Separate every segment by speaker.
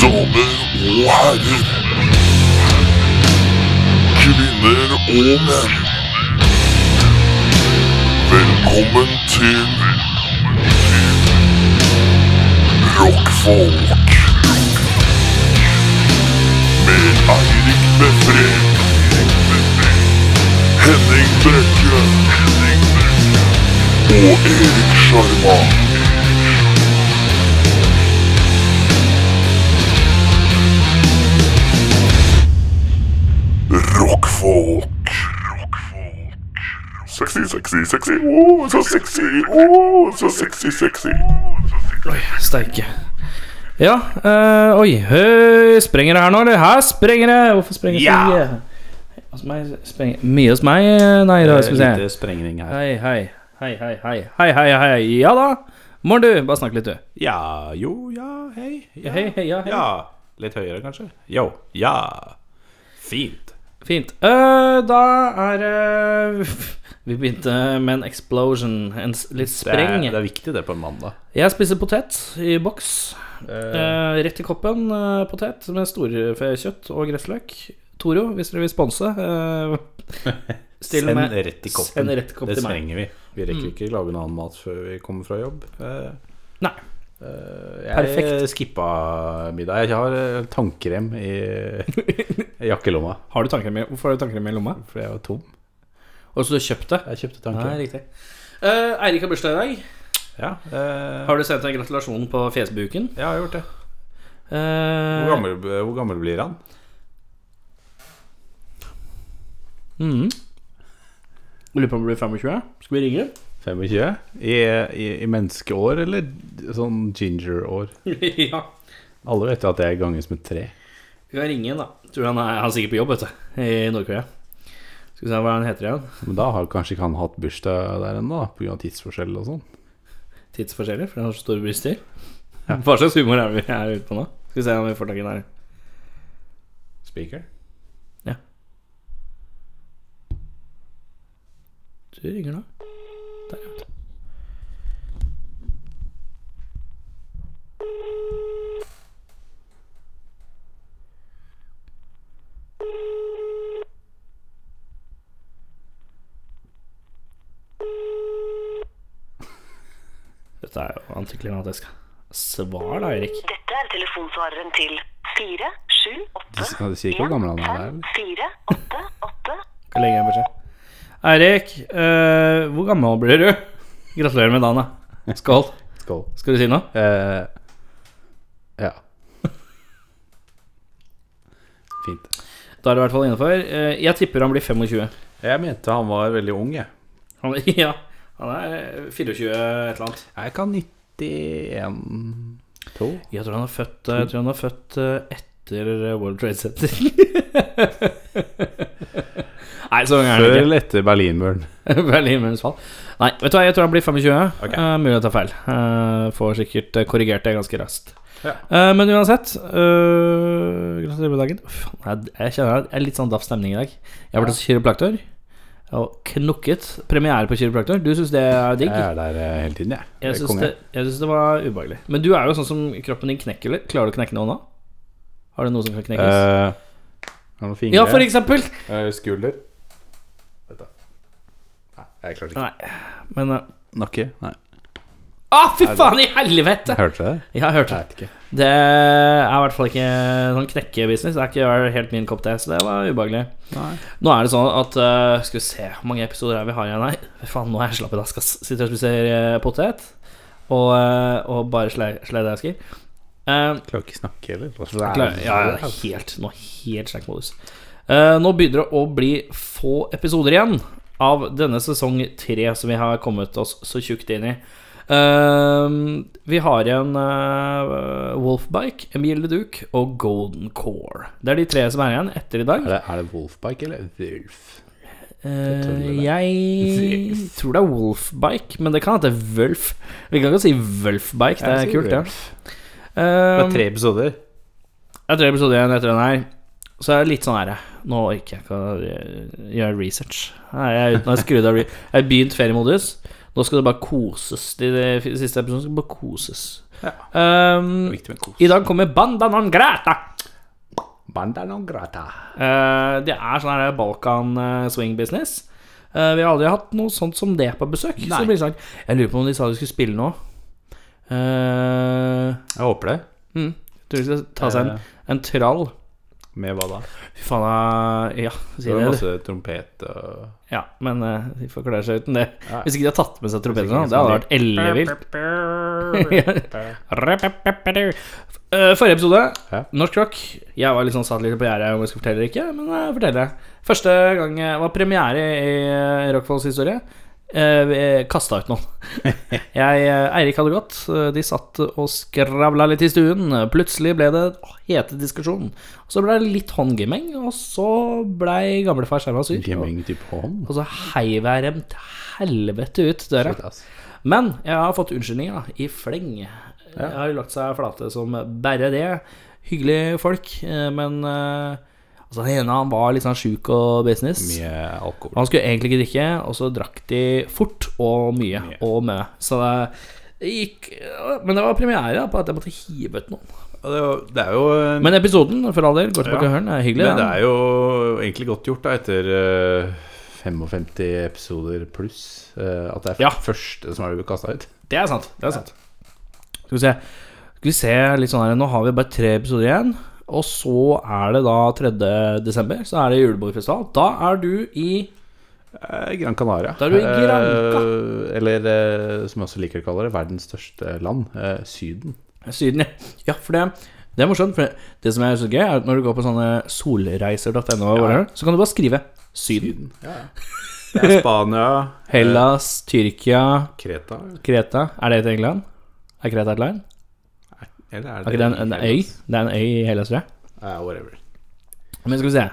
Speaker 1: damer og herrer. Kvinner og menn. Velkommen til Rockfolk. Med Eirik Befre. Henning Brekke. Og Erik Sjarma. Rockfolk. Sexy, sexy, sexy. Åh, så sexy. Åh, så sexy, sexy.
Speaker 2: Oi, steike. Ja, eh, oi. Høy, sprenger det her nå, eller? Her sprenger det! Hvorfor sprenger Altså, det så
Speaker 3: Ja.
Speaker 2: mye? Hos meg sprenger Mye hos meg? eh, Nei da, skal vi se.
Speaker 3: Lite sprengning her.
Speaker 2: Hei, hei. Hei, hei, hei. Hei, hei, hei. Ja da. Morn, du. Bare snakk litt, du.
Speaker 3: Ja, jo, ja, hei. Ja,
Speaker 2: Hei, hei, ja, hei.
Speaker 3: ja. Litt høyere, kanskje? Yo, ja. Fint.
Speaker 2: Fint. Eh, da er det Vi begynte med en explosion. En s- litt
Speaker 3: Det er,
Speaker 2: spreng.
Speaker 3: det er viktig, det, på en mandag.
Speaker 2: Jeg spiser potet i boks. Eh, rett i koppen eh, potet med storfekjøtt og gressløk. Toro, hvis dere vil sponse. eh, still
Speaker 3: Send
Speaker 2: med-
Speaker 3: rett i koppen.
Speaker 2: Send rett i
Speaker 3: det
Speaker 2: koppen til meg. Mm.
Speaker 3: trenger vi. Vi rekker ikke lage noe annen mat før vi kommer fra jobb. Eh,
Speaker 2: Nei.
Speaker 3: eh,
Speaker 2: Perfekt.
Speaker 3: Jeg skippa middag. Jeg har eh, tannkrem i i jakkelomma,
Speaker 2: Har du tannkrem i, hvorfor har du tannkrem i lomma?
Speaker 3: for jeg var tom.
Speaker 2: Og så du har kjøpt det?
Speaker 3: Jeg kjøpte
Speaker 2: Nei,
Speaker 3: tannkrem.
Speaker 2: riktig. Eh, Eirik har bursdag i dag.
Speaker 3: Ja, eh,
Speaker 2: Har du sendt en gratulasjon på Facebooken?
Speaker 3: jeg har gjort det.
Speaker 2: Eh,
Speaker 3: Hvor gammel, hvor gammel blir han?
Speaker 2: mhm. Lurer på om det blir 25. Skal vi ringe?
Speaker 3: 25? I, i, i menneskeår, eller sånn ginger-år?
Speaker 2: ja.
Speaker 3: Alle vet jo at jeg ganges med tre.
Speaker 2: Vi kan ringe han, da. Tror han er, han er sikkert på jobb, vet du. I Nord-Korea. Skal vi se hva han heter igjen.
Speaker 3: Men da har kanskje ikke han hatt bursdag der ennå, da, pga. tidsforskjell og sånn.
Speaker 2: tidsforskjeller, for han har så store bryster. Hva slags humor er det vi er ute på nå? Skal vi se om vi får tak i den her.
Speaker 3: Speaker?
Speaker 2: Du ringer nå. Der, ja. Dette er jo antiklimatisk. Svar da, Erik.
Speaker 4: Dette er telefonsvareren til 4, 7, 8,
Speaker 3: Du skal- du sier ikke hvor gammel han er, eller?
Speaker 4: 4, 8, 8.
Speaker 2: Skal legge en beskjed. Eirik, eh, hvor gammel blir du? Gratulerer med dagen, da. Skål.
Speaker 3: Skål.
Speaker 2: Skal du si noe?
Speaker 3: Eh, ja. Fint.
Speaker 2: Da er det i hvert fall innenfor. Eh, jeg tipper han blir 25.
Speaker 3: Jeg mente han var veldig ung, jeg.
Speaker 2: Han, ja, han er eh, 24 et eller annet.
Speaker 3: Jeg kan 91 2.
Speaker 2: Jeg tror han er født, eh, jeg tror han er født eh, etter eh, World Trade Center. Nei, så ung er
Speaker 3: Før
Speaker 2: han ikke.
Speaker 3: eller etter Berlinmuren?
Speaker 2: Berlinmurens fall. Nei, vet du hva, jeg tror han blir 25.
Speaker 3: Ok.
Speaker 2: Eh, mulig jeg tar feil. Eh, får sikkert eh, korrigert det ganske raskt.
Speaker 3: Ja.
Speaker 2: Eh, men uansett eh, Gratulerer med dagen. Uff, jeg, jeg kjenner jeg er litt sånn daff stemning i dag. Jeg ble hos kiropraktor og knokket. Premiere på kiropraktor. Du syns det er digg?
Speaker 3: Jeg er der eh, hele tiden, jeg.
Speaker 2: Jeg
Speaker 3: er
Speaker 2: syns
Speaker 3: konge.
Speaker 2: det, jeg synes det var ubehagelig. Men du er jo sånn som kroppen din knekker litt. Klarer du å knekke noe nå? Har du noe som kan knekkes?
Speaker 3: Eh, han har fingre.
Speaker 2: ja, for eksempel!
Speaker 3: Eh, Skulder. Vet du. Nei, jeg klarte ikke.
Speaker 2: Nei, men eh,
Speaker 3: Nakke? Nei.
Speaker 2: Å, fy faen i helvete!
Speaker 3: Hørte du det?
Speaker 2: Jeg har hørt det.
Speaker 3: ikke.
Speaker 2: Det er i hvert fall ikke sånn knekkebusiness. Det er ikke helt min kopp te, så det var ubehagelig.
Speaker 3: Nei.
Speaker 2: Nå er det sånn at eh, Skal vi se hvor mange episoder er vi har igjen her? Fy Faen, nå er jeg slapp i dag. Skal s- sitte og spise eh, potet og, eh, og bare sle- sleideasker. Uh,
Speaker 3: Klarer ikke snakke heller.
Speaker 2: Klar, ja, ja, ja, helt, nå er helt slack modus. Eh, nå begynner det å bli få episoder igjen av denne sesong tre som vi har kommet oss så tjukt inn i. Eh, vi har igjen eh, Wolfbike, Emil de Duke og Golden Core. Det er de tre som er igjen etter i dag.
Speaker 3: Er det, er det Wolfbike eller Wulf?
Speaker 2: Eh, jeg tror det er Wolfbike, men det kan hete Wulf. Vi kan ikke si Wulfbike, det er
Speaker 3: Jeg sier
Speaker 2: kult, det.
Speaker 3: Wulf. Det
Speaker 2: Eh,
Speaker 3: er tre episoder.
Speaker 2: Det er tre episoder igjen etter den her. Så er det litt sånn her Nå eh, orker jeg ikke å gjøre research. Nei, Jeg er uten å skru av re- Jeg har begynt feriemodus. Nå skal det bare koses. De, de siste episodene skal bare koses.
Speaker 3: Ja.
Speaker 2: Ehm,
Speaker 3: Viktig med kos.
Speaker 2: I dag kommer Banda non grata.
Speaker 3: Banda non grata.
Speaker 2: Eh, det er sånn her Balkan eh, swing business. Eh, vi har aldri hatt noe sånt som det på besøk. Så
Speaker 3: Nei.
Speaker 2: det blir sånn, jeg lurer på om de sa de skulle spille nå. Eh,
Speaker 3: Jeg håper det.
Speaker 2: mm, tror de skal ta seg en,
Speaker 3: Eh.
Speaker 2: en trall.
Speaker 3: Med hva da?
Speaker 2: Fy faen, eh, ja,
Speaker 3: Det
Speaker 2: sier
Speaker 3: var
Speaker 2: det.
Speaker 3: masse trompet og
Speaker 2: Ja, men eh, de får klare seg uten det.
Speaker 3: Ja.
Speaker 2: Hvis ikke de har tatt med seg
Speaker 3: ikke
Speaker 2: trompetene,
Speaker 3: de
Speaker 2: det hadde vært
Speaker 3: som
Speaker 2: ellevilt. Eh, Forrige episode,
Speaker 3: Ja.
Speaker 2: norsk rock. Jeg var litt sånn satt litt på gjerdet om jeg skulle fortelle eller ikke, men jeg forteller. Første gang jeg var premiere i eh, Rockfolds historie. Uh, Kasta ut noen. Jeg, eh, Eirik hadde gått. eh, De satt og skravla litt i stuen. Plutselig ble det hete diskusjon. Så ble det litt håndgimming, og så blei gamlefar skjerma sur.
Speaker 3: Gemming type hånd.
Speaker 2: Og så heiv jeg dem til helvete ut døra.
Speaker 3: Shit, ass.
Speaker 2: Men jeg har fått unnskyldninger i fleng. Jeg har jo lagt seg flate som bare det. Hyggelige folk, eh, men eh, altså, den ene han var litt sånn sjuk og business.
Speaker 3: Mye alkohol.
Speaker 2: Han skulle egentlig ikke drikke, og så drakk de fort og mye
Speaker 3: Mye.
Speaker 2: og mø. Så det, det gikk Men det var premiere da, på at jeg måtte hive ut noen.
Speaker 3: Og Det er jo- det er jo en-
Speaker 2: Men episoden, for all del, går tilbake
Speaker 3: Ja.
Speaker 2: og hører den. Det er hyggelig.
Speaker 3: Men det
Speaker 2: den.
Speaker 3: er jo egentlig godt gjort da etter eh, 55 episoder pluss eh, at det er
Speaker 2: Ja.
Speaker 3: første som er kasta ut.
Speaker 2: Det er sant. Det er sant. Skal vi se. Skal vi se litt sånn her Nå har vi bare tre episoder igjen. Og så er det da 3. desember, så er det julebordfestival. Da er du i
Speaker 3: Eh, Gran Canaria.
Speaker 2: Da er du i Gran
Speaker 3: Eh, eller eh, som jeg også liker å kalle det, verdens største land, eh, Syden.
Speaker 2: Syden. ja. Ja, for det, det er morsomt. For det som er så gøy, er at når du går på sånne solreiser.no,
Speaker 3: Ja.
Speaker 2: så kan du bare skrive Syden.
Speaker 3: Det er Spania, eh,
Speaker 2: Hellas, Tyrkia,
Speaker 3: Kreta
Speaker 2: Kreta. Er det et England? Er Kreta et land?
Speaker 3: Eller er
Speaker 2: Er ikke det en, en øy? Det er en øy i Hellas, tror jeg.
Speaker 3: Ja, whatever.
Speaker 2: Men skal vi se.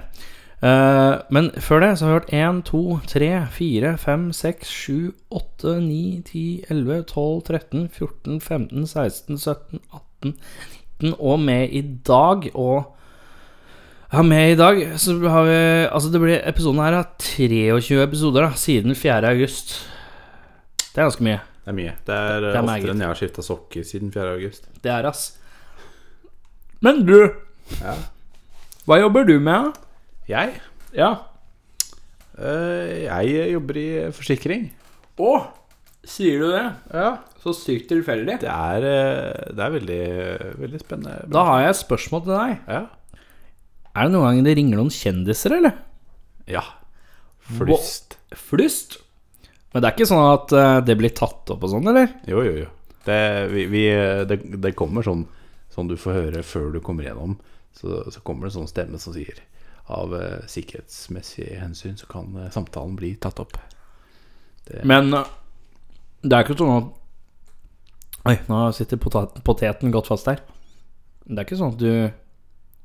Speaker 2: Eh, men før det så har vi hørt 1, 2, 3, 4, 5, 6, 7, 8, 9, 10, 11, 12, 13, 14, 15, 16, 17, 18, 19 og med i dag og ja, med i dag så har vi Altså, det blir episoden her er 23 episoder da, siden 4. august. Det er ganske mye.
Speaker 3: Det er mye. Det er, eh,
Speaker 2: Det er meget.
Speaker 3: oftere enn jeg har skifta sokker siden 4. august.
Speaker 2: Det er ass. Men du,
Speaker 3: Ja.
Speaker 2: hva jobber du med?
Speaker 3: Jeg?
Speaker 2: da? Ja.
Speaker 3: Eh, jeg jobber i forsikring.
Speaker 2: Å, sier du det?
Speaker 3: Ja.
Speaker 2: Så sykt tilfeldig.
Speaker 3: Det er, eh, det er veldig, veldig spennende.
Speaker 2: Da har jeg et spørsmål til deg.
Speaker 3: Ja.
Speaker 2: Er det noen gang det ringer noen kjendiser, eller?
Speaker 3: ja. Flust.
Speaker 2: Flust? Men det er ikke sånn at eh, det blir tatt opp og sånn, eller?
Speaker 3: Jo, jo, jo. Det, vi, vi, eh, det, det kommer sånn, sånn du får høre før du kommer gjennom. Så, så kommer det en sånn stemme som sier av eh, sikkerhetsmessige hensyn så kan eh, samtalen bli tatt opp.
Speaker 2: Men eh, det er ikke sånn at Oi, nå sitter potet, poteten godt fast her. Det er ikke sånn at du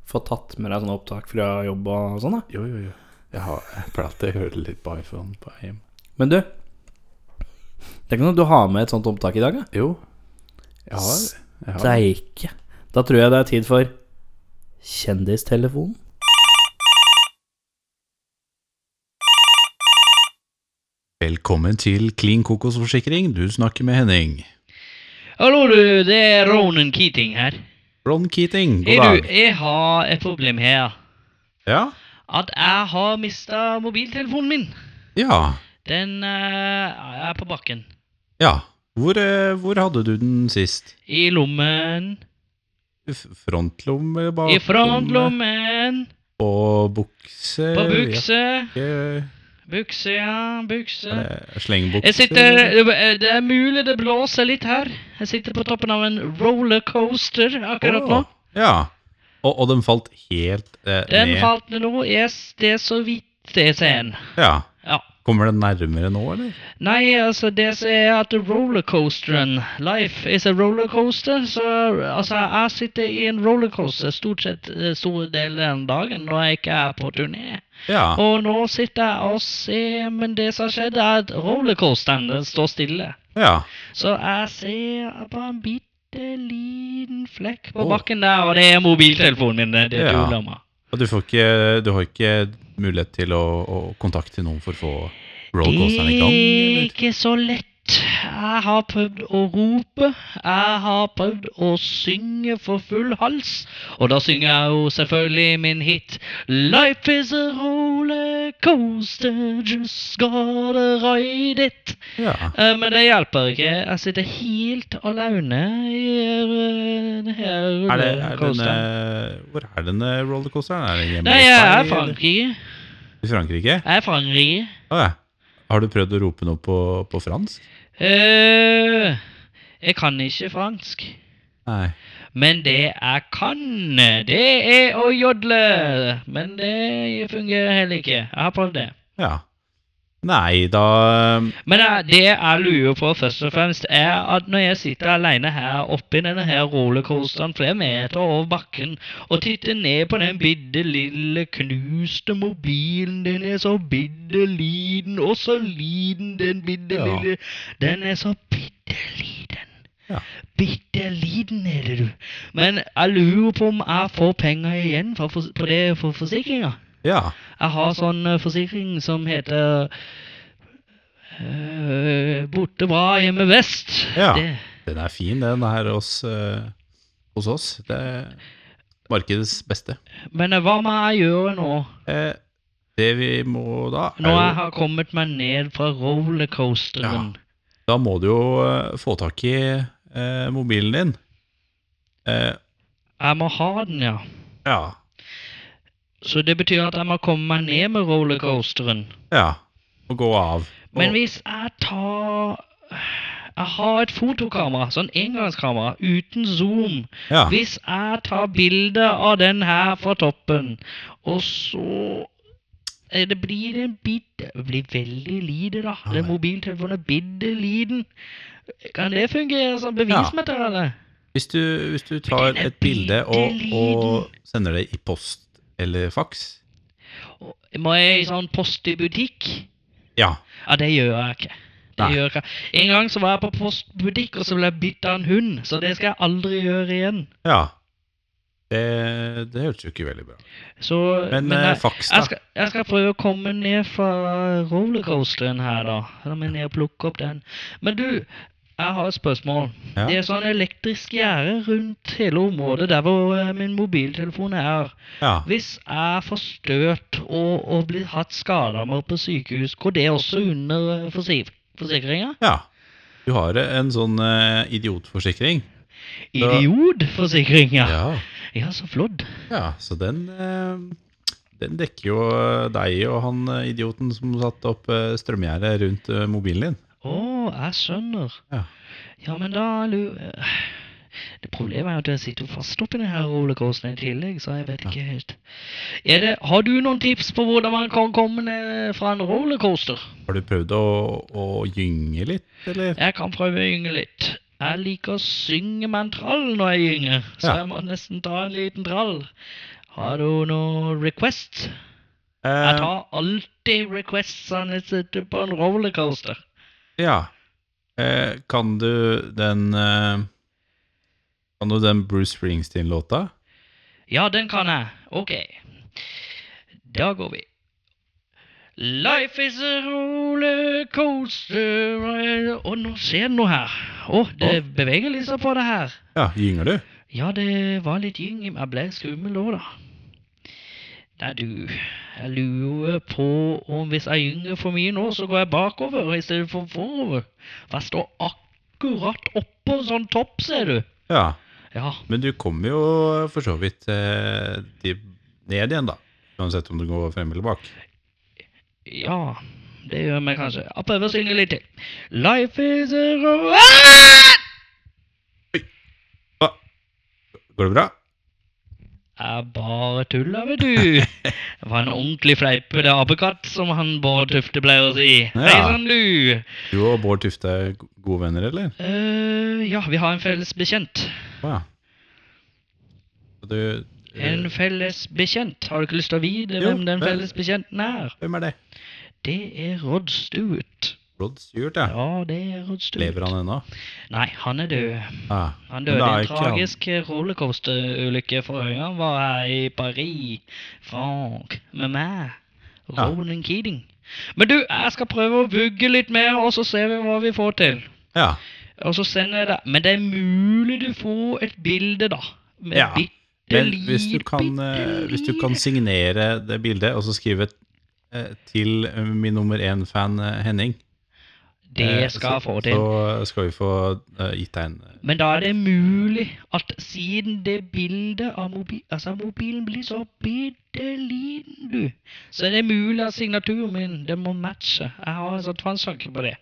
Speaker 2: får tatt med deg sånne opptak fra jobb og sånn, da.
Speaker 3: Jo, jo, jo. Jeg har jeg pleier alltid å høre det litt på iPhone på vei hjem.
Speaker 2: Men du, det er ikke sånn at du har med et sånt opptak i dag, da?
Speaker 3: Jo. Jeg har, jeg har.
Speaker 2: Steike. Da tror jeg det er tid for Kjendistelefonen.
Speaker 3: Velkommen til Clean Kokos forsikring. Du snakker med Henning.
Speaker 5: Hallo, du. Det er Ronan Keating her.
Speaker 3: Ron Keating, god
Speaker 5: Er du,
Speaker 3: dag.
Speaker 5: jeg har et problem her.
Speaker 3: Ja?
Speaker 5: At jeg har mista mobiltelefonen min.
Speaker 3: Ja.
Speaker 5: Den eh, er på bakken.
Speaker 3: Ja. Hvor, eh, hvor hadde du den sist?
Speaker 5: I lommen.
Speaker 3: F- Frontlomme?
Speaker 5: I
Speaker 3: baklomme?
Speaker 5: frontlommen.
Speaker 3: På bukse Eh,
Speaker 5: På bukse.
Speaker 3: jakke,
Speaker 5: Bukse, ja. Bukse.
Speaker 3: eh, Slengbukse
Speaker 5: Jeg sitter eh, Det er mulig det blåser litt her. Jeg sitter på toppen av en rollercoaster akkurat nå.
Speaker 3: Åh, Ja. Og, og den falt helt eh,
Speaker 5: Den
Speaker 3: ned.
Speaker 5: falt ned nå. Yes, det er så vidt jeg ser den.
Speaker 3: Ja.
Speaker 5: Ja.
Speaker 3: Kommer den nærmere nå, eller?
Speaker 5: Nei, altså det som er at rollercoasteren Life is a rollercoaster. Så altså, jeg sitter i en rollercoaster stort sett eh, store deler av dagen når jeg ikke er på turné.
Speaker 3: Ja.
Speaker 5: Og nå sitter jeg og ser, men det som har skjedd, er at rollercoasteren den står stille.
Speaker 3: ja.
Speaker 5: Så jeg ser bare en bitte liten flekk på
Speaker 3: Å.
Speaker 5: bakken der, og det er mobiltelefonen min. Det er
Speaker 3: Ja.
Speaker 5: ja. lomma.
Speaker 3: Og du, får ikke, du har ikke mulighet til å, å kontakte noen for å få
Speaker 5: Det
Speaker 3: rollercoasteren i gang?
Speaker 5: er
Speaker 3: eller?
Speaker 5: ikke så lett. Jeg har prøvd å rope, jeg har prøvd å synge for full hals. Og da synger jeg jo selvfølgelig min hit Life is a rollercoaster, just gotta ride it.
Speaker 3: Ja.
Speaker 5: Eh, Men det hjelper ikke. Jeg sitter helt alene i eh, det her
Speaker 3: Er det, er den,
Speaker 5: rollercoasteren.
Speaker 3: eh, hvor er denne rollercoasteren? Er den hjemme
Speaker 5: Nei,
Speaker 3: hos
Speaker 5: jeg
Speaker 3: deg,
Speaker 5: er
Speaker 3: eller?
Speaker 5: i Frankrike.
Speaker 3: I Frankrike?
Speaker 5: Jeg er fra Frankrike.
Speaker 3: Å ja. Har du prøvd å rope noe på, på fransk?
Speaker 5: Eh, jeg kan ikke fransk.
Speaker 3: Nei.
Speaker 5: Men det jeg kan, det er å jodle. Men det fungerer heller ikke. Jeg har prøvd det.
Speaker 3: Ja. Nei, da um,
Speaker 5: Men eh, det jeg lurer på først og fremst, er at når jeg sitter alene her oppi denne her rollercoasteren flere meter over bakken og titter ned på den bitte lille knuste mobilen Den er så bitte liten, og så liten den bitte
Speaker 3: Ja.
Speaker 5: lille Den er så bitte liten.
Speaker 3: Ja.
Speaker 5: Bitte liten er det, du. Men jeg lurer på om jeg får penger igjen for, for, på det for forsikringa.
Speaker 3: Ja.
Speaker 5: Jeg har sånn eh, forsikring som heter eh, Borte bra, hjemme best.
Speaker 3: Ja.
Speaker 5: Det,
Speaker 3: Den er fin, den her hos, eh, hos oss. Det er markedets beste.
Speaker 5: men eh, hva må jeg gjøre nå?
Speaker 3: Eh, det vi må da er
Speaker 5: Når jeg
Speaker 3: jo,
Speaker 5: har kommet meg ned fra rollercoasteren.
Speaker 3: Da må du jo eh, få tak i eh, mobilen din. Eh,
Speaker 5: Jeg må ha den, ja.
Speaker 3: ja.
Speaker 5: Så det betyr at jeg må komme meg ned med rollercoasteren.
Speaker 3: Ja. Og gå av.
Speaker 5: Men
Speaker 3: Og-
Speaker 5: hvis jeg tar Jeg har et fotokamera, sånn engangskamera, uten zoom.
Speaker 3: ja.
Speaker 5: Hvis jeg tar bilde av den her fra toppen, og så eh, det blir en bit Det blir veldig lite, da. Den mobiltelefonen er bitte liten. Kan det fungere som bevismateriale?
Speaker 3: Hvis du, hvis du tar et bilde og, og sender det i post eller faks
Speaker 5: Og Må jeg i sånn post i butikk?
Speaker 3: Ja.
Speaker 5: Ja, det gjør jeg ikke. Det
Speaker 3: Nei.
Speaker 5: gjør jeg ikke. En gang så var jeg på postbutikk, og så ble jeg bitt av en hund. Så det skal jeg aldri gjøre igjen.
Speaker 3: ja. Det, det hørtes jo ikke veldig bra ut.
Speaker 5: Så,
Speaker 3: Men, eh, faks, da?
Speaker 5: Jeg skal, jeg skal prøve å komme ned fra rollercoasteren her, da. La meg ned og plukke opp den. Men du, jeg har et spørsmål.
Speaker 3: Ja.
Speaker 5: Det er sånn elektrisk gjerde rundt hele området der hvor eh, min mobiltelefon er.
Speaker 3: Ja.
Speaker 5: Hvis jeg får støt og, og blir hatt skader med på sykehus, går det også under eh, forsi- forsikringa?
Speaker 3: ja. Du har en sånn eh, idiotforsikring.
Speaker 5: Idiotforsikringa! Ja. ja, så flott.
Speaker 3: Ja, så den, eh, den dekker jo deg og han eh, idioten som satte opp eh, strømgjerdet rundt eh, mobilen din.
Speaker 5: Å, jeg skjønner.
Speaker 3: Ja.
Speaker 5: Ja, men da lu- Det Problemet er jo at jeg sitter jo fast oppi denne rollercoasteren i tillegg, så jeg vet ikke helt. Er det, har du noen tips på hvordan man kan komme ned fra en rollercoaster?
Speaker 3: Har du prøvd å, å gynge litt, eller?
Speaker 5: Jeg kan prøve å gynge litt. Jeg liker å synge med en trall når jeg gynger, så
Speaker 3: Ja.
Speaker 5: jeg må nesten ta en liten trall. Har du noe request? Jeg
Speaker 3: Eh,
Speaker 5: tar alltid requests når jeg sitter på en rollercoaster.
Speaker 3: ja. Eh, kan du den eh, Kan du den Bruce Springsteen-låta?
Speaker 5: Ja, den kan jeg. Ok. Da går vi. Life is a rollercoaster ride Å, nå skjer det noe her. Å, det beveger litt seg på det her.
Speaker 3: Ja, gynger du?
Speaker 5: Ja, det var litt gyng. men Jeg ble skummel òg, da. Nei, du, jeg lurer på om hvis jeg gynger for mye nå, så går jeg bakover i stedet for forover. For jeg står akkurat oppå sånn topp, ser du.
Speaker 3: Ja.
Speaker 5: Ja.
Speaker 3: Men du kommer jo for så vidt eh, de, ned igjen, da. Uansett om du går frem eller bak.
Speaker 5: Ja, det gjør vi kanskje. Jeg prøver å synge litt til. Life is a ro... Ah!
Speaker 3: Hva? Går det bra?
Speaker 5: Jeg bare tuller, vet du. Det var en ordentlig fleipete apekatt, som han Bård Tufte pleier å si. Hei sann, du.
Speaker 3: Du og Bård Tufte er go- gode venner, eller?
Speaker 5: Eh, ja, vi har en felles bekjent.
Speaker 3: Ja. Og Du,
Speaker 5: En felles bekjent. Har du ikke lyst til å vite
Speaker 3: Jo,
Speaker 5: hvem den
Speaker 3: vel.
Speaker 5: felles bekjenten er?
Speaker 3: hvem er det?
Speaker 5: Det er Rod Stewart.
Speaker 3: Rod Stewart, ja.
Speaker 5: Ja, det er Rod Stewart.
Speaker 3: Lever han ennå?
Speaker 5: Nei, han er død.
Speaker 3: Ah.
Speaker 5: Han
Speaker 3: Men
Speaker 5: døde
Speaker 3: da
Speaker 5: i
Speaker 3: er
Speaker 5: en
Speaker 3: ikke han-
Speaker 5: tragisk rollercoasterulykke forrige gang. Han var her i Paris, Frank, med meg,
Speaker 3: Ja.
Speaker 5: Ronan Keating. Men du, jeg skal prøve å vugge litt mer, og så ser vi hva vi får til.
Speaker 6: Ja.
Speaker 5: Og så sender jeg det. Men det er mulig du får et bilde, da. Med
Speaker 6: Ja,
Speaker 5: bitte
Speaker 6: Men hvis du,
Speaker 5: lite,
Speaker 6: kan, eh,
Speaker 5: bitte
Speaker 6: hvis du kan
Speaker 5: lite.
Speaker 6: signere det bildet og så skrive eh, til eh, min nummer én-fan eh, Henning eh,
Speaker 5: Det skal jeg få til.
Speaker 6: Så skal vi få eh, gitt deg en
Speaker 5: Men da er det mulig at siden det bildet av mobi altså mobilen blir så bitte liten, du, så er det mulig at signaturen min den må matche. Jeg har en sånn tvangstanke på det.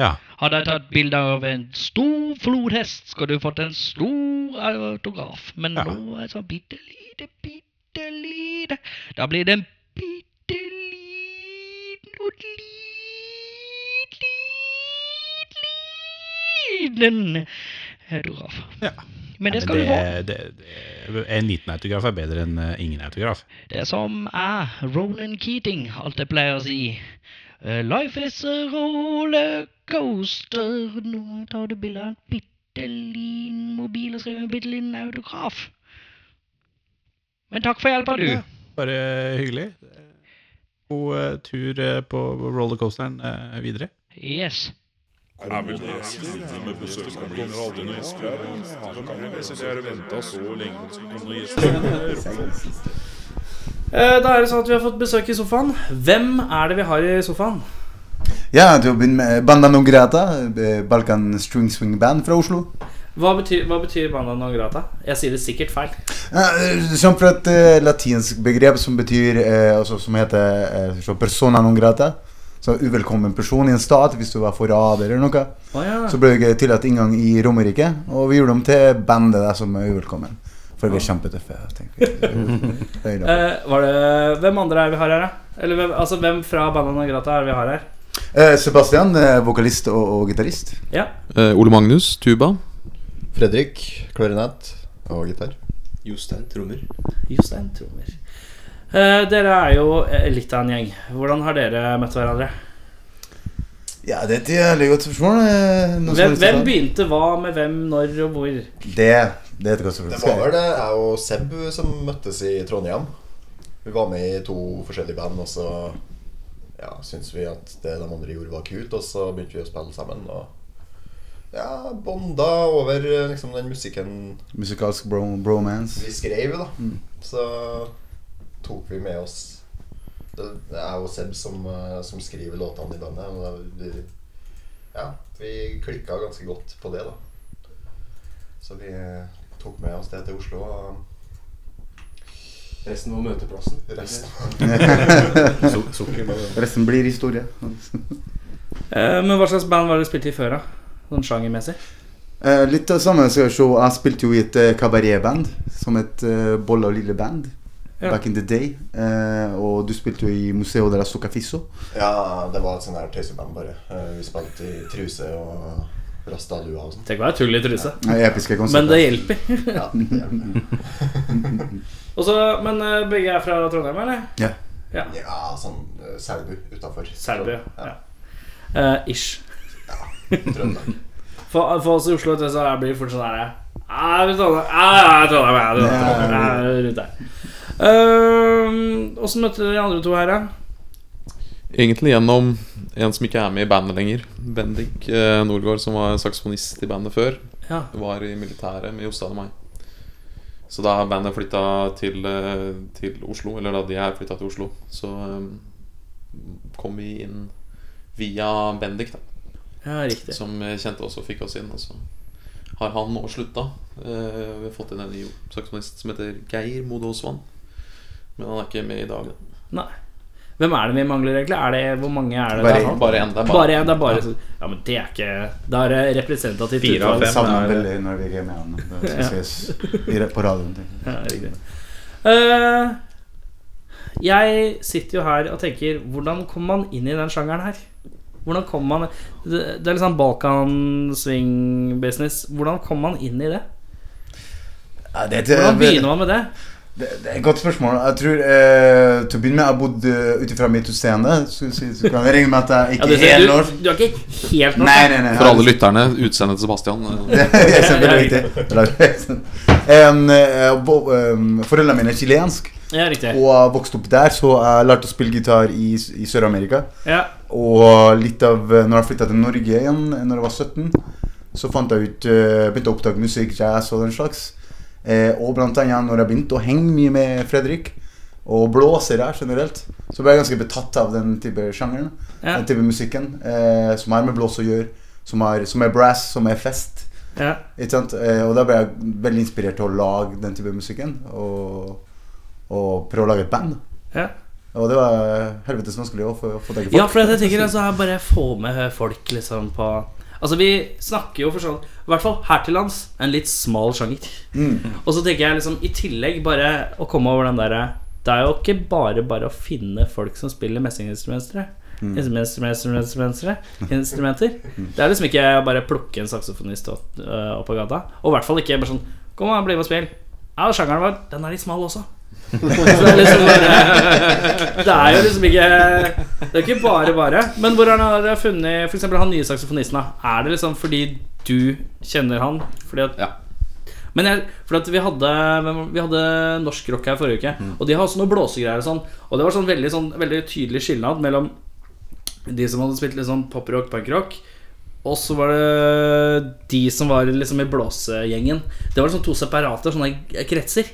Speaker 6: Ja.
Speaker 5: Hadde jeg tatt bilde av en stor flodhest, skulle du fått en stor autograf. Men
Speaker 6: Ja.
Speaker 5: nå er det sånn bitte lite, bitte lite. Da blir det en bitte liten og lit, lit, liten autograf.
Speaker 6: Ja.
Speaker 5: Men
Speaker 6: Nei,
Speaker 5: det skal du få.
Speaker 6: det, det, det, en liten autograf er bedre enn eh, ingen autograf.
Speaker 5: Det som er Ronan Keating alltid pleier å si. Eh, Life is a rollercoaster. Nå tar du bilde av en bitte liten mobil og skriver en bitte liten autograf. Men takk for hjelpa, du.
Speaker 6: Ja, Bare hyggelig. God eh, tur eh, på rollercoasteren eh, videre.
Speaker 5: Yes.
Speaker 2: Eh, Da er det sånn at vi har fått besøk i sofaen. Hvem er det vi har i sofaen?
Speaker 7: Ja, til å begynne med Banda Nograta, eh, Balkan String Swing Band fra Oslo.
Speaker 2: Hva betyr, hva betyr banda non grata? Jeg sier det sikkert feil.
Speaker 7: Eh, Som fra et eh, latinsk begrep som betyr eh, altså, Som heter eh, så persona non grata. Så uvelkommen person i en stat hvis du var forræder eller noe.
Speaker 2: Å ja.
Speaker 7: Så ble jeg tillatt inngang i Romerike, og vi gjorde dem til bandet der som er uvelkommen. For vi er kjempetøffe. tenker jeg. Det er det.
Speaker 2: Eh, var det, hvem andre er vi har her, da? Eller hvem, altså, hvem fra banda non grata er det vi har her?
Speaker 7: Eh, Sebastian, eh, vokalist og, og gitarist.
Speaker 2: Ja.
Speaker 8: Eh, Ole Magnus, tuba.
Speaker 9: Fredrik, klarinett og gitar. Jostein, trommer.
Speaker 2: Jostein Trommer. Eh, dere er jo eh, litt av en gjeng. Hvordan har dere møtt hverandre?
Speaker 7: Ja, det er et jævlig godt spørsmål. eh, noen som har lyst til
Speaker 2: Hvem,
Speaker 7: å
Speaker 2: hvem
Speaker 7: ta?
Speaker 2: begynte hva med hvem, når og hvor?
Speaker 7: Det, det er et godt spørsmål.
Speaker 9: Det
Speaker 7: Skal
Speaker 9: var
Speaker 7: jeg-
Speaker 9: vel det jeg og Seb som møttes i Trondheim. Vi var med i to forskjellige band, og så ja, syntes vi at det de andre gjorde, var kult, og så begynte vi å spille sammen. Og ja, bonda over eh, liksom, den musikken
Speaker 7: Musikalsk bro bromance.
Speaker 9: vi skrev, da. Så tok vi med oss Det det er jo Seb som, eh, som skriver låtene i bandet. Men da- vi, ja, vi klikka ganske godt på det, da. Så vi eh, tok med oss det til Oslo. Og
Speaker 10: Resten var møteplassen.
Speaker 9: resten
Speaker 7: Resten blir historie.
Speaker 2: Eh, men hva slags band var dere spilte i før, da? Sånn sjangermessig?
Speaker 7: Eh, litt av det samme skal vi se. Jeg spilte jo i et eh, kabaretband som het eh, Bolle og lille band.
Speaker 2: Ja.
Speaker 7: Back in the day. Eh, og du spilte jo i Museo della Socafisso.
Speaker 9: Ja, det var et sånn her tøyseband, bare. Eh, Vi spilte i truse og rastalua og sånn.
Speaker 2: Tenk å være tull i truse.
Speaker 7: Eh, episke
Speaker 2: Men
Speaker 7: konserter.
Speaker 2: det hjelper.
Speaker 9: Ja, det hjelper.
Speaker 2: Og så- men eh, begge er fra Trondheim, eller?
Speaker 7: Ja.
Speaker 2: ja.
Speaker 9: ja, sånn eh, Selbu utafor.
Speaker 2: Selbu. Ja.
Speaker 9: Ja,
Speaker 2: Eh, ish.
Speaker 9: Trøndelag.
Speaker 2: For, for oss i Oslo vet du, så er- blir det fort sånn herre Jeg er Trondheim, jeg er Trondheim, jeg er Trondheim, jeg er rundt der. Ehm, Åssen møtte dere de andre to her, da?
Speaker 8: Egentlig gjennom en som ikke er med i bandet lenger. Bendik eh, Nordgaard, som var saksofonist i bandet før,
Speaker 2: Ja.
Speaker 8: var i militæret med Jostein og meg. Så da er bandet flytta til, eh, til Oslo, eller da de er flytta til Oslo, så eh, kom vi inn via Bendik, da.
Speaker 2: ja, riktig.
Speaker 8: Som eh, kjente oss og fikk oss inn. Og så har han nå slutta. Eh, Vi har fått inn en ny saksofonist som heter Geir Mode Aasvand. Men han er ikke med i dag. Da.
Speaker 2: Nei. Hvem er det vi mangler, egentlig? Er det, hvor mange er det?
Speaker 7: Bare
Speaker 2: der
Speaker 7: en.
Speaker 2: nå?
Speaker 8: Bare én. Det er
Speaker 2: Bare en, det er bare så- Ja, men det er ikke Da er det representativt.
Speaker 6: Fire av
Speaker 2: utvalg.
Speaker 6: fem.
Speaker 7: Savner
Speaker 6: er-
Speaker 7: han veldig når vi er hjemme igjen. Det skal ses i- på radioen. tenker jeg.
Speaker 2: Ja, riktig. Eh, jeg sitter jo her og tenker Hvordan kommer man inn i den sjangeren her? Hvordan kommer man Det det er liksom balkan-swing-business. Hvordan kommer man inn i det?
Speaker 7: Ja, det, er-
Speaker 2: Hvordan begynner man med det?
Speaker 7: Det, det er et godt spørsmål. Jeg tror eh, Til å begynne med, jeg eh, bodde ut ifra mitt utseende. Så, så, så kan jeg regne med at jeg
Speaker 2: Ja,
Speaker 7: ikke
Speaker 2: du,
Speaker 7: er
Speaker 2: ser-
Speaker 7: helnorsk.
Speaker 2: du, du er ikke helt norsk?
Speaker 7: Nei, nei, nei.
Speaker 8: For alle lytterne, utseendet til Sebastian. eh,
Speaker 7: Det er kjempeviktig. En, eh, bo- em, Foreldrene mine er chilensk,
Speaker 2: Ja, riktig.
Speaker 7: og jeg vokste opp der, så jeg lærte å spille gitar i, i Sør-Amerika.
Speaker 2: Ja,
Speaker 7: Og litt av eh, Når jeg flytta til Norge igjen, eh, når jeg var 17, så fant jeg ut eh, Begynte å oppdage musikk, jazz og den slags. Eh, og blant annet når jeg begynte å henge mye med Fredrik, og blåser her generelt, så ble jeg ganske betatt av den type sjangeren.
Speaker 2: Ja.
Speaker 7: Den type musikken eh, som har med blås å gjøre, som, har, som er brass, som er fest.
Speaker 2: Ja.
Speaker 7: Ikke sant? Eh, Og da ble jeg veldig inspirert til å lage den type musikken. Og, og prøve å lage et band.
Speaker 2: Ja.
Speaker 7: Og det var helvetes vanskelig å få, få tak i folk.
Speaker 2: Ja, for jeg tenker altså her bare få med folk liksom på Altså vi snakker jo for sånn I hvert fall her til lands en litt smal sjanger. Og så tenker jeg liksom i tillegg bare å komme over den derre Det er jo ikke bare bare å finne folk som spiller messinginstrumenter. Instrumenter, instrumenter, instrumenter. Det er liksom ikke bare plukke en saksofonist opp, øh, opp av gata. Og i hvert fall ikke bare sånn Kom an, bli med og spill. Ja, sjangeren vår, den er litt smal også. Så det er liksom bare Det er jo liksom ikke Det er ikke bare bare. Men hvor har dere funnet f.eks. han nye saksofonisten? da? Er det liksom fordi du kjenner han? Fordi at
Speaker 8: Ja.
Speaker 2: Men jeg, fordi at vi hadde, hvem- vi hadde norsk rock her forrige uke,
Speaker 7: Mm.
Speaker 2: og de har også noe blåsegreier og sånn. Og det var sånn veldig, sånn veldig tydelig skilnad mellom de som hadde spilt litt sånn poprock, punkrock, og så var det de som var liksom i blåsegjengen. Det var liksom to separate sånne kretser.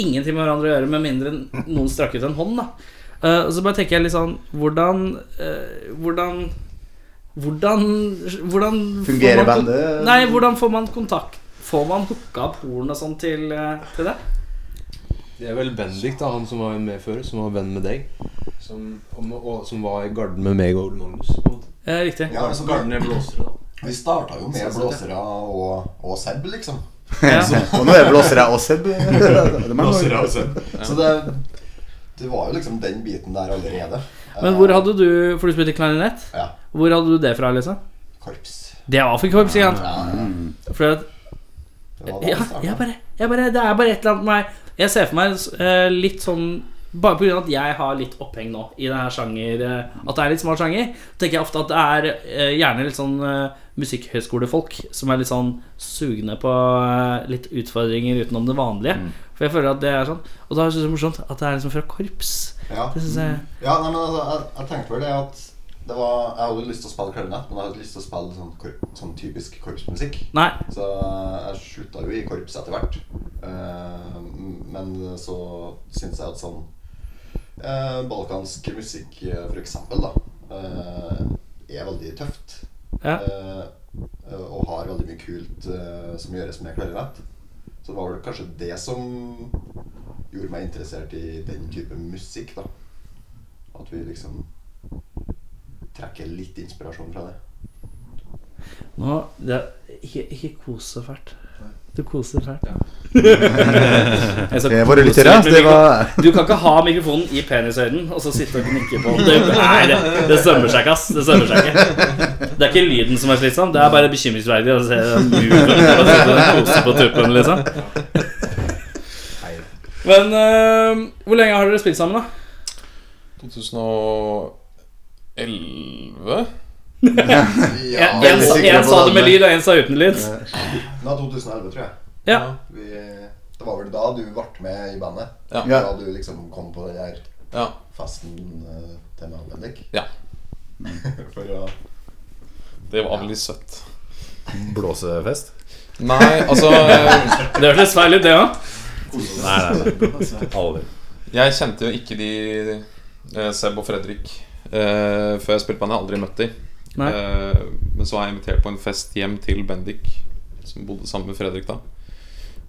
Speaker 2: Ingenting med hverandre å gjøre, med mindre noen strakk ut en hånd. da Eh, Og Så bare tenker jeg litt sånn Hvordan eh, Hvordan hvordan, hvordan får
Speaker 7: Fungerer
Speaker 2: man kon-
Speaker 7: bandet?
Speaker 2: Nei, hvordan får man kontakt Får man hooka opp horn og sånn til, eh, til det?
Speaker 10: Det er vel Bendik, da, han som var med før, som var venn med deg. Som, og, og, som var i garden med meg og Magnus. på en måte.
Speaker 2: Eh, riktig.
Speaker 9: Ja, altså,
Speaker 10: Garden er blåser, da.
Speaker 9: Vi starta jo med blåsere og, og Seb, liksom.
Speaker 2: Ja.
Speaker 7: Og nå er det blåsere og Seb. Det er mange år.
Speaker 9: og Seb. Så det, det var jo liksom den biten der allerede.
Speaker 2: Men hvor hadde du For du spilte klarinett?
Speaker 9: Ja.
Speaker 2: Hvor hadde du det fra, liksom?
Speaker 9: Korps.
Speaker 2: Det var for korps, ikke sant? Mm.
Speaker 9: Ja, ja. Det var da det startet.
Speaker 2: Fordi at ja, jeg bare, jeg bare, Det er bare et eller annet med meg Jeg ser for meg eh, litt sånn Bare på grunn av at jeg har litt oppheng nå I denne sjanger eh, At det er litt smal sjanger Tenker jeg ofte at det er eh, gjerne litt sånn eh, Musikkhøyskolefolk Som er litt sånn sugne på eh, Litt utfordringer utenom det vanlige
Speaker 9: Mm.
Speaker 2: For jeg føler at det er sånn Og da synes jeg det er morsomt at det er liksom fra korps
Speaker 9: Ja.
Speaker 2: Det synes jeg
Speaker 9: Ja, nei, men altså, jeg, jeg tenkte vel det at det var, Jeg hadde lyst til å spille klarinett, men jeg hadde ikke lyst til å spille sånn, kor sånn typisk korpsmusikk.
Speaker 2: Nei,
Speaker 9: Så eh, jeg slutta jo i korps etter hvert. Eh, men så syns jeg at sånn eh, balkansk musikk, eh, for eksempel, da, eh, er veldig tøft.
Speaker 2: Ja.
Speaker 9: Eh, og har veldig mye kult eh, som gjøres med klarinett. Så det var vel kanskje det som gjorde meg interessert i den type musikk, da. At vi liksom trekker litt inspirasjon fra det.
Speaker 2: nå det, er ikke, ikke kos så fælt Du koser fælt Jeg sa
Speaker 7: Det er våre lyttere.
Speaker 2: koser, men
Speaker 7: Det
Speaker 2: vi-
Speaker 7: var
Speaker 2: Du kan ikke ha mikrofonen i penishøyden og så sitte og gnikke på den. Det, nei, det, det sømmer seg ikke, ass. Det sømmer seg ikke. Det er ikke lyden som er slitsom, det er bare bekymringsverdig å se den muren og sitte og kose på tuppen, liksom. Men eh, hvor lenge har dere spilt sammen, da?
Speaker 8: 2011
Speaker 9: Ja,
Speaker 2: Én sa,
Speaker 9: sikkert
Speaker 2: en
Speaker 9: på
Speaker 2: sa
Speaker 9: den.
Speaker 2: det med lyd, og én sa uten lyd.
Speaker 9: Nei, 2011, tror jeg.
Speaker 2: Ja.
Speaker 9: Vi, det var vel da du ble med i bandet?
Speaker 8: Ja.
Speaker 9: Da du liksom kom på den her
Speaker 8: Ja.
Speaker 9: festen eh, til meg og Bendik?
Speaker 8: Ja.
Speaker 9: For å
Speaker 8: Det var veldig søtt.
Speaker 3: Blåsefest?
Speaker 8: Nei, altså
Speaker 2: Det hørtes feil ut, det òg.
Speaker 3: Nei, nei, nei. Aldri.
Speaker 8: Jeg kjente jo ikke de eh, Seb og Fredrik eh, før jeg spilte band. Jeg har aldri møtt de.
Speaker 2: Nei.
Speaker 8: Eh, men så var jeg invitert på en fest hjem til Bendik, som bodde sammen med Fredrik da.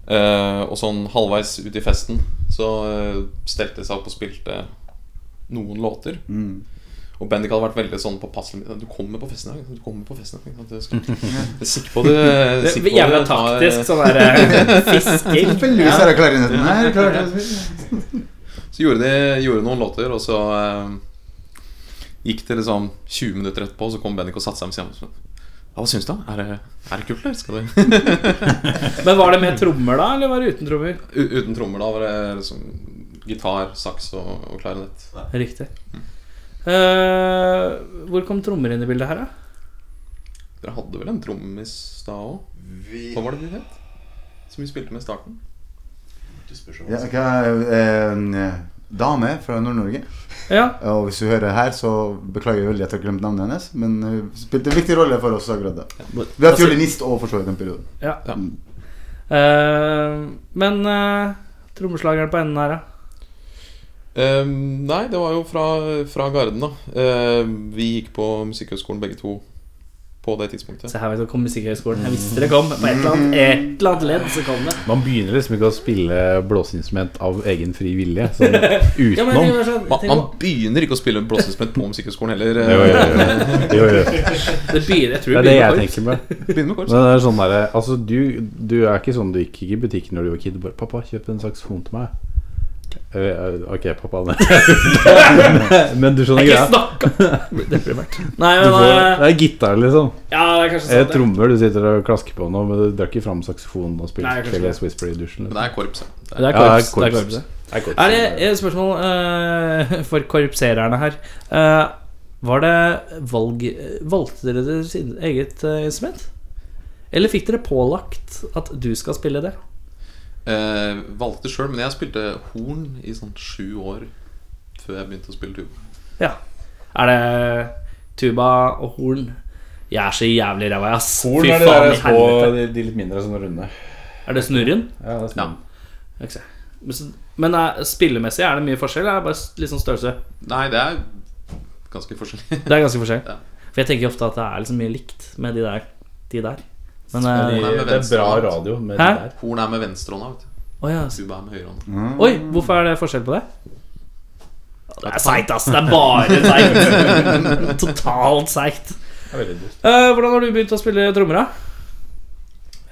Speaker 8: Eh, og sånn halvveis ut i festen så eh, stelte de seg opp og spilte noen låter. Og Bendik hadde vært veldig sånn påpasselig. Du kommer på festen i dag. Du kommer på festen i dag. ikke sant? Du skal- Jeg er sikker på det. jeg er sikker på
Speaker 2: Jævla
Speaker 8: det. Ta-
Speaker 2: taktisk sånn derre fisking.
Speaker 7: Heldigvis er det klarinetten her. Klart.
Speaker 8: Så gjorde de gjorde noen låter, og så eh, gikk det liksom 20 minutter etterpå, og så kom Bendik og satte seg med siden. og så, Ja, hva syns du? da? Er det, er det kult, eller? Skal du
Speaker 2: Men var det med trommer, da, eller var det uten trommer?
Speaker 8: U- Uten trommer, da. Var det liksom gitar, saks og, og klarinett. Mm.
Speaker 2: Riktig. Eh, hvor kom trommer inn i bildet her, da?
Speaker 8: Dere hadde vel en trommis da òg?
Speaker 9: Vi
Speaker 8: Hva var det de het? Som vi spilte med i starten?
Speaker 9: Du spør så
Speaker 7: Ja, hva er, eh, en, eh, Dame fra Nord-Norge. Og hvis hun hører her, så beklager jeg veldig at jeg har glemt navnet hennes, men hun spilte en viktig rolle for oss akkurat da. Vi har hatt fiolinist og for så vidt Mm. en periode.
Speaker 2: Ja. Eh, men eh, trommeslageren på enden her, da?
Speaker 8: Eh, nei, det var jo fra, fra Garden, da. Eh, vi gikk på Musikkhøgskolen begge to på det tidspunktet. Mm.
Speaker 2: Se her, vet du, kom Musikkhøgskolen. Jeg visste det kom. På et eller annet, et eller annet ledd så kom det.
Speaker 3: Man begynner liksom ikke å spille blåseinstrument av egen fri vilje, sånn utenom.
Speaker 2: Ja, men det var sånn-
Speaker 8: Man, man begynner ikke å spille blåseinstrument på Musikkhøgskolen heller. eh.
Speaker 3: Jo, jo, jo. Jo, jo.
Speaker 2: Det begynner- jeg tror
Speaker 3: det
Speaker 2: det
Speaker 3: er det
Speaker 2: begynner
Speaker 3: jeg
Speaker 2: med
Speaker 3: tenker
Speaker 2: korps.
Speaker 3: med.
Speaker 8: Begynner med korps.
Speaker 3: Men det er sånn der, altså, du, du er ikke sånn du gikk ikke i butikken når du var kid og bare 'Pappa, kjøp en saksofon til meg'. Eh, ok, pappa. Men, men du skjønner
Speaker 2: Jeg
Speaker 3: greia.
Speaker 2: kan snakke. Deprimert. Nei, men,
Speaker 3: Du får,
Speaker 2: eh,
Speaker 3: det er gitar, liksom.
Speaker 2: Ja, det er kanskje sant,
Speaker 3: Eh,
Speaker 2: det.
Speaker 3: Trommer du sitter og klasker på nå, men du drar ikke fram saksofonen og
Speaker 2: Nei,
Speaker 3: spiller
Speaker 2: kanskje
Speaker 3: Careless
Speaker 2: ikke.
Speaker 3: Whisper i dusjen. liksom.
Speaker 8: Men det er korps,
Speaker 2: Det er korps. Det er korps. Er det et spørsmål eh, for korpsererne her? Eh, var det valg Valgte dere deres in- eget eh, instrument? Eller fikk dere pålagt at du skal spille det?
Speaker 8: Eh, valgte sjøl, men jeg spilte horn i sånn sju år før jeg begynte å spille tuba.
Speaker 2: Ja. Er det tuba og horn? Jeg er så jævlig ræva, ass.
Speaker 3: Horn
Speaker 2: Fy
Speaker 3: er de
Speaker 2: faen
Speaker 3: der
Speaker 2: i
Speaker 3: små,
Speaker 2: helvete.
Speaker 3: de, de litt mindre sånn runde.
Speaker 2: Er det snurren?
Speaker 3: Ja, det er snurren.
Speaker 2: Ja. Ok. Men så- Men eh, spillemessig er det mye forskjell? eller Er det bare s- litt sånn størrelse?
Speaker 8: Nei, det er ganske forskjellig.
Speaker 2: Det er ganske forskjell. For jeg tenker ofte at det er liksom mye likt med de der. De der. Men
Speaker 8: Horn
Speaker 2: eh,
Speaker 8: med venstrehånd.
Speaker 2: Hæ?
Speaker 8: Horn er med venstrehånda, vet du.
Speaker 2: Å, ja.
Speaker 8: Tuba er med høyrehånda.
Speaker 2: Oi, hvorfor er det forskjell på det? Det er seigt, ass. Det er bare seigt. Totalt seigt.
Speaker 10: Det er veldig dust.
Speaker 2: Eh, hvordan har du begynt å spille trommer, da?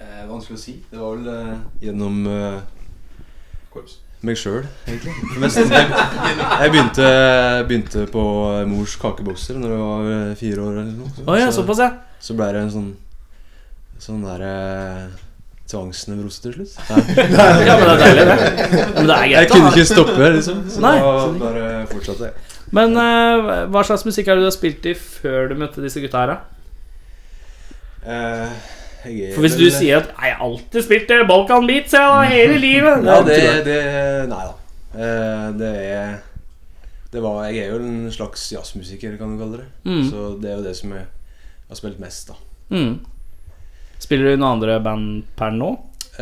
Speaker 10: Eh, vanskelig å si. Det var vel eh, gjennom eh, meg sjøl, egentlig. Mest, jeg, jeg begynte, begynte på eh, mors kakebokser når jeg var eh, fire år. eller noe.
Speaker 2: Å ja, såpass, ja.
Speaker 10: Så ble det en sånn Sånn der eh, tvangsnevrose til slutt. Nei.
Speaker 2: Ja, men det er deilig, det. Men det er greit
Speaker 10: jeg
Speaker 2: å
Speaker 10: kunne
Speaker 2: ha-
Speaker 10: ikke stoppe, liksom. Så
Speaker 2: Nei.
Speaker 10: da bare fortsatte jeg.
Speaker 2: Men eh, hva slags musikk er det du har spilt i før du møtte disse gutta her, da?
Speaker 10: Eh, jeg er
Speaker 2: For hvis du
Speaker 10: vel-
Speaker 2: sier at Nei, 'Jeg har alltid spilt eh, Balkan Beats jeg, da, hele livet',
Speaker 10: Ja, det,
Speaker 2: tror jeg.
Speaker 10: det Nei da. Eh, Det er det var, Jeg er jo en slags jazzmusiker, kan du kalle det.
Speaker 2: Mm.
Speaker 10: Så det er jo det som jeg har spilt mest, da.
Speaker 2: mm. Spiller du i noen andre band per nå?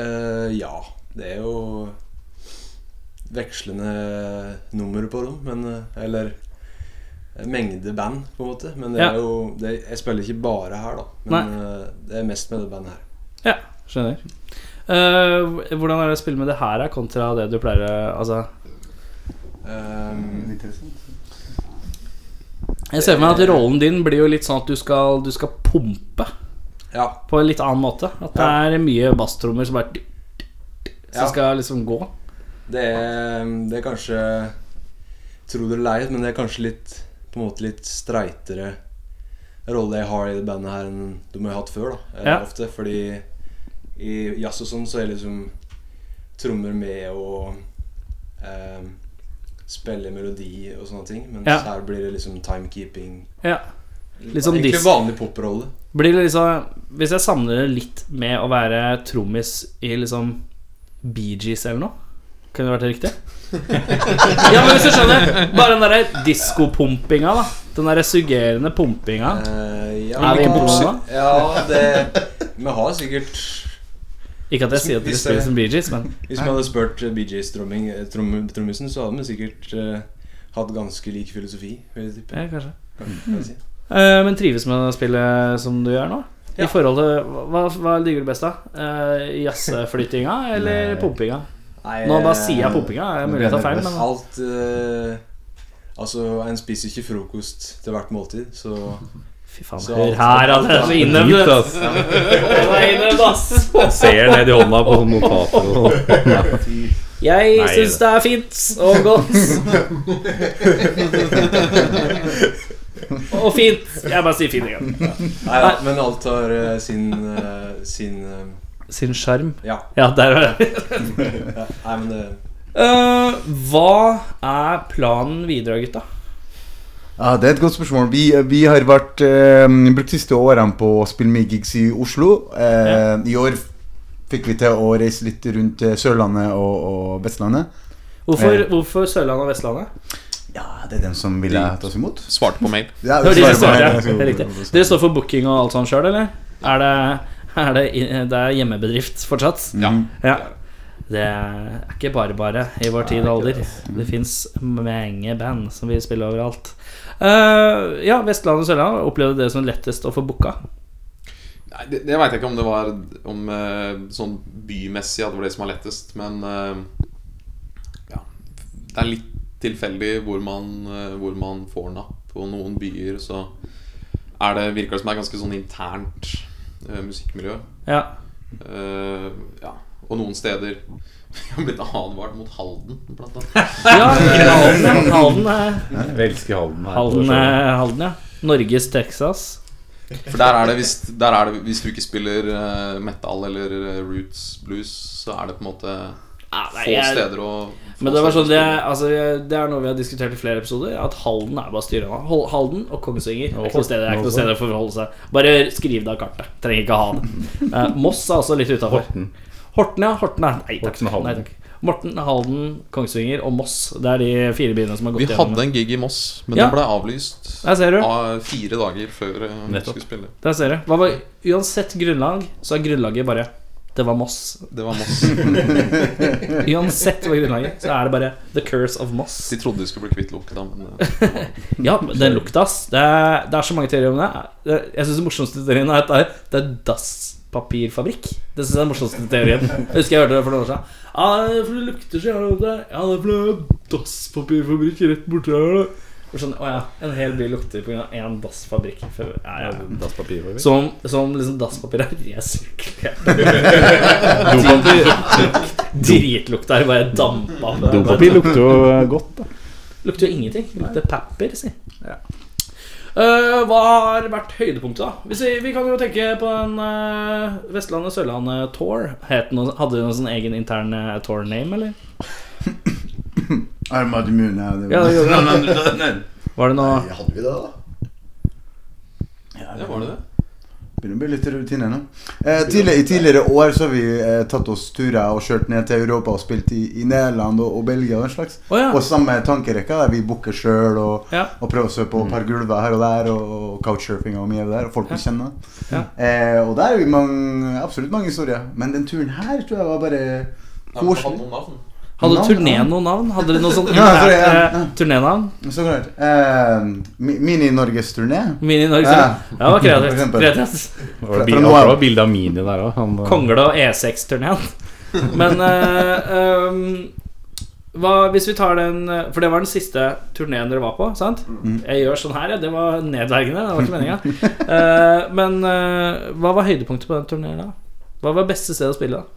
Speaker 10: Eh, ja. Det er jo vekslende nummer på dem, men eh, Eller eh, mengde band, på en måte. Men det
Speaker 2: Ja.
Speaker 10: er jo det, Jeg spiller ikke bare her, da. Men eh, det er mest med det bandet her.
Speaker 2: Ja, skjønner. Eh, hvordan er det å spille med det her da, kontra det du pleier å- Altså
Speaker 10: Um,
Speaker 2: Ehm, Jeg ser for meg
Speaker 10: Eh.
Speaker 2: at rollen din blir jo litt sånn at du skal, du skal pumpe
Speaker 10: Ja.
Speaker 2: på en litt annen måte. At det er mye basstrommer som bare Som skal liksom gå.
Speaker 10: Det er, det er kanskje Tro det eller ei, men det er kanskje litt På en måte litt streitere rolle jeg har i det bandet her enn de jeg har hatt før. da eh,
Speaker 2: Ja.
Speaker 10: Ofte, Fordi i jazz og sånn så er liksom trommer med og eh, spille melodi og sånne ting. Mens
Speaker 2: Ja.
Speaker 10: her blir det liksom timekeeping.
Speaker 2: Ja. Litt sånn som
Speaker 10: Egentlig
Speaker 2: dis-
Speaker 10: vanlig poprolle.
Speaker 2: Blir det liksom Hvis jeg samler det litt med å være trommis i liksom Bee Gees eller noe Kunne det vært riktig? ja, men hvis du skjønner Bare den derre diskopumpinga, da. Den derre suggerende pumpinga.
Speaker 10: Eh, ja,
Speaker 2: er vi
Speaker 10: men-
Speaker 2: på noe da?
Speaker 10: Ja, det Vi har sikkert
Speaker 2: Ikke at jeg sier at dere
Speaker 10: Hvis-
Speaker 2: spiller som Bee Gees, men
Speaker 10: Hvis man hadde spurt eh, Bee Gees tromming- eh, tromm- trommisen, så hadde man sikkert eh, hatt ganske lik filosofi. Vil jeg tippe.
Speaker 2: Ja, kanskje.
Speaker 10: kan jeg si.
Speaker 2: Eh, Men trives med å spille som du gjør nå? I forhold til Hva, hva liker du best, da? Eh, Jazzflyttinga eller pumpinga? Nå
Speaker 10: eh,
Speaker 2: bare sier jeg pumpinga. Det er mulig jeg tar feil, men
Speaker 10: Alt eh, Altså, en spiser ikke frokost til hvert måltid, så
Speaker 2: Fy faen, hør her, at det er så innøvd.
Speaker 3: Dypt, ass.
Speaker 2: Ja. Det er innøvd, ass.
Speaker 3: Jeg ser ned i hånda på sånn notater og sånn.
Speaker 2: Jeg
Speaker 3: Nei,
Speaker 2: syns det er fint og godt. Og fint. Jeg bare sier fint igjen.
Speaker 10: Nei, ja, men alt har eh, sin eh, sin eh,
Speaker 2: Sin sjarm.
Speaker 10: Ja.
Speaker 2: ja, der var det.
Speaker 10: ja, Nei, men det
Speaker 2: Eh, hva er planen videre, gutta?
Speaker 7: Ja, Det er et godt spørsmål. Vi, vi har vært, eh, brukt de siste årene på å spille mye gigs i Oslo. Eh, I år fikk vi til å reise litt rundt eh, Sørlandet og, og Vestlandet.
Speaker 2: Hvorfor,
Speaker 7: Eh,
Speaker 2: hvorfor Sørlandet og Vestlandet?
Speaker 7: Ja, Eh, det er dem som ville
Speaker 8: De
Speaker 7: ta oss imot.
Speaker 8: Svarte på mail.
Speaker 7: Ja,
Speaker 2: Det var de som
Speaker 7: svarte på mail, altså.
Speaker 2: svarte,
Speaker 7: ja.
Speaker 2: det er riktig. Dere står for booking og alt sånt sjøl, eller? Er det, er det, det er hjemmebedrift fortsatt?
Speaker 8: Ja.
Speaker 2: Det er ikke bare bare i vår tid og alder. Det fins mange band som vil spille overalt. Eh, ja, Vestlandet og Sørlandet opplevde det som lettest å få booka.
Speaker 8: Nei, det, det veit jeg ikke om det var om, eh, sånn bymessig at det var det som var lettest, men eh, ja, det er litt tilfeldig hvor man, eh, hvor man får napp. Og noen byer så er det, virker det som det er ganske sånn internt eh, musikkmiljø.
Speaker 2: Ja.
Speaker 8: Eh, ja. Og noen steder Jeg har blitt advart mot Halden, blant annet.
Speaker 2: Ja, Halden, Halden er
Speaker 3: Jeg elsker Halden her på
Speaker 2: Halden,
Speaker 3: Sørlandet.
Speaker 2: er- Halden, ja. Norges Texas.
Speaker 8: For der er det hvis, der er det, hvis du ikke spiller eh, metal eller eh, roots blues, så er det på en måte
Speaker 2: nei,
Speaker 8: få
Speaker 2: jeg-
Speaker 8: steder å få
Speaker 2: Men det, var
Speaker 8: steder å
Speaker 2: sånn, det,
Speaker 8: spille.
Speaker 2: er- altså, jeg- det er noe vi har diskutert i flere episoder, at Halden er bare styret av. Hol- Halden og Kongsvinger. Det er ikke noe sted, det er ikke noe sted å forholde seg. Bare skriv det av kartet. Trenger ikke ha det. Eh, Moss er også litt utafor. Horten. ja. Horten er Nei takk.
Speaker 3: Horten og Halden.
Speaker 2: Nei, takk. Morten, Halden, Kongsvinger og Moss. Det er de fire byene som har gått
Speaker 8: Vi hadde en gig i Moss, men
Speaker 2: Ja.
Speaker 8: den ble avlyst
Speaker 2: Der ser du.
Speaker 8: av fire dager før eh, vi skulle spille.
Speaker 2: Der ser du. Hva var, uansett grunnlag, så er grunnlaget bare Det var Moss.
Speaker 8: Det var Moss.
Speaker 2: uansett hva grunnlaget, så er det bare The curse of Moss.
Speaker 8: De trodde de skulle bli kvitt lukta, men eh,
Speaker 2: Ja, men den lukta, ass. Det er, det er så mange teorier om det. Det- Jeg syns den morsomste teorien er at det er, det er dasspapirfabrikk. Det synes jeg er den morsomste teorien. Jeg husker jeg hørte det for noen år siden. Ja, det er fordi det lukter så jævlig godt der. Ja, det er fordi det er dasspapirfabrikk rett borti her. da. Og Sånn, å ja, en hel by lukter pga. én dassfabrikk. Ja, ja.
Speaker 3: Dasspapirfabrikk.
Speaker 2: Som, som liksom dasspapir er resirkulert. Dritlukta her bare dampa.
Speaker 3: Dopapir lukter jo eh, godt, da.
Speaker 2: Lukter jo ingenting. Det Lukter pepper, si. Eh, hva har vært høydepunktet, da? Hvis vi, vi kan jo tenke på den eh, Vestlandet-Sørlandet-tour. Hadde du noen sånn egen intern eh, tour-name, eller?
Speaker 7: I'm out of moon now. Det
Speaker 2: Ja,
Speaker 7: var-
Speaker 2: det gjorde Var det noe
Speaker 9: Hadde vi det, da?
Speaker 8: ja, var det det?
Speaker 7: Begynner å bli litt rutine nå. Eh, tidligere, I tidligere år så har vi eh, tatt oss turer og kjørt ned til Europa og spilt i, i Nederland og, og Belgia og den slags.
Speaker 2: Å, ja.
Speaker 7: Og samme tankerekka der vi booker sjøl og,
Speaker 2: Ja.
Speaker 7: og prøver å se på et par gulver her og der og, og couchsurfing og mye der, og folk vi kjenner.
Speaker 2: Ja.
Speaker 7: Eh, og der er vi mange, absolutt mange historier. Men den turen her tror jeg var bare koselig.
Speaker 2: Hadde
Speaker 7: Navn,
Speaker 2: turneen
Speaker 7: navn.
Speaker 2: noe navn? Hadde dere noe sånn
Speaker 7: Ja, jeg tror jeg-
Speaker 2: internt, eh,
Speaker 7: ja.
Speaker 2: turnenavn?
Speaker 7: Så klart. Eh, mi- Mini-Norges-turné.
Speaker 2: Mini-Norge?
Speaker 7: Ja.
Speaker 2: Ja, det var
Speaker 7: For
Speaker 2: kreativt.
Speaker 7: eksempel.
Speaker 2: kreativt.
Speaker 3: Det var
Speaker 7: Fra-
Speaker 3: bil-
Speaker 7: fra
Speaker 3: det
Speaker 7: nå av.
Speaker 3: var bilde av Mini der eh, òg.
Speaker 2: Kongle og E6-turneen. Men eh, ehm, hva, hvis vi tar den eh, For det var den siste turneen dere var på, sant? Jeg gjør sånn her, ja. Det var nedverdigende. Det var ikke meninga. Eh, men eh, hva var høydepunktet på den turneen, da? Hva var beste sted å spille, da?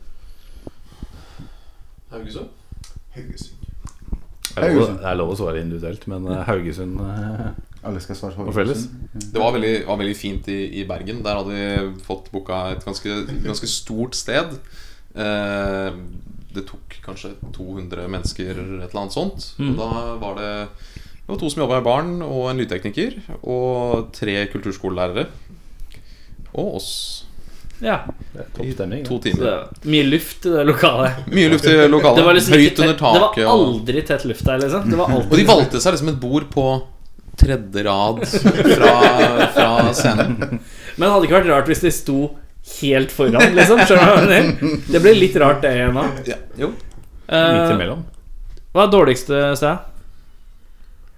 Speaker 8: Haugesund?
Speaker 9: Haugesund.
Speaker 3: Det er lov-
Speaker 7: Haugesund.
Speaker 3: det er lov å svare individuelt, men eh, Haugesund eh,
Speaker 7: Alle skal svare på
Speaker 3: Og felles.
Speaker 8: Det var veldig, var veldig fint i, i Bergen. Der hadde vi fått booka et ganske, ganske stort sted. Eh, det tok kanskje 200 mennesker, et eller annet sånt.
Speaker 2: Mm.
Speaker 8: Og da var det, det var to som jobba i baren, og en lydtekniker. Og tre kulturskolelærere. Og oss.
Speaker 2: Ja,
Speaker 3: det er Topp stemning.
Speaker 8: To
Speaker 3: det.
Speaker 2: så det
Speaker 8: timer.
Speaker 2: var Mye luft i det lokalet.
Speaker 8: Mye luft i lokalet.
Speaker 2: Det var liksom ikke
Speaker 8: høyt
Speaker 2: tett,
Speaker 8: under
Speaker 2: det
Speaker 8: taket.
Speaker 2: var
Speaker 8: Og, Mm.
Speaker 2: aldri tett luft der, liksom. Det var
Speaker 8: og
Speaker 2: alltid
Speaker 8: de valgte seg liksom et bord på tredje rad fra, fra scenen.
Speaker 2: Men det hadde ikke vært rart hvis de sto helt foran, liksom. Skjønner du hva jeg mener? Det ble litt rart, det igjen òg.
Speaker 8: Ja, jo.
Speaker 3: Midt imellom.
Speaker 2: Hva er dårligste sted?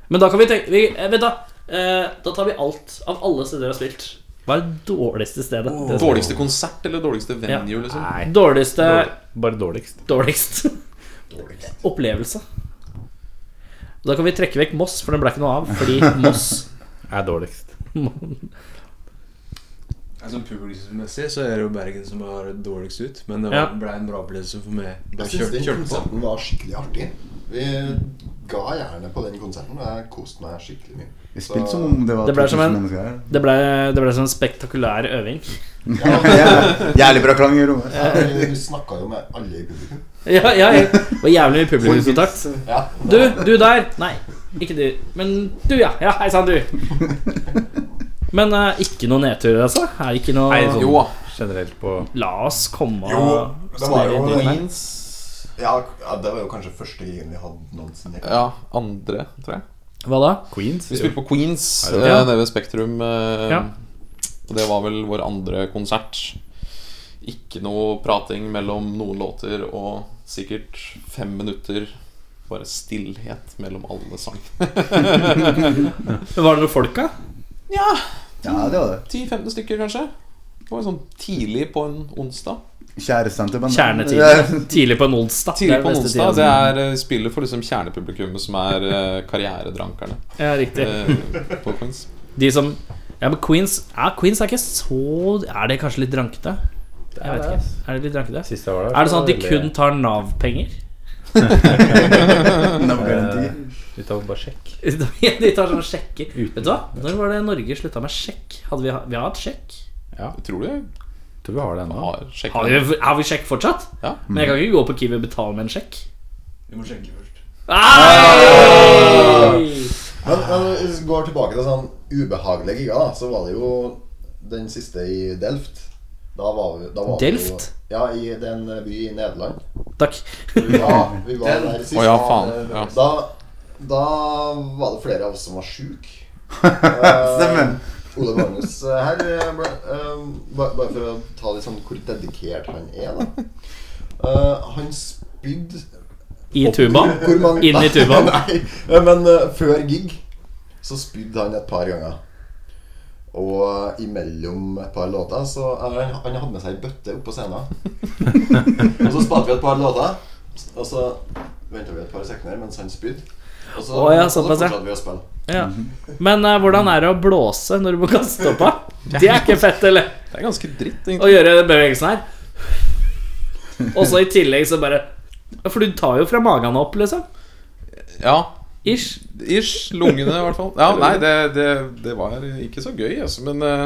Speaker 2: Men da kan vi tenke vi, eh, Vent, da. Eh, da tar vi alt av alle steder dere har spilt. Hva er det dårligste stedet? Det er-
Speaker 8: Dårligste konsert eller dårligste venue,
Speaker 9: sånn?
Speaker 8: liksom?
Speaker 3: Nei,
Speaker 2: Dårligste
Speaker 3: dårlig- bare dårligst.
Speaker 2: Dårligst
Speaker 9: Dårligst.
Speaker 2: opplevelse. Da kan vi trekke vekk Moss, for den ble ikke noe av. Fordi Moss
Speaker 3: Er dårligst.
Speaker 10: Altså, Publikumsmessig så er det jo Bergen som har dårligst ut, men det var,
Speaker 2: Ja.
Speaker 10: ble en bra opplevelse for meg. Da
Speaker 9: Jeg syns
Speaker 10: kjørte
Speaker 9: den
Speaker 10: kjørte på.
Speaker 9: konserten var skikkelig artig. Vi ga gjerne på den konserten, og jeg koste meg skikkelig mye.
Speaker 7: Vi spilte som om det var
Speaker 2: Det ble som
Speaker 7: 2000
Speaker 2: en-
Speaker 7: mennesker her.
Speaker 2: det ble, det ble sånn spektakulær øving.
Speaker 7: Jævlig- Jævlig bra klang i rommet.
Speaker 9: Ja, Du snakka jo med alle i publikum.
Speaker 2: Ja, ja, ja. Det var jævlig mye publikumskontakt.
Speaker 9: Ja.
Speaker 2: Du, du der. Nei, ikke du. Men du, ja. ja Hei sann, du. Men eh, ikke noe nedtur, altså? Er ikke noe
Speaker 3: Nei, sånn
Speaker 8: Jo da.
Speaker 3: generelt på
Speaker 2: La oss komme
Speaker 9: Jo, det var jo
Speaker 2: snille inn her.
Speaker 9: Ja, ja, det var jo kanskje første gigen vi hadde noensinne.
Speaker 8: Ja, andre, tror jeg.
Speaker 2: Hva da?
Speaker 3: Queens?
Speaker 8: Vi spilte på Queens
Speaker 2: Er det
Speaker 8: eh,
Speaker 2: det?
Speaker 8: nede ved Spektrum. eh,
Speaker 2: Ja.
Speaker 8: Og det var vel vår andre konsert. Ikke noe prating mellom noen låter og sikkert fem minutter bare stillhet mellom alle sangene.
Speaker 2: Var det noen folk, da?
Speaker 8: Ja,
Speaker 7: Ja, det var det.
Speaker 8: 10-15 stykker, kanskje. Det var sånn tidlig på en onsdag.
Speaker 7: Kjærestene til
Speaker 2: Kjernetidlig. Tidlig på en onsdag.
Speaker 8: Tidlig på
Speaker 2: Det er
Speaker 8: en
Speaker 2: beste
Speaker 8: onsdag. Det
Speaker 2: tiden.
Speaker 8: er eh, spillet for liksom kjernepublikummet, som er eh, karrieredrankerne.
Speaker 2: Ja, riktig.
Speaker 8: eh, På Queens.
Speaker 2: De som Ja, men Queens ja, Queens er ikke så Er det kanskje litt drankete? Jeg vet ikke. Er det litt drankete?
Speaker 3: Sist jeg var der,
Speaker 2: Er
Speaker 3: så
Speaker 2: det sånn at de
Speaker 3: var det
Speaker 2: kun
Speaker 3: veldig-
Speaker 2: tar Nav-penger?
Speaker 3: Nav-garanti. Eh, de tar bare sjekk.
Speaker 2: de tar sånn sjekker. Vet du hva? Når var det Norge slutta med sjekk? Hadde vi, ha- vi har hatt sjekk?
Speaker 3: Ja.
Speaker 8: Tror du?
Speaker 3: Tror vi har det ennå.
Speaker 8: Har, sjekk
Speaker 2: Har vi, har vi sjekk fortsatt?
Speaker 8: Ja.
Speaker 2: Men jeg kan ikke gå på Kiwi og betale med en sjekk.
Speaker 10: Vi må sjekke først.
Speaker 9: Men, men hvis vi går tilbake til sånn ubehagelige gigger, da, så var det jo den siste i Delft. Da var vi, da var
Speaker 2: Delft?
Speaker 9: Vi jo, ja, i det er en by i Nederland.
Speaker 2: Takk.
Speaker 9: Vi var, vi var der sist.
Speaker 2: Å ja, faen, ja.
Speaker 9: Da, da var det flere av oss som var sjuke.
Speaker 7: Stemmer.
Speaker 9: Ole Magnus eh, her eh, ble, eh, ba- Bare for å ta litt sånn hvor dedikert han er, da. Eh, han spydde
Speaker 2: I tubaen?
Speaker 9: Hvor mange-
Speaker 2: Inn i tubaen?
Speaker 9: Nei, men eh, før gig så spydde han et par ganger. Og eh, imellom et par låter så eller, han- Han hadde med seg ei bøtte opp på scenen. og så spilte vi et par låter, og så venta vi et par sekunder mens han spydde. Og så,
Speaker 2: Å ja,
Speaker 9: og så
Speaker 2: såpass, ja.
Speaker 9: fortsatte Altså, vi å spille. Mhm.
Speaker 2: Ja. Men eh, hvordan er det å blåse når du må kaste opp? da? Det er ikke fett, eller?
Speaker 8: Det er ganske dritt,
Speaker 2: Å gjøre den bevegelsen her. Og så i tillegg så bare For du tar jo fra magen opp, liksom.
Speaker 8: Ja.
Speaker 2: Ish.
Speaker 8: Ish. Lungene, i hvert fall. Ja, nei, det, det, det var ikke så gøy, altså. Men, eh,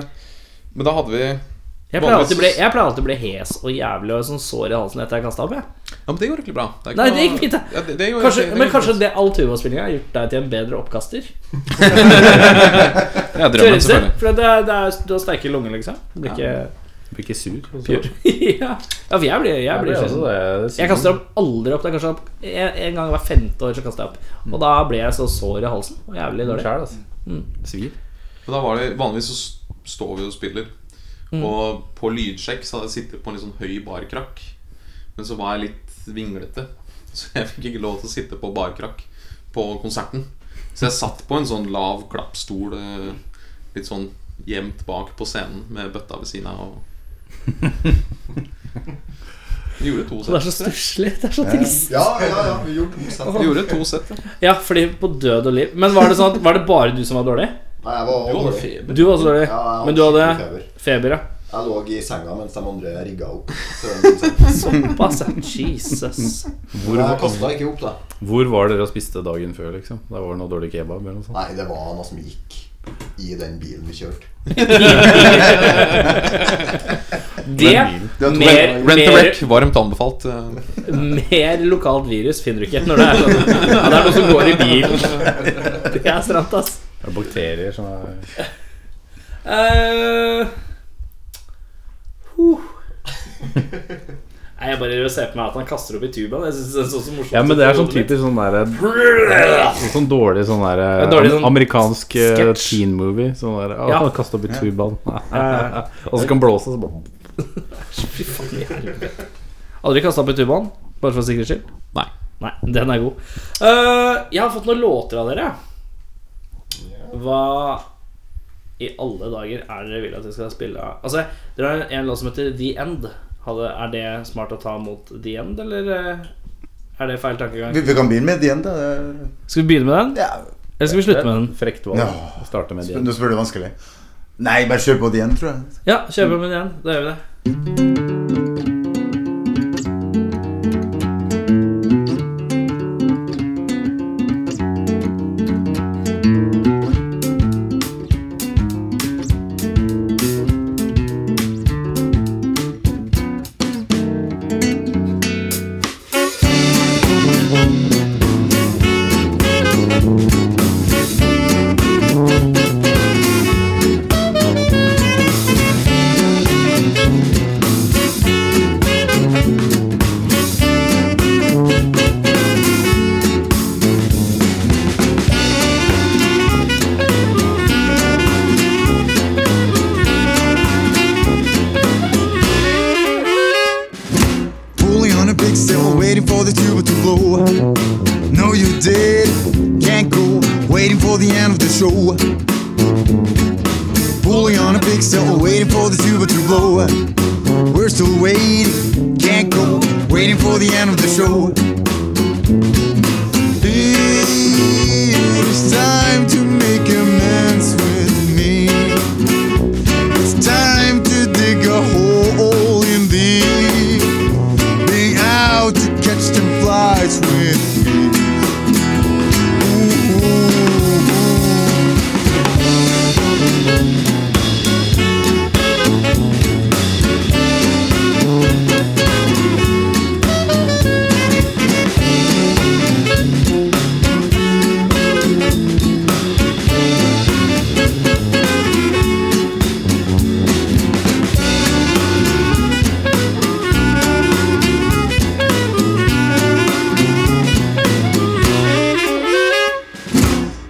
Speaker 8: men da hadde vi
Speaker 2: Jeg pleier alltid å bli, jeg pleier alltid å bli hes og jævlig og sånn sår i halsen etter jeg har kasta opp. Jeg.
Speaker 8: Ja, men det gjorde ikke bra. Det er ikke
Speaker 2: Nei, det
Speaker 8: noe-
Speaker 2: gikk fint, det.
Speaker 8: Ja, det- det gjorde-
Speaker 2: kanskje,
Speaker 8: det- det
Speaker 2: men
Speaker 8: gikk
Speaker 2: kanskje det all tubaspillinga har gjort deg til en bedre oppkaster?
Speaker 8: Ja, drømmen,
Speaker 2: Teoretisk sett,
Speaker 8: selvfølgelig.
Speaker 2: For det er, det er, du har sterke lunger, liksom. Du blir ikke
Speaker 3: Ja. Blir ikke sur. og så-
Speaker 2: Pjør. ja. ja, for jeg blir, jeg
Speaker 3: Jeg blir
Speaker 2: blir
Speaker 3: også det, det
Speaker 2: sjelden.
Speaker 3: sier
Speaker 2: Jeg kaster opp aldri opp. Det er kanskje opp en, en gang hver femte år så kaster jeg opp. Og da ble jeg så sår i halsen. Og jævlig dårlig.
Speaker 3: Skjær, altså.
Speaker 2: Mm.
Speaker 3: Svir.
Speaker 8: Men da var det, vanligvis så s- står vi og spiller.
Speaker 2: Mm.
Speaker 8: Og på lydsjekk så hadde jeg sittet på en litt sånn høy barkrakk. Men så var jeg litt vinglete, så jeg fikk ikke lov til å sitte på barkrakk på konserten. Så jeg satt på en sånn lav klappstol eh, litt sånn gjemt bak på scenen med bøtta ved siden av. og- Vi gjorde to sett.
Speaker 2: Det er så stusslig. Det er så trist.
Speaker 9: Ja, ja, ja, vi gjorde to sett.
Speaker 8: Vi gjorde to sett, ja.
Speaker 2: Ja, fordi på død og liv. Men var det sånn at Var det bare du som var dårlig?
Speaker 9: Nei, jeg var
Speaker 8: Du hadde
Speaker 9: dårlig.
Speaker 8: feber.
Speaker 2: Du var også dårlig.
Speaker 9: Ja, jeg hadde
Speaker 2: Men du hadde
Speaker 9: skikkelig
Speaker 2: feber, ja.
Speaker 9: Jeg lå i senga mens de andre rigga opp. til en konsert.
Speaker 2: Såpass, ja. Jesus.
Speaker 3: Hvor,
Speaker 9: Jeg kosta ikke opp, da.
Speaker 3: hvor var dere og spiste dagen før, liksom? Da var det noe dårlig kebab eller noe sånt?
Speaker 9: Nei, det var noe som gikk i den bilen vi kjørte.
Speaker 2: Det mer,
Speaker 8: Rent a
Speaker 2: mer,
Speaker 8: wreck, varmt anbefalt. eh.
Speaker 2: mer lokalt virus finner du ikke når det er sånn. Ja, det er noe som går i bilen. Det er stramt, ass.
Speaker 3: Er det bakterier som er
Speaker 2: Eh, huh. Nei, jeg bare ser på meg at han kaster opp i tubaen. Jeg synes det er sånn så morsomt
Speaker 3: Ja, men det er sånn
Speaker 2: ut i hodet mitt.
Speaker 3: typisk sånn derre Sånn dårlig sånn derre
Speaker 2: Ja, dårlig sånn
Speaker 3: Amerikansk eh,
Speaker 2: sketsj.
Speaker 3: teen movie. Sånn derre Å,
Speaker 2: Ja.
Speaker 3: kaste opp i tubaen.
Speaker 2: ja, ja.
Speaker 3: Og så kan blåse, så bare
Speaker 2: Fy faen i helvete. Aldri kasta opp i tubaen, bare for sikkerhets skyld?
Speaker 8: Nei.
Speaker 2: Nei, den er god. Eh, jeg har fått noen låter av dere. Hva i alle dager er det dere vil at jeg skal spille? av? Altså, Dere har en låt som heter The End. Hadde, er det smart å ta mot The End, eller eh, er det feil tankegang?
Speaker 7: Vi, vi kan begynne med Dien, da.
Speaker 2: Skal vi begynne med den? Eller skal vi slutte med den?
Speaker 3: Frekt valg.
Speaker 7: Ja.
Speaker 3: Starte med
Speaker 7: Nå spør du vanskelig. Nei, bare kjør på Dien, tror jeg.
Speaker 2: Ja, kjør på med den. Da gjør vi det.
Speaker 11: Still waiting for the tuba to blow. No, you did. Can't go. Waiting for the end of the show. Pulling on a big cell, waiting for the tuba to blow. We're still waiting. Can't go. Waiting for the end of the show. It's time to make amends with me. It's time to dig a hole in thee. Being out to catch them flies with me.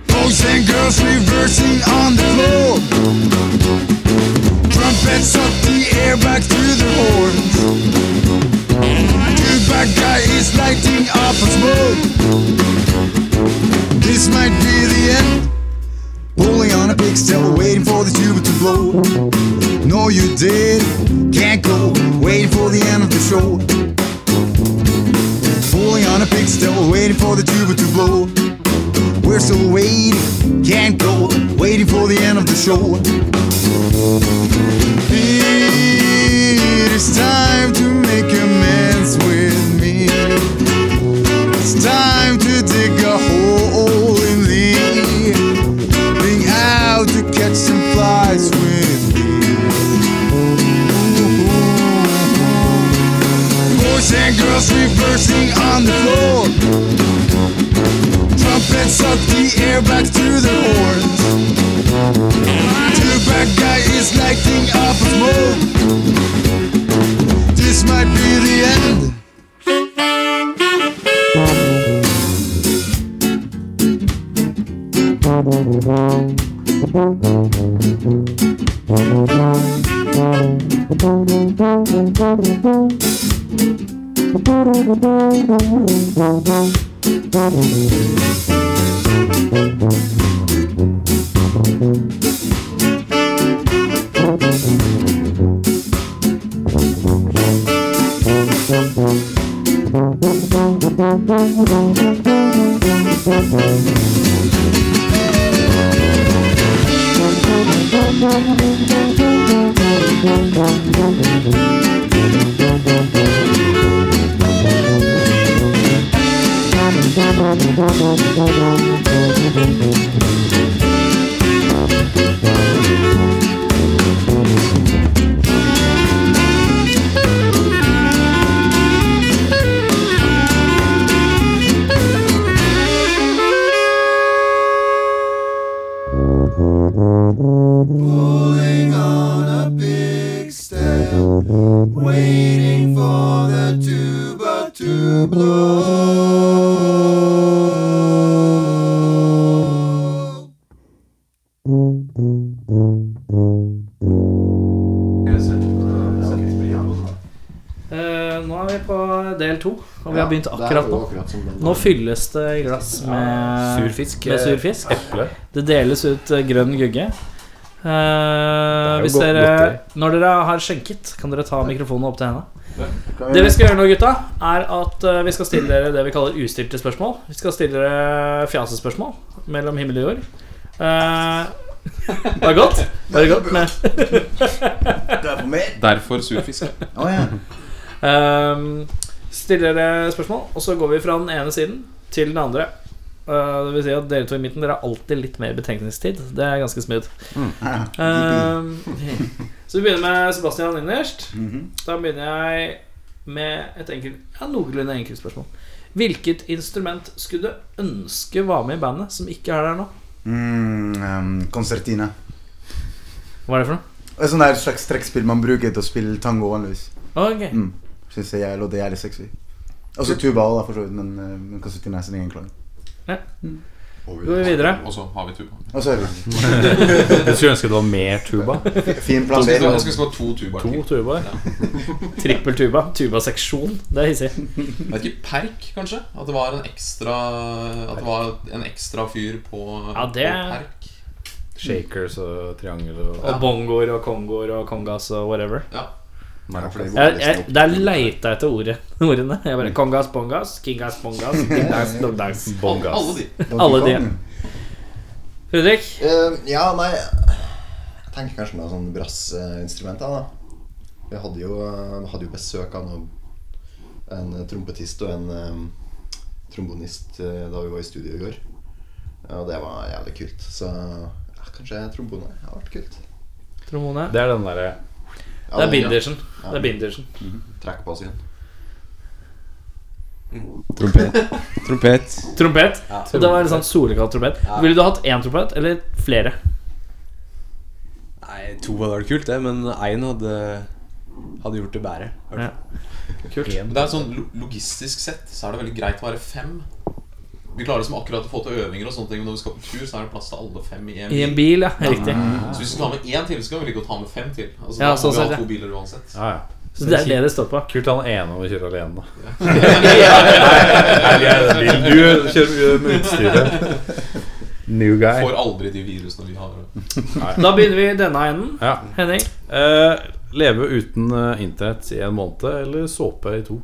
Speaker 11: Boys and girls reversing on the floor. Trumpets up the air back to the horns. Tuba guy is lighting up a smoke. This might be the end. Pulling on a big still waiting for the tuba to blow. No, you did. Can't go. Waiting for the end of the show. Pulling on a big still waiting for the tuba to blow. We're still waiting, can't go, waiting for the end of the show. It is time to make amends with me. It's time to dig a hole in thee. Being out to catch some flies with me. Boys and girls reversing on the floor. Trumpets up the air back to the horns. Two bad guy is lighting up a smoke. This might be the end. Pulling on a big stem, waiting for the tuba to blow.
Speaker 2: Eh, nå er vi på del to, og vi
Speaker 9: Ja,
Speaker 2: har begynt
Speaker 9: det er
Speaker 2: akkurat nå. Eh,
Speaker 9: jo akkurat som den
Speaker 2: Nå fylles det glass med
Speaker 9: Sur fisk,
Speaker 2: Med
Speaker 9: eh,
Speaker 2: sur fisk.
Speaker 9: eple.
Speaker 2: Det deles ut eh, grønn gugge. Eh, hvis
Speaker 9: godt-
Speaker 2: dere,
Speaker 9: godteri.
Speaker 2: når dere har skjenket, kan dere ta mikrofonen opp til
Speaker 9: Ja.
Speaker 2: henne.
Speaker 9: Kan vi-
Speaker 2: Det vi skal gjøre nå, gutta, er at eh, vi skal stille dere det vi kaller ustilte spørsmål. Vi skal stille dere fjasespørsmål mellom himmel og jord. Eh, var det godt? Var det godt med Derfor mer.
Speaker 8: Derfor surfisk.
Speaker 2: Oh, Ehm, stiller dere spørsmål, og så går vi fra den ene siden til den andre. Eh, det vil si at dere to i midten Dere har alltid litt mer betenkningstid. Det er ganske smooth. Ehm, så vi begynner med Sebastian innerst. Da begynner jeg med et enkelt ja, noenlunde enkelt spørsmål. Hvilket instrument skulle du ønske var med i bandet, som ikke er der nå?
Speaker 7: Mm, ehm, konsertine.
Speaker 2: Hva er det for noe?
Speaker 7: Et sånt sånn der slags trekkspill man bruker til å spille tango vanligvis.
Speaker 2: Ok.
Speaker 7: Mm. Syns jeg er- låter jævlig sexy. Altså tuba også, da, for så vidt, men, eh, men konsertine er sin egen klang.
Speaker 2: Ja. Går vi videre?
Speaker 8: Og så har vi tuba.
Speaker 7: Og så har vi-
Speaker 3: Du skulle ønske det var mer tuba?
Speaker 7: Fin
Speaker 8: plan B. Jeg skulle- jeg skulle ønske det var to tubaer
Speaker 3: To
Speaker 8: til.
Speaker 3: tubaer?
Speaker 2: Trippel tuba. Tubaseksjon. Det er hissig.
Speaker 8: Jeg vet ikke, Perk, kanskje? At det var en ekstra At det var en ekstra fyr på,
Speaker 2: Ja, det-
Speaker 8: på Perk.
Speaker 3: Shakers
Speaker 8: eh,
Speaker 3: og triangel og
Speaker 2: Og bongoer Mm. og kongoer og kongas og whatever.
Speaker 3: Nei, for det-
Speaker 2: Jeg, jeg, der leita jeg etter ordet, ordene. Jeg bare Kongas, bongas, kingas, bongas, dingas, dongas.
Speaker 3: Bongas.
Speaker 8: Alle de.
Speaker 2: Alle de. Fredrik?
Speaker 9: Eh, ja, nei Jeg tenker kanskje noe sånn brassinstrument. da, da. Vi hadde jo, eh, hadde jo besøk av noen, en eh, trompetist og en eh, trombonist eh, da vi var i studio i går. Og det var jævlig kult. Så ja, kanskje trombone har vært kult.
Speaker 2: Trombone.
Speaker 3: Det er den derre
Speaker 2: Det er bindersen. Det er bindersen.
Speaker 10: Mhm.
Speaker 9: Trekk på oss igjen.
Speaker 10: Trompet. Trompet.
Speaker 2: Trompet.
Speaker 10: Ja.
Speaker 2: Og det var en sånn solekalt-trompet.
Speaker 10: Ja.
Speaker 2: Ville du hatt én trompet eller flere?
Speaker 10: Nei, to hadde vært kult, det, men én hadde, hadde gjort det bedre.
Speaker 2: Ja. Kult.
Speaker 8: Men Det er sånn lo- Logistisk sett så er det veldig greit å være fem. Vi klarer liksom akkurat å få til øvinger, og sånne ting men når vi skal på tur, så er det plass til alle fem i en
Speaker 2: I
Speaker 8: bil.
Speaker 2: en bil, ja. Riktig.
Speaker 8: Så hvis vi skal ha med én til, så kan vi like godt ha med fem til. Altså,
Speaker 2: Ja,
Speaker 8: da
Speaker 2: sånn
Speaker 8: må vi
Speaker 2: sett,
Speaker 8: ha
Speaker 2: ja.
Speaker 8: to biler uansett.
Speaker 3: Ja, ja.
Speaker 2: Så det er det det står på.
Speaker 3: Kult han ene om å kjøre alene, da.
Speaker 8: Ja.
Speaker 3: Nei, jeg- jeg- Du kjører med utstyret. New guy.
Speaker 8: Får aldri de virusene vi har.
Speaker 2: Da begynner vi i denne enden.
Speaker 3: Ja.
Speaker 2: Henning?
Speaker 3: Eh, leve uten eh, internett i en måned, eller såpe i to?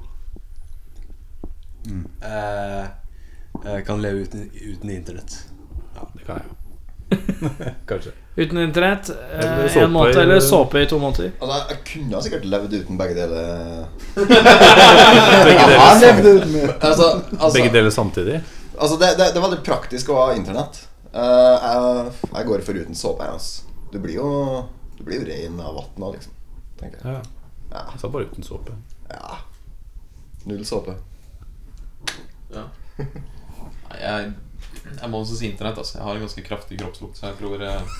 Speaker 10: Eh, jeg kan leve uten, uten internett.
Speaker 3: Ja, det kan jeg jo. Kanskje.
Speaker 2: Uten internett
Speaker 10: Eller
Speaker 2: eh,
Speaker 10: såpe
Speaker 2: en måned,
Speaker 10: i-
Speaker 2: eller såpe i to måneder.
Speaker 9: Altså, jeg kunne ha sikkert levd uten begge deler.
Speaker 3: Begge deler
Speaker 9: Jeg har levd
Speaker 3: samtidig.
Speaker 9: uten- altså, altså-
Speaker 3: Begge deler samtidig?
Speaker 9: Altså, det, det, det er veldig praktisk å ha internett. Eh, jeg, jeg går for uten såpe. her, Altså. Du blir jo Du blir jo rein av vann òg, liksom. Tenker jeg.
Speaker 3: Ja. Jeg
Speaker 2: Sånn.
Speaker 3: sa bare uten såpe.
Speaker 9: Ja. Null såpe.
Speaker 8: Ja. Nei, jeg, jeg må også si internett. Altså. Jeg har en ganske kraftig kroppslukt, så jeg tror, eh,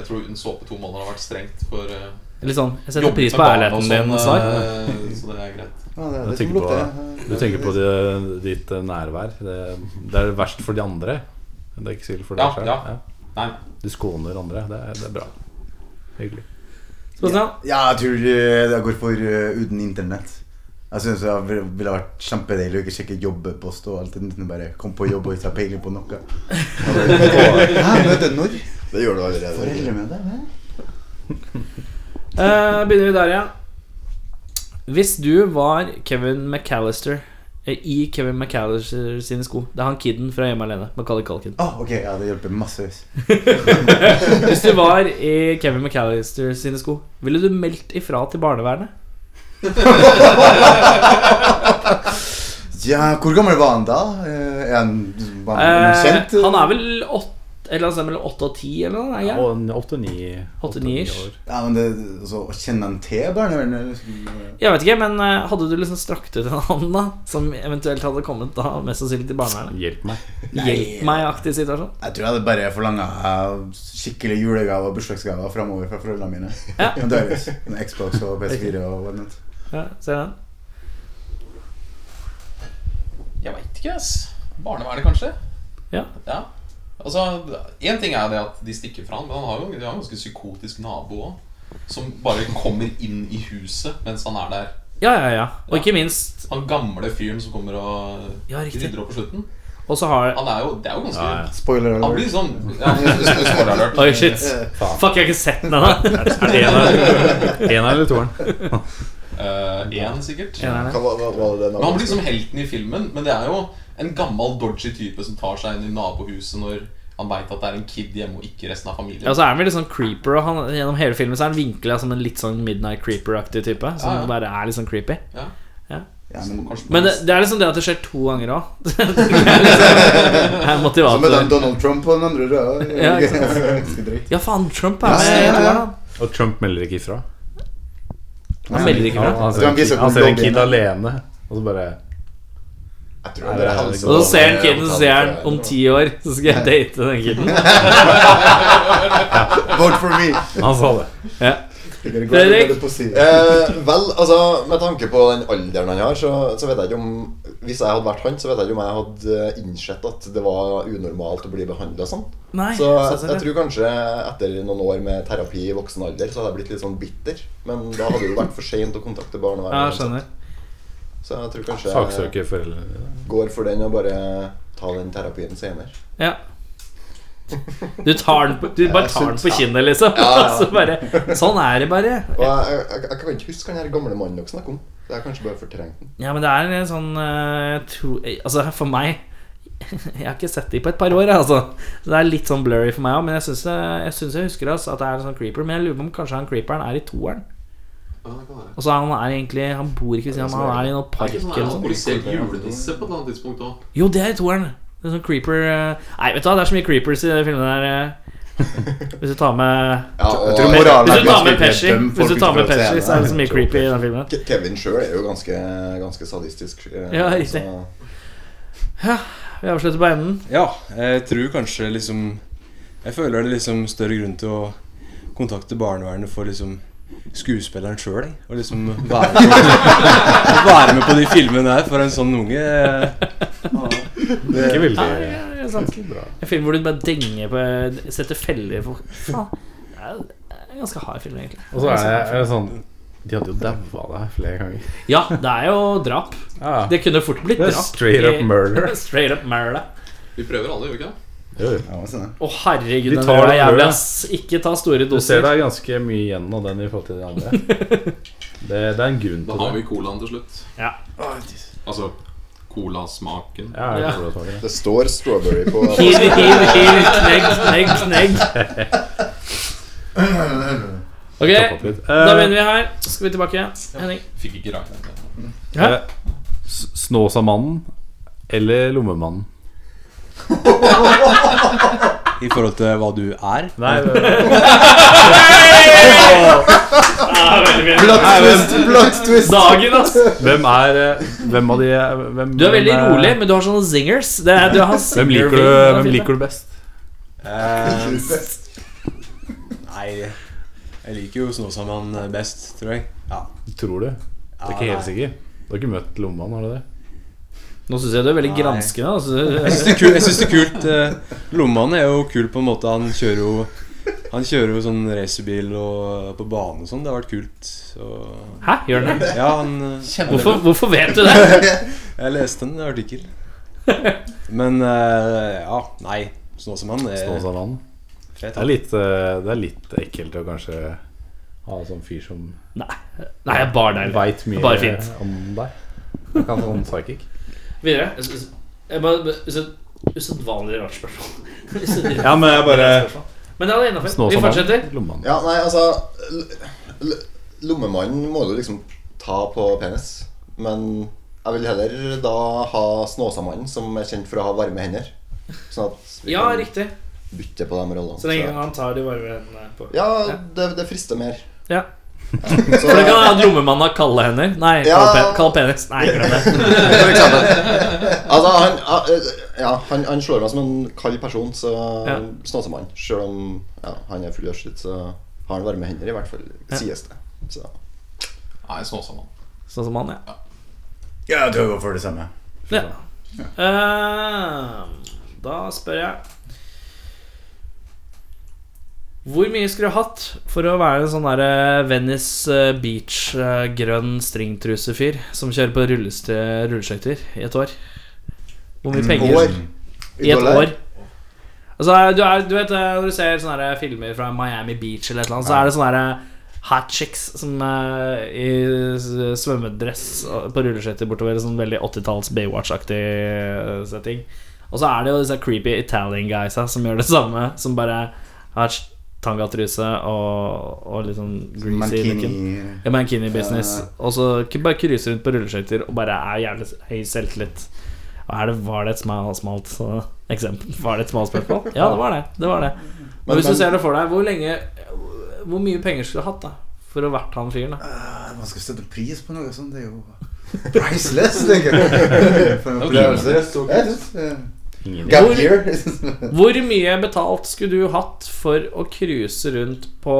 Speaker 8: jeg tror uten såpe to måneder har vært strengt for eh,
Speaker 2: Eller sånn, jeg setter
Speaker 8: jobbet
Speaker 2: pris
Speaker 8: med
Speaker 2: på
Speaker 8: barn
Speaker 2: ærligheten
Speaker 8: og
Speaker 2: din,
Speaker 8: sånn,
Speaker 2: Svar.
Speaker 8: eh, Så det er greit.
Speaker 3: Du tenker på, du tenker på det, ditt eh, nærvær. Det, det er verst for de andre. Det er ikke så ille for deg
Speaker 8: Ja,
Speaker 3: selv.
Speaker 8: ja. Nei.
Speaker 3: Du skåner andre. Det er, det er bra. Hyggelig.
Speaker 7: Ja, jeg tror eh, jeg går for eh, uten internett. Jeg syns det vil- ville vært kjempedeilig å ikke sjekke jobbepost og alt. Enten bare komme på jobb og ikke ha peiling på noe. Hæ, møte når?
Speaker 9: Det gjør du allerede.
Speaker 7: Foreldre med deg, hæ?
Speaker 2: Eh, begynner vi der, ja. Hvis du var Kevin McAllister eh, i Kevin McAllister sine sko Det er han kiden fra Hjemme alene. Macaulay Culkin.
Speaker 7: Ah, ok, ja, det hjelper massevis.
Speaker 2: Hvis du var i Kevin McAllister sine sko, ville du meldt ifra til barnevernet?
Speaker 7: Ja, hvor gammel var han da? Eh, Er han, var han
Speaker 2: Eh,
Speaker 7: kjent?
Speaker 2: han er vel åtte eller altså, mellom åtte og ti, eller noe?
Speaker 3: Ja,
Speaker 2: Ja.
Speaker 3: og en åtte-ni
Speaker 2: Åtte-ni-ish.
Speaker 7: Ja, men det, så, Kjenner han til barnevernet?
Speaker 2: Jeg vet ikke, men eh, hadde du liksom strakt ut en hånd, da? Som eventuelt hadde kommet da, mest sannsynlig til barnevernet?
Speaker 3: Hjelp meg.
Speaker 2: Hjelp meg-aktig situasjon.
Speaker 7: Jeg tror jeg hadde bare forlanga skikkelig julegave og bursdagsgave framover fra foreldrene mine.
Speaker 2: Ja.
Speaker 7: Men det er det. En Xbox og PS4 og hva det nå.
Speaker 2: Ja, ser den.
Speaker 8: Jeg veit ikke, ass. Barnevernet, kanskje?
Speaker 2: Ja.
Speaker 8: Altså, Én ting er det at de stikker fra han, men han har jo de har en ganske psykotisk nabo òg. Som bare kommer inn i huset mens han er der.
Speaker 2: Ja, ja, ja. Og ikke minst
Speaker 8: Han gamle fyren som kommer og rydder opp på slutten.
Speaker 2: Og så har
Speaker 8: Han er jo, det er jo ganske
Speaker 7: Spoiler
Speaker 8: Han blir sånn ja, spoiler alert.
Speaker 2: Oi, shit. Fuck, jeg har ikke sett den ennå.
Speaker 8: Er det eneren? Eneren eller toeren? Én, Eh, sikkert.
Speaker 2: Eneren, ja.
Speaker 9: Hva- hva- hva var det den
Speaker 8: Men Han blir liksom helten i filmen, men det er jo en gammel dodgy type som tar seg inn i nabohuset når han veit at det er en kid hjemme og ikke resten av familien.
Speaker 2: Ja, så er han vel litt sånn creeper, og han, gjennom hele filmen så er han vinkla som en litt sånn Midnight Creeper-aktig type. Som
Speaker 8: Ja, ja.
Speaker 2: bare er litt sånn creepy.
Speaker 8: Ja.
Speaker 2: Ja.
Speaker 7: men
Speaker 2: Men det, det er liksom det at det skjer to ganger òg.
Speaker 7: Så
Speaker 2: liksom,
Speaker 7: møtte han
Speaker 2: motivator.
Speaker 7: Donald Trump på den andre røda.
Speaker 2: Ja, ikke sant? ja, faen, Trump er med. i toeren, da.
Speaker 3: Og Trump melder ikke ifra.
Speaker 2: Han melder ikke ifra.
Speaker 3: Han
Speaker 2: Du
Speaker 3: ser
Speaker 2: kan
Speaker 3: en kid,
Speaker 2: ikke søke
Speaker 3: han
Speaker 2: om
Speaker 3: ser en
Speaker 2: lobbyen,
Speaker 3: kid
Speaker 2: da.
Speaker 3: alene, og så bare
Speaker 9: tror
Speaker 2: Og
Speaker 3: liksom-
Speaker 2: så ser han kiden, så sier han om ti år så skal jeg date den kiden.
Speaker 7: Vote for me.
Speaker 3: Han sa det.
Speaker 2: Ja. Fredrik?
Speaker 9: Eh, vel, altså, med tanke på den alderen han har, så, så vet jeg ikke om Hvis jeg hadde vært han, så vet jeg ikke om jeg hadde eh, innsett at det var unormalt å bli behandla sånn.
Speaker 2: Nei,
Speaker 9: så jeg,
Speaker 2: selvfølgelig.
Speaker 9: jeg tror kanskje etter noen år med terapi i voksen alder, så hadde jeg blitt litt sånn bitter. Men da hadde det jo vært for seint å kontakte barnevernet.
Speaker 2: Ja,
Speaker 9: uansett. Så jeg tror kanskje
Speaker 3: Saksøker foreldrene dine.
Speaker 9: jeg går for den og bare tar den terapien senere.
Speaker 2: Ja. Du, tar den på, du
Speaker 9: Ja,
Speaker 2: bare
Speaker 9: jeg
Speaker 2: tar den
Speaker 9: syns-
Speaker 2: på
Speaker 9: ja.
Speaker 2: kinnet, liksom.
Speaker 9: Ja, ja.
Speaker 2: Så bare, sånn er det bare.
Speaker 9: Og jeg, jeg, jeg, jeg kan ikke huske han her gamle mannen dere snakker om. Det er kanskje bare fortrengt den.
Speaker 2: Ja, men det er en sånn eh, jeg tror- Altså, for meg Jeg har ikke sett de på et par år, jeg, altså. Så det er litt sånn blurry for meg òg. Men jeg syns jeg, jeg, synes jeg husker altså, at det er en sånn creeper. Men jeg lurer på om kanskje han creeperen er i toeren. Og så er han er egentlig Han bor ikke ved siden av meg, han er i noen park
Speaker 8: ikke
Speaker 2: eller
Speaker 8: sånn at
Speaker 2: noe
Speaker 8: Han
Speaker 2: sånt.
Speaker 8: blir selv julenisse på et eller annet tidspunkt òg.
Speaker 2: Jo, det er i toeren. Det er sånn creeper eh, Nei, vet du hva, det er så mye creepers i den filmen der. eh. Hvis du tar med
Speaker 9: og-
Speaker 2: Hvis du tar med Pesci, hvis du tar med Pesci, så er det så mye creepy i den filmen.
Speaker 9: Ke- Kevin sjøl er jo ganske, ganske sadistisk. eh,
Speaker 2: Ja, riktig.
Speaker 9: så-
Speaker 2: Ja, vi avslutter på enden.
Speaker 10: Ja, jeg tror kanskje liksom Jeg føler det liksom større grunn til å kontakte barnevernet for liksom skuespilleren sjøl. Og liksom være med, på, være med på de filmene her for en sånn unge. Det
Speaker 3: Ikke veldig-
Speaker 2: Ja, ja, ja, sant. En film hvor du bare denger på Setter feller for Faen. Det er jo- det er en ganske hard film, egentlig.
Speaker 3: Og så er det er det sånn De hadde jo daua deg flere ganger.
Speaker 2: Ja, det er jo drap.
Speaker 3: Ja.
Speaker 2: Det kunne fort blitt
Speaker 3: Det er
Speaker 2: drap.
Speaker 3: straight up
Speaker 2: i-
Speaker 3: murder.
Speaker 2: straight up murder.
Speaker 8: Vi prøver alle, gjør vi ikke det?
Speaker 3: Jo, jo.
Speaker 2: Å, herregud,
Speaker 3: De
Speaker 2: den
Speaker 3: tar
Speaker 2: røra
Speaker 3: det
Speaker 2: er jævlig,
Speaker 3: blø.
Speaker 2: ass. Ikke ta store
Speaker 3: Du ser det
Speaker 2: doser.
Speaker 3: er ganske mye igjen av den i forhold til de andre. Det, det er en grunn
Speaker 8: Da
Speaker 3: til
Speaker 8: har vi
Speaker 3: det.
Speaker 8: colaen til slutt.
Speaker 2: Ja.
Speaker 8: Altså colasmaken.
Speaker 3: Ja, jeg
Speaker 2: Ja.
Speaker 3: tror det var det.
Speaker 9: Det står strawberry på
Speaker 2: Hiv, hiv, hiv. Knegg, knegg, knegg. Ok,
Speaker 3: Topp opp litt.
Speaker 2: da
Speaker 3: Eh,
Speaker 2: begynner vi her. Skal vi tilbake? Henning.
Speaker 8: Fikk ikke rakt den.
Speaker 2: Hæ?
Speaker 3: Eh, S- Snåsamannen eller Lommemannen?
Speaker 10: I forhold til hva du er.
Speaker 3: Nei, det-
Speaker 9: Plot twist! Plot twist!
Speaker 2: Dagen, ass.
Speaker 3: hvem er eh, Hvem av de er- hvem,
Speaker 2: Du er veldig
Speaker 3: hvem er-
Speaker 2: rolig, men du har sånne zingers. Det er, du har
Speaker 3: eh, Hvem liker
Speaker 2: singer-
Speaker 3: du,
Speaker 2: Det er
Speaker 3: hvem
Speaker 2: fint,
Speaker 3: liker du best?
Speaker 10: Eh, nei, jeg liker jo Snåsamann best, tror jeg. Ja.
Speaker 3: Tror du? Du er ikke helt sikker? Du har ikke møtt Lommemannen, har du det?
Speaker 2: Nå syns jeg du er veldig
Speaker 10: Nei.
Speaker 2: granskende.
Speaker 10: Jeg
Speaker 2: Altså.
Speaker 10: syns det, er kul- jeg synes det er kult. eh, Lommemannen er jo kul på en måte. Han kjører jo Han kjører jo sånn racerbil og på bane og sånn. Det har vært kult. Så
Speaker 2: Hæ, gjør den det?
Speaker 10: Ja, han eh,
Speaker 2: Hvorfor, hvorfor vet du det?
Speaker 10: Jeg leste en artikkel. Men eh, ja, nei. Snåsamann er
Speaker 3: Snåsamannen?
Speaker 10: fet.
Speaker 3: Det er litt, eh, det er litt ekkelt å kanskje ha en sånn fyr som
Speaker 2: Nei, Nei jeg bar der.
Speaker 3: veit mye
Speaker 2: Bare fint.
Speaker 3: om deg. Han kan være psychic.
Speaker 2: Videre. Jeg synes- jeg bare- bare- used- Usedvanlig rart spørsmål. Usedvanlig
Speaker 3: Ja, men jeg bare
Speaker 2: rart spørsmål. Men det er innafor. Vi
Speaker 3: Snåsamannen,
Speaker 2: fortsetter.
Speaker 3: Lommemannen.
Speaker 9: Ja, nei, altså l- l- Lommemannen må du liksom ta på penis. Men jeg vil heller da ha Snåsamannen, som er kjent for å ha varme hender. Sånn at vi
Speaker 2: Ja,
Speaker 9: kan
Speaker 2: riktig.
Speaker 9: bytte på de rollene.
Speaker 2: Så lenge
Speaker 9: Så-
Speaker 2: han tar de varme hendene eh,
Speaker 9: Altså.
Speaker 2: på.
Speaker 9: Ja, det, det frister mer.
Speaker 2: Ja.
Speaker 9: Så,
Speaker 2: For det kan være at lommemannen har kalde hender. Nei,
Speaker 9: Ja.
Speaker 2: kald, pe kald penis. Nei, glem det.
Speaker 9: For eksempel. Altså, han, ja, han, han slår meg som en kald person, så
Speaker 2: Ja.
Speaker 9: Snåsamann. Selv om ja, han er full av skitt, så har han varme hender, i hvert fall, sies det. Så.
Speaker 8: Nei, Snåsamann.
Speaker 2: Sånn som han, ja.
Speaker 7: Ja, jeg tror jeg går for det samme.
Speaker 2: ja. Ehm, da spør jeg Hvor mye skulle du hatt for å være en sånn derre Venice eh, Beach eh, grønn stringtrusefyr som kjører på rulleste- rulleskøyter i et år? Hvor mye penger?
Speaker 9: År.
Speaker 2: I et
Speaker 9: dollar.
Speaker 2: år. Altså, du, er, du vet eh, Når du ser sånne her filmer fra Miami Beach eller et eller annet, så er det sånn sånne her hot chicks som eh, i s- svømmedress og- på rulleskøyter bortover. Sånn veldig 80-talls Baywatch-aktig eh, setting. Og så er det jo disse creepy Italian guysa som gjør det samme. Som bare har s- tangatruse og, og litt sånn greasy looking.
Speaker 7: Mankini
Speaker 2: Ja, Mankini business. Og så k- bare cruise rundt på rulleskøyter og bare er jævlig s- høy selvtillit. Og er det, var det et smal- smalt så, eksempel? Var det et smalt spørsmål? Ja, det var det. det, var det. Men
Speaker 9: Men-
Speaker 2: hvis du
Speaker 9: men-
Speaker 2: ser det for deg, hvor lenge Hvor mye penger skulle du hatt da for å vært han fyren? da?
Speaker 7: Ah, Man skal sette pris på noe sånt. Det er jo priceless, tenker jeg. For en opplevelse. Jeg synes, eh,
Speaker 3: Ingen idé.
Speaker 7: Gap year.
Speaker 2: Hvor mye betalt skulle du hatt for å cruise rundt på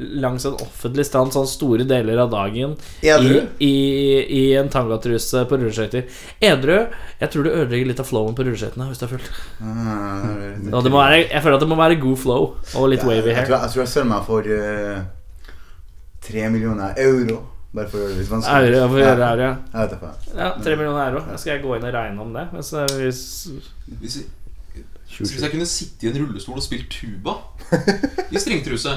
Speaker 2: langs en offentlig stand sånn store deler av dagen i,
Speaker 7: Edru?
Speaker 2: i, i en tangatruse på rulleskøyter? Edru? Jeg tror du ødelegger litt av flowen på rulleskøytene hvis du er full.
Speaker 7: Mm.
Speaker 2: Og det må være, jeg føler at det må være god flow og litt wavy
Speaker 7: Jeg
Speaker 2: hair.
Speaker 7: tror jeg, jeg, tror jeg selger meg for eh, tre millioner euro. Bare for å gjøre det litt vanskelig.
Speaker 2: Euro, for å gjøre euro, ja.
Speaker 7: Jeg vet ikke.
Speaker 2: Ja, tre millioner euro. Da skal jeg gå inn og regne om det. Hvis, hvis
Speaker 8: Hvis, jeg- hvis jeg kunne sitte i en rullestol og spilt tuba i strengtruse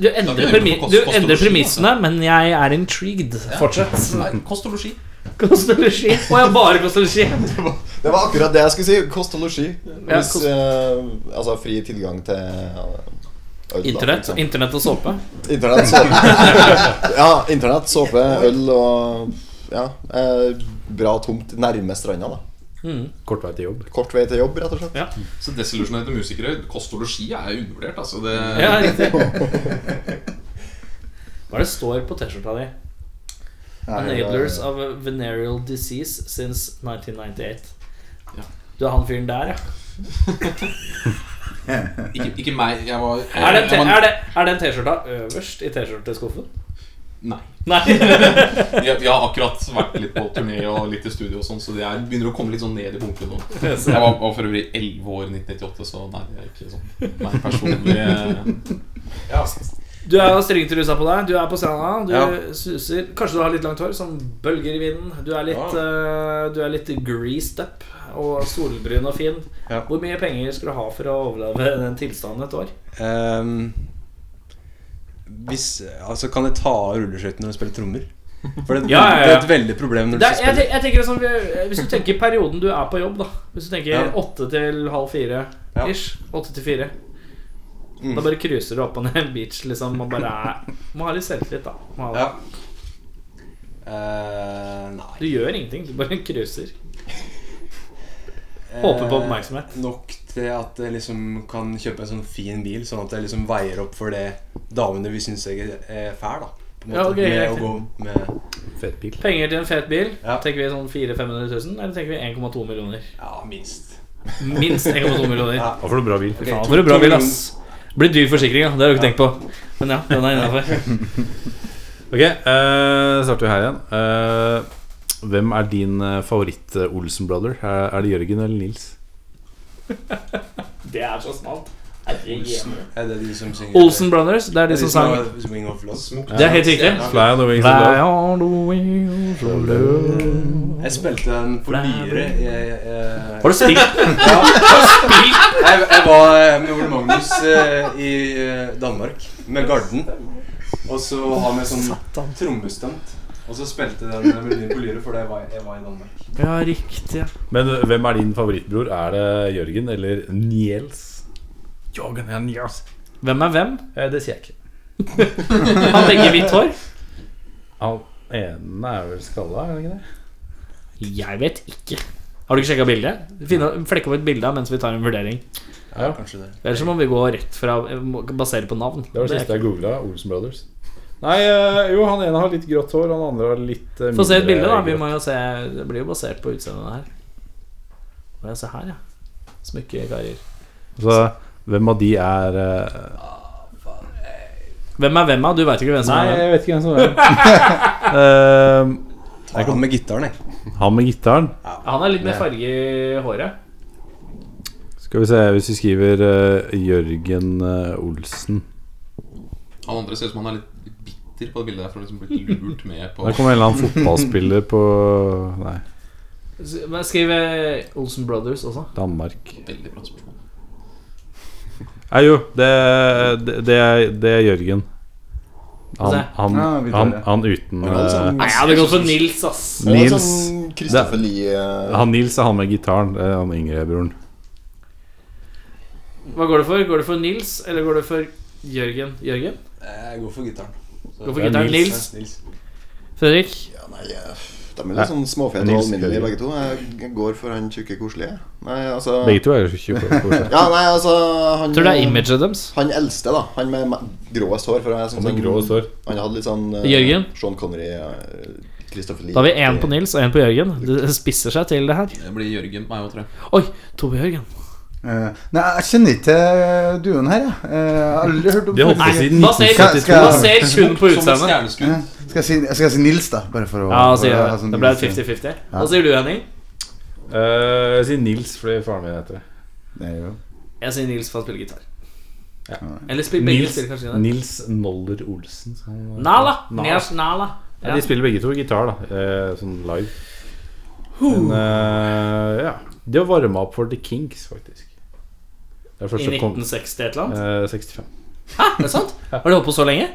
Speaker 2: du endrer, premi du endrer premissene, men jeg er intrigued. Fortsett.
Speaker 8: Nei, kost og losji.
Speaker 2: Kost og losji. Å ja, bare kost og losji.
Speaker 9: Det var akkurat det jeg skulle si. Kost og losji.
Speaker 2: Ja,
Speaker 9: Hvis,
Speaker 2: kost-
Speaker 9: eh, altså fri tilgang til ja, øl, da,
Speaker 2: Internett-
Speaker 9: for eksempel.
Speaker 2: internett og såpe.
Speaker 9: Internett, såpe. ja, internett, såpe, øl og Ja. eh, bra tomt nærme stranda, da.
Speaker 2: Mm.
Speaker 3: Kort vei til jobb.
Speaker 9: Kort vei til jobb, rett og slett.
Speaker 8: Så desillusjonerte musikere Kost og losji er jo undervurdert, altså. Det...
Speaker 2: Ja, riktig. Hva er det står på T-skjorta di?
Speaker 8: Nei, det-
Speaker 2: Enablers of a venereal disease since 1998. Du er han fyren der, ja.
Speaker 8: Ikke, ikke meg. Jeg var
Speaker 2: Er den,
Speaker 8: jeg
Speaker 2: te-
Speaker 8: var-
Speaker 2: er det, er den T-skjorta øverst i T-skjorteskuffen?
Speaker 8: Nei.
Speaker 2: Nei.
Speaker 8: jeg, jeg har akkurat vært litt på turné og litt i studio, og sånn så jeg begynner å komme litt sånn ned i bunken nå.
Speaker 2: Yes.
Speaker 8: Jeg var, var for øvrig 11 år i 1998, så nei, jeg er ikke sånn Nei, personlig eh, ja.
Speaker 2: Du er jo stringtrusa på deg, du er på scenen, du
Speaker 8: Ja.
Speaker 2: suser Kanskje du har litt langt hår, sånn bølger i vinden. Du er litt, eh, du er litt greased up og solbrun og fin. Hvor mye penger skal du ha for å overleve den tilstanden et år?
Speaker 10: Ehm, hvis, altså, kan jeg ta av rulleskøytene når jeg spiller trommer? For det, er et
Speaker 2: Ja, ja,
Speaker 10: veld-
Speaker 2: ja.
Speaker 10: det er et veldig problem når du
Speaker 2: Det er-
Speaker 10: skal
Speaker 2: jeg,
Speaker 10: spille.
Speaker 2: tenk- jeg tenker sånn, eh, Hvis du tenker perioden du er på jobb, da Hvis du tenker
Speaker 10: Ja.
Speaker 2: åtte til halv fire ish. Åtte til fire.
Speaker 10: Mm.
Speaker 2: Da bare cruiser du opp og ned en beach, liksom. Man bare er, må ha litt selvtillit, da. Må ha det.
Speaker 10: Eh,
Speaker 2: Du gjør ingenting, du bare cruiser. Håper på oppmerksomhet.
Speaker 10: Eh, nok til at jeg liksom kan kjøpe en sånn fin bil, sånn at jeg liksom veier opp for det damene vil synes jeg er fæl, da. På en måte,
Speaker 2: Ja, ok,
Speaker 10: med
Speaker 2: riktig.
Speaker 10: å gå med
Speaker 3: Fet bil.
Speaker 2: Penger til en fet bil. Tenker vi sånn 400 000-500 000, eller tenker vi 1,2 millioner?
Speaker 10: Ja, minst.
Speaker 2: Minst 1,2 millioner.
Speaker 10: Ja.
Speaker 3: Da får du bra bil.
Speaker 2: Fy faen, for en bra bil, ass. Blir dyr forsikring, ja. Det har du ikke tenkt på. Men ja, den er innafor.
Speaker 3: Ok, eh, starter vi her igjen. Eh, hvem er din eh, favoritt-Olsen-brother? Er, er det Jørgen eller Nils?
Speaker 2: Det er så smalt.
Speaker 10: Olsen. Er det de som synger
Speaker 2: Olsen Brothers, det er de som sang
Speaker 10: har Wing of Love.
Speaker 2: Det er helt riktig.
Speaker 3: Fly on the wings of
Speaker 2: Fly
Speaker 3: love.
Speaker 2: on the wings of love.
Speaker 10: Jeg spilte den på Lyre. Jeg, jeg-
Speaker 2: Har du spilt?
Speaker 10: ja. Jeg, jeg var med Ole Magnus eh, i eh, Danmark, med Garden. Og så har vi sånn trommestunt. Og så spilte jeg den melodien på Lyre, for det var, jeg var i Danmark.
Speaker 2: Ja, riktig.
Speaker 3: Men eh, hvem er din favorittbror? Er det Jørgen eller Niels? Jørgen og Niels.
Speaker 2: Hvem er hvem?
Speaker 3: Eh, det sier jeg ikke.
Speaker 2: Har begge hvitt hår?
Speaker 3: Han ene er vel skalla, er han ikke det?
Speaker 2: Jeg vet ikke. Har du ikke sjekka bildet? Finn- Flekk opp et bilde av mens vi tar en vurdering.
Speaker 3: Ja, kanskje det.
Speaker 2: Ellers så må vi gå rett fra må basere på navn.
Speaker 3: Det var det
Speaker 2: Det er
Speaker 3: siste jeg googla. Olsen Brothers. Nei, eh, jo, han ene har litt grått hår, han andre har litt eh,
Speaker 2: Få se et
Speaker 3: mindre
Speaker 2: bilde, da. Vi
Speaker 3: grått.
Speaker 2: må jo se Det blir jo basert på utseendet her. Må jeg se her, ja. Smykke karer.
Speaker 3: Så hvem av de er eh,
Speaker 2: Hvem er hvem av? Du veit ikke hvem som
Speaker 3: Nei,
Speaker 2: er hvem.
Speaker 3: jeg vet ikke hvem som er hvem.
Speaker 10: Ta han med gitaren, jeg.
Speaker 3: Han med gitaren.
Speaker 2: Han er litt mer farge i håret.
Speaker 3: Skal vi se, hvis vi skriver eh, Jørgen eh, Olsen
Speaker 8: Han andre ser ut som han er litt bitter på det bildet der, for å liksom blitt lurt med på
Speaker 3: Der kom en eller annen fotballspiller på Nei,
Speaker 2: S- Men skriv eh, Olsen Brothers også.
Speaker 3: Danmark.
Speaker 8: Veldig bra spørsmål.
Speaker 3: Nei, jo, det, det, det, er, det er Jørgen. Han,
Speaker 2: Se.
Speaker 3: han,
Speaker 2: Ja, vi tar
Speaker 3: han,
Speaker 2: det.
Speaker 3: han uten eh,
Speaker 2: Han er sånn- Nei, jeg hadde gått for Nils, ass. Han er
Speaker 3: Nils,
Speaker 2: sånn
Speaker 9: Christopher
Speaker 3: det-
Speaker 9: Lie- eh,
Speaker 3: Han Nils er han med gitaren. Det er han yngre broren.
Speaker 2: Hva går det for? Går det for Nils, eller går det for Jørgen? Jørgen?
Speaker 10: Eh, Jeg går for gitaren. Så-
Speaker 2: Går for gitaren. Nils. Fredrik?
Speaker 9: De er litt sånn småfete og
Speaker 3: Nils
Speaker 9: alminnelige,
Speaker 3: Jørgen.
Speaker 9: begge to. Jeg går for han tjukke, koselige. Nei, altså
Speaker 3: Begge to er jo tjukke og koselige.
Speaker 9: ja, nei, altså han,
Speaker 2: Tror du det er imaget deres?
Speaker 9: Han eldste, da. Han med me- gråest hår. For jeg, synes
Speaker 3: Han med
Speaker 9: han-
Speaker 3: gråest hår.
Speaker 9: Han hadde litt sånn eh,
Speaker 2: Jørgen?
Speaker 9: Sean Connery. eh, Kristoffer Lie.
Speaker 2: Da har vi én på Nils og én på Jørgen. Det spisser seg til det her.
Speaker 8: Det blir Jørgen på meg òg, tror jeg.
Speaker 2: Oi, to på Jørgen.
Speaker 7: Eh, nei, jeg kjenner ikke til duoen her, jeg. Eh, jeg har aldri hørt om
Speaker 2: De har holdt på
Speaker 7: Nei.
Speaker 2: siden Basert- 1972. basert kun på Som et utseendet. stjerneskudd.
Speaker 7: Ja. Eh, Skal, jeg si, skal jeg si Nils, da? Bare for å
Speaker 2: Ja,
Speaker 7: for
Speaker 2: sier
Speaker 7: å
Speaker 2: jeg.
Speaker 7: ha sånn
Speaker 2: Det ble
Speaker 7: Nils-
Speaker 2: 50-50.
Speaker 7: Ja.
Speaker 2: Hva sier du, Henning?
Speaker 3: Eh, jeg sier Nils fordi faren min heter det.
Speaker 2: Jeg sier Nils for han spiller gitar.
Speaker 3: Ja.
Speaker 2: Eller spiller begge
Speaker 3: Nils-
Speaker 2: spiller kanskje gitar.
Speaker 3: Nils Noller Olsen. som-
Speaker 2: Nala. Nils Nala.
Speaker 3: Ja, de spiller begge to gitar, da. eh, sånn live. Men eh, ja. De har varma opp for The Kinks, faktisk. Det er
Speaker 2: I
Speaker 3: første kom-
Speaker 2: 1960 et eller annet?
Speaker 3: Eh, 65.
Speaker 2: Hæ, er det sant? Har de holdt på så lenge?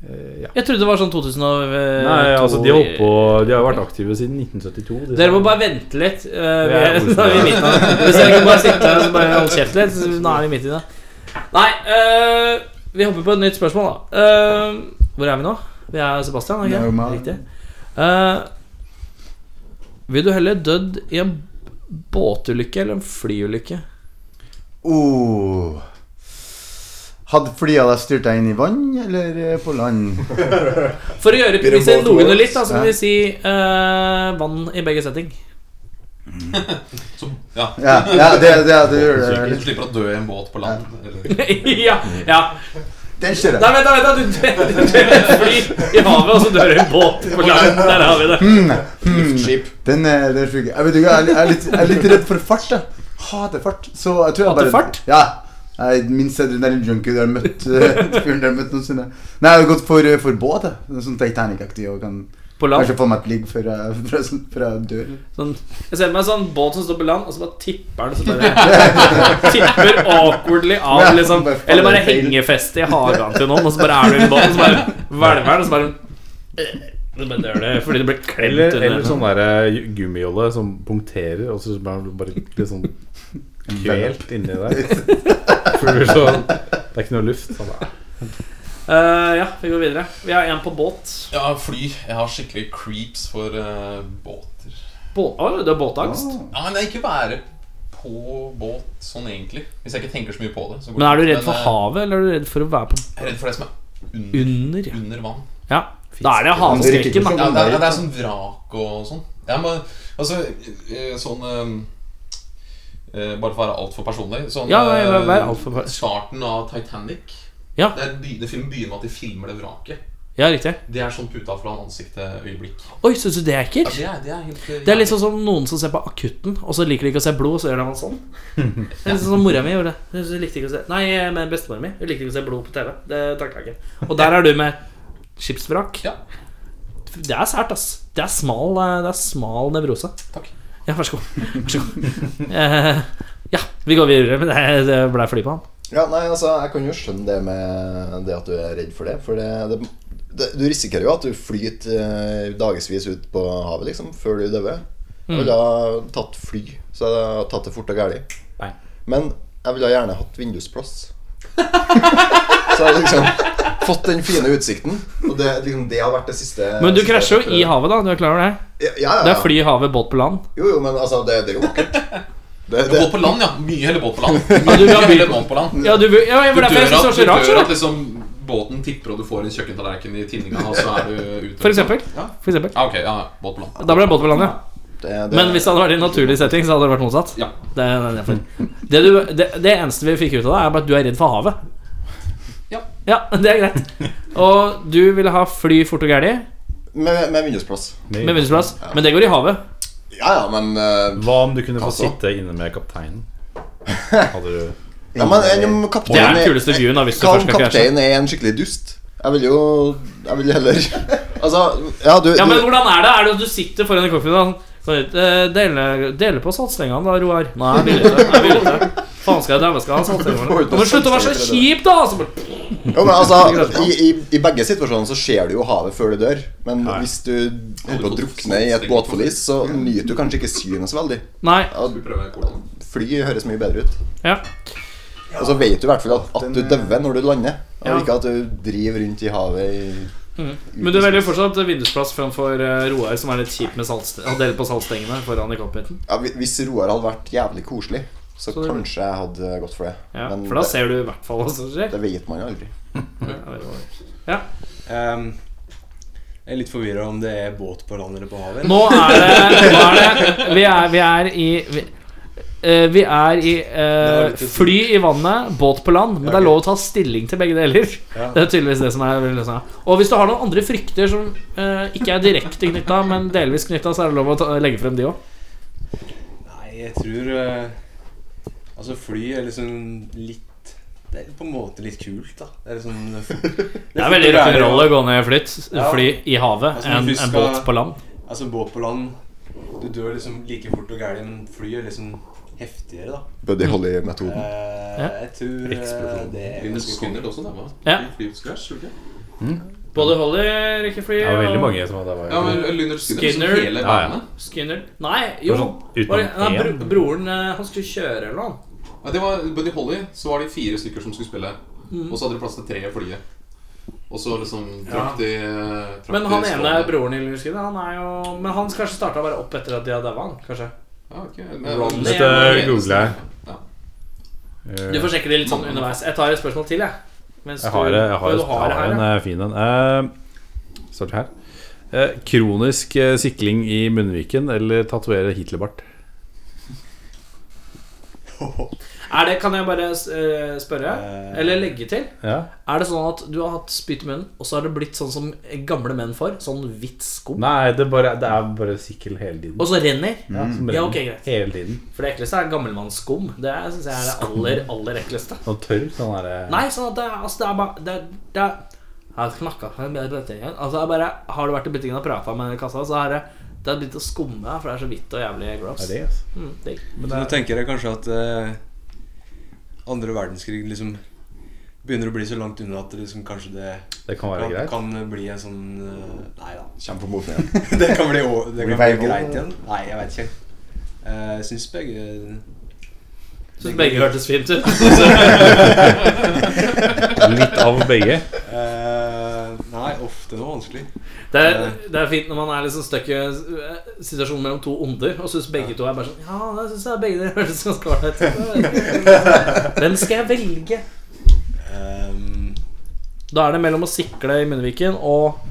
Speaker 2: Jeg trodde det var sånn 2000 og eh,
Speaker 3: Eh, Nei, altså, de har,
Speaker 2: to-
Speaker 3: holdt på, de har vært aktive siden 1972.
Speaker 2: Dere må bare vente litt. eh, vi
Speaker 3: Ja,
Speaker 2: er,
Speaker 3: hvorfor?
Speaker 2: da er vi midt i det. Hvis dere kan bare sitte her og bare holde kjeft litt, så nå er vi midt i det. Nei, eh, vi hopper på et nytt spørsmål, da. Eh, hvor er vi nå? Vi er Sebastian,
Speaker 7: Det er jo
Speaker 2: ikke
Speaker 7: meg.
Speaker 2: Riktig. Eh, vil du heller dødd i en båtulykke eller en flyulykke?
Speaker 7: Oh. Hadde flyet deg styrt deg inn i vann, eller eh, på land?
Speaker 2: For å
Speaker 7: Blir det
Speaker 2: gjøre premisset
Speaker 7: båt og
Speaker 2: noenlunde
Speaker 7: båt?
Speaker 2: litt, da, så kan
Speaker 7: Ja.
Speaker 2: vi si eh, vann i begge setting.
Speaker 7: Mm.
Speaker 8: Ja,
Speaker 7: Ja, ja, det- det- det gjør det.
Speaker 8: Du slipper å dø i en båt på land. Eller
Speaker 2: ja, ja.
Speaker 7: Den kjører jeg.
Speaker 2: Nei, vent, da, vent, da. Du dør- du dør i et fly i havet, og så dør du i en båt på land. Der har vi det.
Speaker 7: Hmm, hmm. Den er, den er sjuk. Jeg, vet ikke, jeg, er- jeg, er litt, jeg er litt redd for fart. Jeg. Hater fart. Så jeg tror jeg
Speaker 2: Hater
Speaker 7: bare Ja. Jeg er minst adrenalinjunkie du har møtt. eh, Fyren du har møtt noensinne. Nei, jeg har gått for, eh, for båt. jeg. Noe Sånn Titanic-aktig. Og kan
Speaker 2: På land?
Speaker 7: kanskje få meg et ligg før jeg, før jeg, før jeg dør.
Speaker 2: Sånn, jeg ser meg en sånn båt som står på land, og så bare tipper den. Så bare tipper awkwardly av,
Speaker 7: Ja,
Speaker 2: liksom.
Speaker 7: bare faller
Speaker 2: Eller bare
Speaker 7: feil.
Speaker 2: hengefeste i hagen til noen, og så bare er du i en båt, og så bare hvelver den, og så bare Du bare dør det fordi du blir klemt
Speaker 3: Eller,
Speaker 2: under.
Speaker 3: eller sånn derre gummijolle som punkterer, og så bare, bare litt sånn kvelt inni der. For det blir så sånn- Det er ikke noe luft. Sånn, nei.
Speaker 2: Eh, ja, vi går videre. Vi har en på båt.
Speaker 8: Ja, fly. Jeg har skikkelig creeps for eh, båter.
Speaker 2: Bå Å, det er båtangst?
Speaker 8: Ja, men det er ikke være på båt sånn egentlig. Hvis jeg ikke tenker så mye på det. Så går
Speaker 2: Men er
Speaker 8: det
Speaker 2: du
Speaker 8: fint.
Speaker 2: redd for
Speaker 8: eh,
Speaker 2: havet, eller er du redd for å være på
Speaker 8: Jeg er redd for det som er under,
Speaker 2: Under, ja.
Speaker 8: under vann.
Speaker 2: Ja. Da er det hanskrekken,
Speaker 8: Ja,
Speaker 2: da.
Speaker 8: det, er, det er sånn vrak og sånn. Ja, men, altså, eh, sånn eh, eh, Bare for å være altfor personlig sånn,
Speaker 2: Ja, nei, vær- vær
Speaker 8: eh,
Speaker 2: altfor per-
Speaker 8: Starten av Titanic.
Speaker 2: Ja.
Speaker 8: Det, er, by- det filmen begynner med at de filmer det vraket.
Speaker 2: Ja, riktig.
Speaker 8: Det er sånn puta foran ansiktet øyeblikk.
Speaker 2: Oi, syns du det er ekkelt?
Speaker 8: Ja, det er- det er helt, eh,
Speaker 2: Det er liksom som noen som ser på Akutten, og så liker de ikke å se blod, så gjør de sånn. Det er litt sånn som mora mi gjorde. Hun likte ikke å se Nei, eh, men bestemora mi. Hun likte ikke å se blod på TV. Det takla jeg ikke. Og der er du med skipsvrak. Det er sært, ass. Det er smal, eh, det er smal nevrose.
Speaker 8: Takk.
Speaker 2: Ja, vær så god. Vær så god. Eh, ja, vi går videre. Men det- det ble fly på han.
Speaker 9: Ja, nei, altså, Jeg kan jo skjønne det med det at du er redd for det. For det, det, det Du risikerer jo at du flyter eh, dagevis ut på havet liksom før du dør. Jeg
Speaker 12: Mm.
Speaker 9: ville ha tatt fly, så jeg hadde tatt det fort og galt. Men jeg ville gjerne hatt vindusplass. så jeg hadde liksom fått den fine utsikten. Og det, liksom, det har vært det siste
Speaker 2: Men du
Speaker 9: siste
Speaker 2: krasjer jo
Speaker 9: prøven.
Speaker 2: i havet, da. Du er klar over det?
Speaker 9: Ja, ja, ja.
Speaker 2: Det er fly i havet, båt på land.
Speaker 9: Jo, jo, men altså, det, det er jo vakkert. Det,
Speaker 8: Ja, Båt på land, ja. Mye heller båt på land.
Speaker 2: Ja, du vil
Speaker 8: Mye
Speaker 2: ha
Speaker 8: heller
Speaker 2: bil-
Speaker 8: båt på land.
Speaker 2: Ja, du vil- ja, ja, for
Speaker 8: Du
Speaker 2: derfor
Speaker 8: dør
Speaker 2: jeg synes det var så rart,
Speaker 8: at- Du dør
Speaker 2: skjønner
Speaker 8: at liksom båten tipper, og du får en kjøkkentallerken i tinninga, og så er du ute.
Speaker 2: For eksempel.
Speaker 8: Ja.
Speaker 2: For eksempel.
Speaker 8: Ja, ok, ja, ja, båt på land.
Speaker 2: Da ble det båt på land, ja.
Speaker 8: det-
Speaker 2: Men hvis det hadde vært i en naturlig setting, så hadde det vært motsatt. Det, er derfor. det, du, det, det eneste vi fikk ut av det, er bare at du er redd for havet.
Speaker 8: Ja.
Speaker 2: det er greit. Og du ville ha fly fort og gæli
Speaker 9: Med, med vindusplass.
Speaker 2: med vindusplass, men det går i havet.
Speaker 9: Ja, ja, men
Speaker 3: Hva om du kunne få
Speaker 9: altså.
Speaker 3: sitte inne med kapteinen? Hadde du
Speaker 9: Ja, men om
Speaker 3: Det er
Speaker 9: kapteinen
Speaker 3: den kuleste viewen, da, hvis du
Speaker 9: Hva om
Speaker 3: først skal krasje.
Speaker 9: kapteinen er en skikkelig dust? Jeg vil jo Jeg vil heller Altså, ja, du,
Speaker 2: Ja,
Speaker 9: du
Speaker 2: men hvordan er det? Er det at du sitter foran en cockpit og sånn eh, Dele, dele på satsingene, da, Roar. Nei, jeg vil ikke. Jeg vil ikke. Faen skal jeg dæven skal ha satsingene. Ja, Men slutt å være så kjip, da! altså. Så bare,
Speaker 9: Jo, men altså i, i, I begge situasjoner så ser du jo havet før du dør. Men hvis du holder på å drukne i et båtforlis, så nyter du kanskje ikke synet så veldig.
Speaker 2: Nei
Speaker 9: Fly høres mye bedre ut.
Speaker 2: Ja.
Speaker 9: Og så vet du i hvert fall at, at du dauer når du lander, og
Speaker 2: Ja.
Speaker 9: ikke at du driver rundt i havet i
Speaker 2: Mm. Men du velger fortsatt vindusplass framfor eh, Roar, som er litt kjip med saltste- å dele på saltstengene foran i cockpiten.
Speaker 9: ja, hvi- Hvis Roar hadde vært jævlig koselig, så, kanskje jeg hadde gått for det.
Speaker 2: Ja, for da ser du i hvert fall hva som skjer.
Speaker 9: Det vet man jo aldri.
Speaker 2: Ja.
Speaker 10: Ehm, Jeg er litt forvirra om det er båt på land eller på havet.
Speaker 2: Nå er det, nå er det vi, er, vi er i vi, eh, vi er i eh, fly i vannet, båt på land, men det er lov å ta stilling til begge deler.
Speaker 10: Ja.
Speaker 2: Det er tydeligvis det som er løsningen. Og hvis du har noen andre frykter som eh, ikke er direkte knytta, men delvis knytta, så er det lov å ta, legge frem de òg.
Speaker 10: Nei, jeg tror eh, Altså, fly er liksom litt Det er på en måte litt kult, da. Det er liksom
Speaker 2: Det er veldig rock'n'roll å gå ned i flytt- fly i havet
Speaker 3: Altså,
Speaker 10: Altså, når
Speaker 2: enn
Speaker 10: du
Speaker 2: en
Speaker 10: skal-
Speaker 2: båt på land.
Speaker 10: Altså, båt på land Du dør liksom like fort og gæren. men Fly er liksom heftigere, da.
Speaker 9: Buddy Holly-metoden.
Speaker 10: Eh,
Speaker 9: Ja.
Speaker 10: Jeg tror eh,
Speaker 9: Eksplosjon.
Speaker 10: det er
Speaker 9: Linus
Speaker 10: ganske
Speaker 9: Skinner
Speaker 10: konge.
Speaker 9: også, da, hva?
Speaker 2: Ja.
Speaker 3: Mm.
Speaker 2: Både Holly, Ricky Free
Speaker 3: Det var veldig mange som hadde vært-
Speaker 8: Ja, men Lynyrd Skynyrd, som hele
Speaker 2: Ja, ja.
Speaker 8: bandet?
Speaker 2: Skinner Nei, jo.
Speaker 8: Sånn, utenom
Speaker 2: Var det, nei, bro,
Speaker 8: én.
Speaker 2: broren eh, Han skulle kjøre eller noe.
Speaker 8: Ja, det var Buddy Holly, så var de fire stykker som skulle spille.
Speaker 2: Mhm.
Speaker 8: Og så hadde de plass til tre i flyet. Og så liksom
Speaker 2: Ja.
Speaker 8: trakk de eh, trakk
Speaker 2: Men han
Speaker 8: de
Speaker 2: ene
Speaker 8: skrålene.
Speaker 2: broren i Lynyrd Skinner, han er jo Men han kanskje starta bare opp etter at de har daua, han, kanskje?
Speaker 8: Ja, ok,
Speaker 2: Ah, men- Ronny
Speaker 3: Dette
Speaker 2: er-
Speaker 3: googler jeg. Eh,
Speaker 2: Du får sjekke det litt sånn underveis. Jeg tar et spørsmål til, jeg. Mens
Speaker 3: Jeg har,
Speaker 2: du-
Speaker 3: jeg har,
Speaker 2: du
Speaker 3: jeg har,
Speaker 2: det her,
Speaker 3: en
Speaker 2: ja.
Speaker 3: eh, fin en. Eh, Start her. Eh, kronisk eh, sikling i munnviken eller tatovere Hitlerbart?
Speaker 2: Er det, kan jeg bare eh, spørre? Eller legge til?
Speaker 3: Ja.
Speaker 2: Er det sånn at du har hatt spytt i munnen, og så har det blitt sånn som gamle menn får? Sånn hvitt skum?
Speaker 3: Nei, det, er bare, det er bare sikkel hele tiden.
Speaker 2: Og så renner? Mm.
Speaker 3: Ja, som
Speaker 2: Ja,
Speaker 3: renner.
Speaker 2: ok, greit.
Speaker 3: Hele tiden.
Speaker 2: For det ekleste er gammelmannsskum. Det syns jeg er det
Speaker 3: Skum.
Speaker 2: aller, aller ekleste.
Speaker 3: Og tørr sånn derre
Speaker 2: Nei, sånn at det, er- altså, det er bare det, er- det er, Jeg har knakka på en bedre bretting igjen. Altså, jeg bare, har du vært i butikken og prata med kassa, så har det, det har begynt å skumme, for det er så hvitt og jævlig gross.
Speaker 10: Er det,
Speaker 3: altså.
Speaker 10: ass?
Speaker 2: Mm, digg.
Speaker 10: Men nå tenker jeg kanskje at eh, andre verdenskrig liksom begynner å bli så langt unna at det liksom kanskje det
Speaker 3: Det kan være greit.
Speaker 10: Kan bli en sånn eh, Nei da.
Speaker 9: Kjem på moten igjen.
Speaker 10: det kan bli, å- det
Speaker 9: Blir
Speaker 10: kan bli
Speaker 9: veivold.
Speaker 10: greit igjen. Nei, jeg vet ikke. Eh, Jeg syns begge
Speaker 2: Syns begge hørtes fint ut.
Speaker 10: Litt
Speaker 3: av begge.
Speaker 10: Eh, nei, ofte noe vanskelig. Eh.
Speaker 2: Det er, det er fint når man er liksom stuck i eh, situasjonen mellom to onder, og syns begge to er bare sånn Ja, det syns jeg begge dere høres ganske ålreit ut. Hvem skal jeg velge? Ehm, Da er det mellom å sikle i munnviken og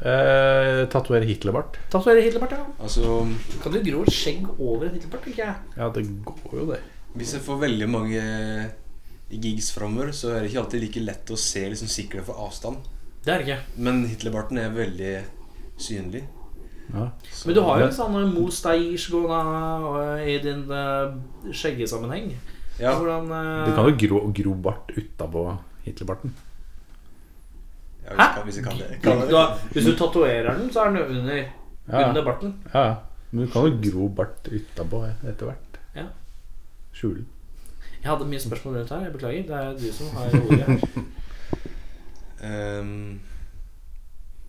Speaker 3: eh, Tatovere Hitlerbart.
Speaker 2: tatovere Hitlerbart, ja.
Speaker 10: Altså
Speaker 2: Kan du gro et skjegg over en Hitlerbart, tenker jeg.
Speaker 3: Ja, det går jo, det.
Speaker 10: Hvis jeg får veldig mange eh, gigs framover, så er det ikke alltid like lett å se liksom sikkerhet for avstand.
Speaker 2: Det er det ikke.
Speaker 10: Men Hitlerbarten er veldig synlig.
Speaker 3: Ja.
Speaker 2: Men du har jo en sånn Mo Steirs gående eh, i din eh, skjeggesammenheng.
Speaker 10: Ja.
Speaker 2: Hvordan eh,
Speaker 3: Du kan jo gro, gro bart utapå Hitlerbarten.
Speaker 10: Hæ? Hvis jeg kan det.
Speaker 2: Kan du ha- Hvis du tatoverer den, så er den jo under, under barten.
Speaker 3: Ja, ja. Men du kan jo gro bart utapå etter hvert.
Speaker 2: Ja.
Speaker 3: Skjule den.
Speaker 2: Jeg hadde mye spørsmål rundt her. Jeg beklager. Det er du som har ordet her.
Speaker 10: Ehm,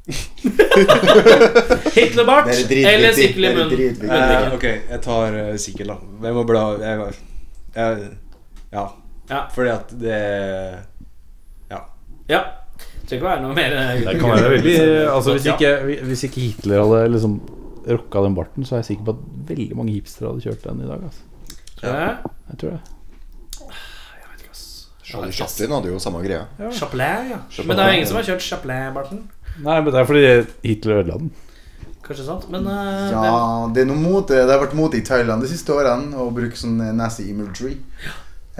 Speaker 2: Hitlerbart
Speaker 10: Det er dritviktig.
Speaker 2: eller sikkel i
Speaker 10: Det er
Speaker 2: munnen?
Speaker 10: dritviktig.
Speaker 2: Munnviken.
Speaker 10: Eh, ok, jeg tar uh, sikkel, da. Jeg må bla jeg, jeg, ja. Fordi at det Ja.
Speaker 2: Ja. Det trenger ikke være noe mer. eh,
Speaker 3: Det kan være veldig altså, hvis, ikke, hvis ikke Hitler hadde liksom rocka den barten, så er jeg sikker på at veldig mange hipstere hadde kjørt den i dag. Altså.
Speaker 2: Tror du det?
Speaker 3: Jeg tror det.
Speaker 9: Charlie Chaplin hadde jo samme greia.
Speaker 2: Ja. Chaplin, ja.
Speaker 9: Chaplin.
Speaker 2: Men det er jo ingen som har kjørt Chaplin-barten.
Speaker 3: Nei, men det er fordi Hitler ødela den.
Speaker 2: Kanskje sant? Men eh,
Speaker 7: Ja, det er noe mote. Det har vært mote i Thailand de siste årene å bruke sånn nazi imagery.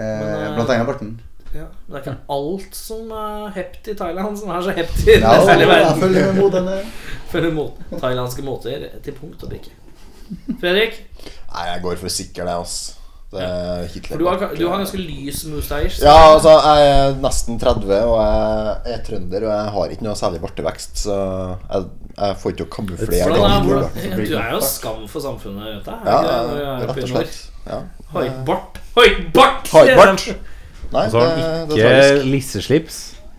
Speaker 7: Eh,
Speaker 2: Men, eh,
Speaker 7: blant annet barten.
Speaker 2: det, ja. det er ikke alt som er hept i Thailand, som er så hept i
Speaker 7: Ja,
Speaker 2: resten av
Speaker 7: jeg
Speaker 2: verden.
Speaker 7: følger med moderne.
Speaker 2: Følger mot- thailandske måter til punkt og prikke. Fredrik,
Speaker 9: Nei, jeg går for sikker, det, ass. Det er
Speaker 2: for
Speaker 9: Hitler.
Speaker 2: du har, du har ganske lys moustache.
Speaker 9: Ja, altså, jeg er nesten 30, og jeg er trønder, og jeg har ikke noe særlig bartevekst, så jeg, jeg får ikke å kamuflere
Speaker 2: Hvordan er,
Speaker 9: den.
Speaker 2: hvordan, du er jo skam for samfunnet rundt deg. er
Speaker 9: Ja,
Speaker 2: ikke det, når du er
Speaker 9: rett
Speaker 2: oppe i
Speaker 9: og
Speaker 2: nord?
Speaker 9: slett. Ja.
Speaker 2: Hoibart. Hoibart!
Speaker 9: Haibart. Nei,
Speaker 3: Og så har han
Speaker 9: det- det er
Speaker 3: ikke
Speaker 9: tragisk.
Speaker 3: lisseslips.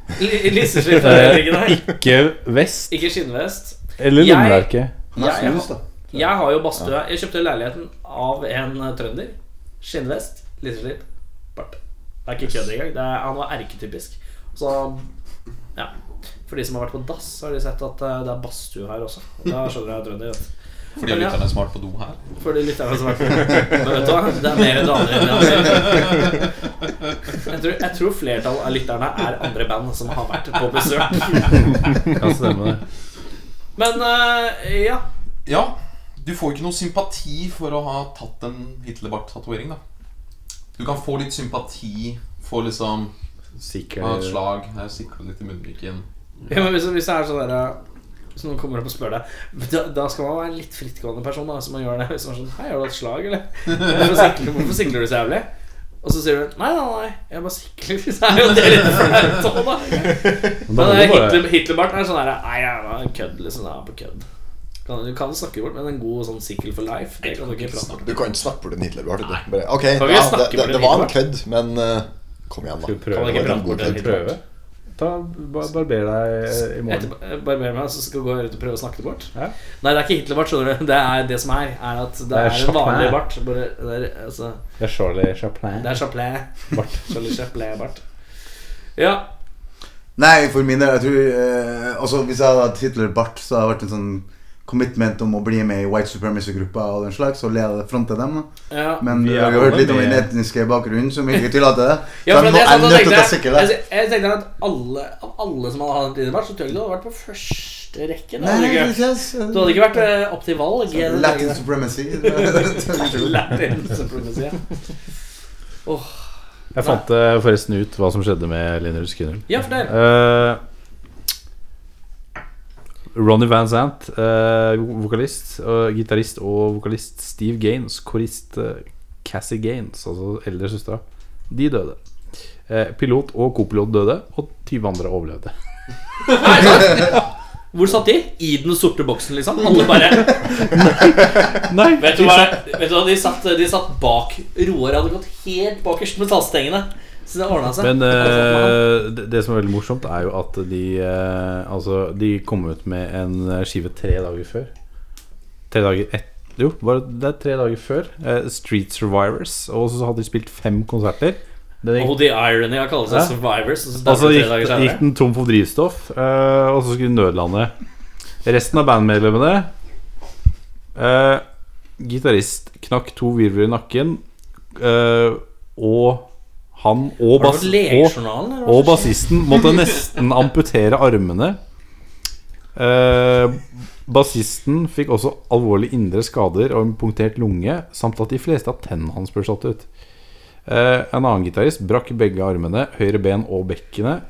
Speaker 3: Eh,
Speaker 2: Li- lisseslips er det ikke der.
Speaker 3: Ikke vest.
Speaker 2: Ikke skinnvest.
Speaker 3: Eller
Speaker 2: Jeg-
Speaker 3: lommelerke. Han er
Speaker 2: Jeg, jeg,
Speaker 3: snus, da.
Speaker 2: jeg har jo badstue. Jeg kjøpte leiligheten av en eh, trønder. Skinnvest, lisseslipp, bart. Det er ikke kødd engang. Det er, han var erketypisk. Så ja. For de som har vært på dass, har de sett at eh, det er badstue her også. Da skjønner jeg trønder. vet du.
Speaker 8: Fordi
Speaker 2: Men ja.
Speaker 8: lytterne er smart på do her.
Speaker 2: Fordi lytterne er smart på do. Men vet du hva? Det er mer damer enn damer. Jeg tror, jeg tror flertallet av lytterne er andre band som har vært på besøk.
Speaker 3: Ja, stemmer det.
Speaker 2: Men eh, ja.
Speaker 8: Ja, du får ikke noe sympati for å ha tatt en Hitlerbart-tatovering, da. Du kan få litt sympati for liksom
Speaker 3: Sikre-
Speaker 8: ah, Et slag. her, Sikre litt i munnviken.
Speaker 2: Ja, men hvis, hvis det er sånn der Hvis noen kommer opp og spør deg Da, da skal man være en litt frittgående person da, som man gjør det. Hvis man er sånn Hei, har du hatt slag, eller? Hvorfor sikler, hvorfor sikler du så jævlig? Og så sier du Nei, nei, nei. Jeg bare sikler. Så er jo det litt flaut òg, da.
Speaker 3: Men
Speaker 2: Men
Speaker 3: da må du
Speaker 2: eh,
Speaker 3: bare-
Speaker 2: Hitler, Hitlerbarten er sånn der Nei, jeg var en kødd, liksom. Jeg var på kødd. Kan, du kan snakke bort, men en god sånn sikkel for life Det kan du ikke prate om.
Speaker 9: Du kan ikke snakke bort en Hitlerbart. du. Bare, Ok,
Speaker 2: Kan vi
Speaker 9: ja,
Speaker 2: snakke
Speaker 9: det,
Speaker 2: bort
Speaker 9: det,
Speaker 2: en
Speaker 9: det var en
Speaker 2: Hitlerbart?
Speaker 9: kødd, men eh, kom igjen, da.
Speaker 3: Skal vi prøve? Kan vi ikke
Speaker 9: Det var en
Speaker 3: prate
Speaker 9: god
Speaker 3: bort en
Speaker 9: kødd.
Speaker 3: Hitlerbart? Ta, bar barber deg eh, i morgen.
Speaker 2: Etter- Barber meg, så skal jeg gå rundt og prøve å snakke det bort? Nei, det er ikke Hitlerbart, skjønner du. Det er det som er, er at det,
Speaker 3: Det er
Speaker 2: er, en vanlig
Speaker 3: Chapman.
Speaker 2: bart. Bare, det er, altså,
Speaker 3: Det er Charlie Chaplin.
Speaker 2: det er Chaplin.
Speaker 3: Bart.
Speaker 2: Charlie Chaplin-bart. Ja.
Speaker 7: Nei, for min del, jeg tror eh, Altså, hvis jeg hadde hatt Hitler-bart, så hadde det vært en sånn commitment om å bli med i white supremacy-gruppa og den slags, og lede fronte dem, da.
Speaker 2: Ja.
Speaker 7: Men eh,
Speaker 2: Vi
Speaker 7: vi
Speaker 2: er
Speaker 7: har jo hørt
Speaker 2: alle
Speaker 7: litt om
Speaker 2: med.
Speaker 7: den etniske bakgrunnen, som ikke tillater det. Så
Speaker 2: Ja,
Speaker 7: jeg
Speaker 2: for det
Speaker 7: må
Speaker 2: er
Speaker 7: jeg
Speaker 2: sant,
Speaker 7: er
Speaker 2: da
Speaker 7: nødt til å ta
Speaker 2: tenkte jeg,
Speaker 7: sikkerhet.
Speaker 2: jeg, jeg tenkte at alle, av alle som hadde hatt en Hitlerbart, så tror jeg ikke du hadde vært på første rekke. Da,
Speaker 7: Nei,
Speaker 2: hadde du,
Speaker 7: det
Speaker 2: ikke,
Speaker 7: kjennes, eh,
Speaker 2: du hadde ikke vært eh, opp til valg.
Speaker 7: Så Latin supremacy.
Speaker 2: Latin supremacy, ja. Åh.
Speaker 3: Jeg fant eh, forresten ut hva som skjedde med Linus Skinner.
Speaker 2: Ja, fortell.
Speaker 3: Eh, Ronny Van Zant, eh, vo- vokalist, og gitarist og vokalist Steve Gaines, korist eh, Cassie Gaines, altså eldre søstera, de døde. Eh, pilot og kopilot døde, og 20 andre overlevde.
Speaker 2: Hvor satt de? I den sorte boksen, liksom? Alle bare vet, du hva, vet du hva, de satt, de satt bak Roar hadde gått helt bakerst med tallstengene. Så det ordna seg.
Speaker 3: Men
Speaker 2: Alle satt med han.
Speaker 3: eh, det, det som er veldig morsomt, er jo at de eh, Altså, de kom ut med en eh, skive tre dager før. Tre dager et, Jo, bare, det er tre dager før. eh, Street Survivors. Og så hadde de spilt fem konserter. Den
Speaker 2: Oh, the irony av å kalle seg Survivors, og så starter
Speaker 3: Altså
Speaker 2: tre
Speaker 3: gikk,
Speaker 2: dager senere.
Speaker 3: gikk den tom for drivstoff, eh, og så skulle de nødlande. Resten av bandmedlemmene eh, Gitarist knakk to virvler i nakken, eh, og han og,
Speaker 2: Har det
Speaker 3: bass,
Speaker 2: vært legejournalen, eller
Speaker 3: og, og
Speaker 2: hva som skjer?
Speaker 3: bassisten måtte nesten amputere armene. Eh, bassisten fikk også alvorlige indre skader og en punktert lunge, samt at de fleste av tennene hans ble slått ut. Eh, en annen gitarist brakk begge armene, høyre ben og bekkenet.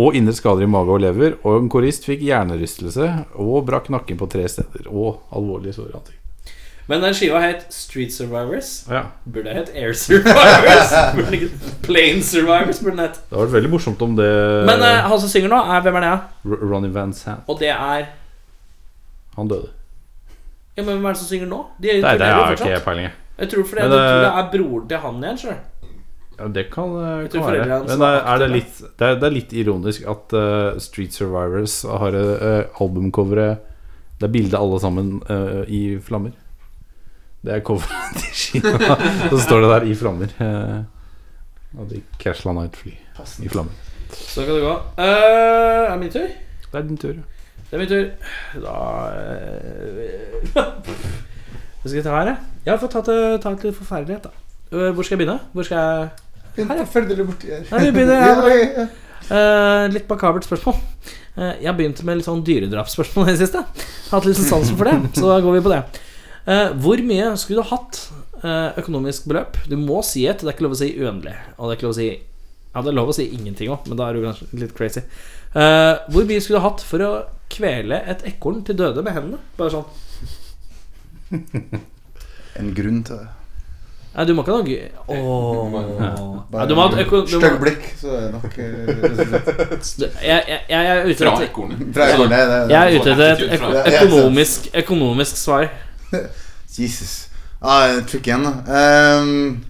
Speaker 3: Og indre skader i mage og lever. Og en korist fikk hjernerystelse og brakk nakken på tre steder. Og alvorlige sår i ansiktet.
Speaker 2: Men den skiva het Street Survivors.
Speaker 3: Ja.
Speaker 2: Burde hett Air Survivors. Burde den ikke Plane Survivors burde den hett.
Speaker 3: Det hadde vært veldig morsomt om det
Speaker 2: Men eh, han som synger nå, er hvem er det? da?
Speaker 3: R- Ronny Van Sant
Speaker 2: Og det er
Speaker 3: Han døde.
Speaker 2: Ja, men hvem er det som synger nå? De
Speaker 3: Nei, det
Speaker 2: turnerer jo
Speaker 3: har jeg
Speaker 2: fortsatt.
Speaker 3: ikke peiling i.
Speaker 2: Jeg tror for det,
Speaker 3: Men,
Speaker 2: jeg tror det
Speaker 3: eh,
Speaker 2: er broren til han igjen, sjøl.
Speaker 3: Ja, det kan, eh,
Speaker 2: Jeg
Speaker 3: kan
Speaker 2: tror
Speaker 3: være.
Speaker 2: foreldrene hans
Speaker 3: Men
Speaker 2: var
Speaker 3: er, er det,
Speaker 2: aktive.
Speaker 3: litt, det, er, det er litt ironisk at eh, Street Survivors har eh, albumcoveret Det er bildet alle sammen eh, i flammer. Det er coveret til Kina. Så står det der 'i flammer'. eh, og de krasjlanda et fly i flammer.
Speaker 2: Så kan det gå. Eh, er det min tur?
Speaker 3: Det er din tur.
Speaker 2: Det er min tur. Da eh, Hva skal jeg ta her, jeg? Ja, få ta, til- ta til eh, forferdelighet, da. Eh, Hvor skal jeg begynne? Hvor skal jeg Her, ja.
Speaker 7: Følger du borti her?
Speaker 2: Nei, vi begynner her.
Speaker 7: Ja, ja, ja.
Speaker 2: Eh, litt makabert spørsmål. Eh, jeg har begynt med litt sånn dyredrapsspørsmål i det siste. Hatt litt sånn sansen for det, så da går vi på det. Eh, hvor mye skulle du hatt eh, økonomisk beløp? Du må si et, det er ikke lov å si uendelig. Og det er ikke lov å si Ja, det er lov å si ingenting òg, men da er du kanskje litt crazy. Eh, hvor mye skulle du hatt for å kvele et ekorn til døde med hendene? Bare sånn.
Speaker 7: En grunn til det.
Speaker 2: Nei, du må ikke ha noe gøy. Åh. Nei, du må ha et øko- du må-
Speaker 7: Stygg blikk, så er det nok eh,
Speaker 2: Du, Jeg, jeg, jeg er ute
Speaker 7: Fra ekornet. Fra ekornet, det- det-
Speaker 2: Jeg er ute etter et
Speaker 7: Attitude fra-
Speaker 2: øko- økonomisk, økonomisk svar.
Speaker 7: Jesus. Ja, ah, trykk igjen, da. Ehm,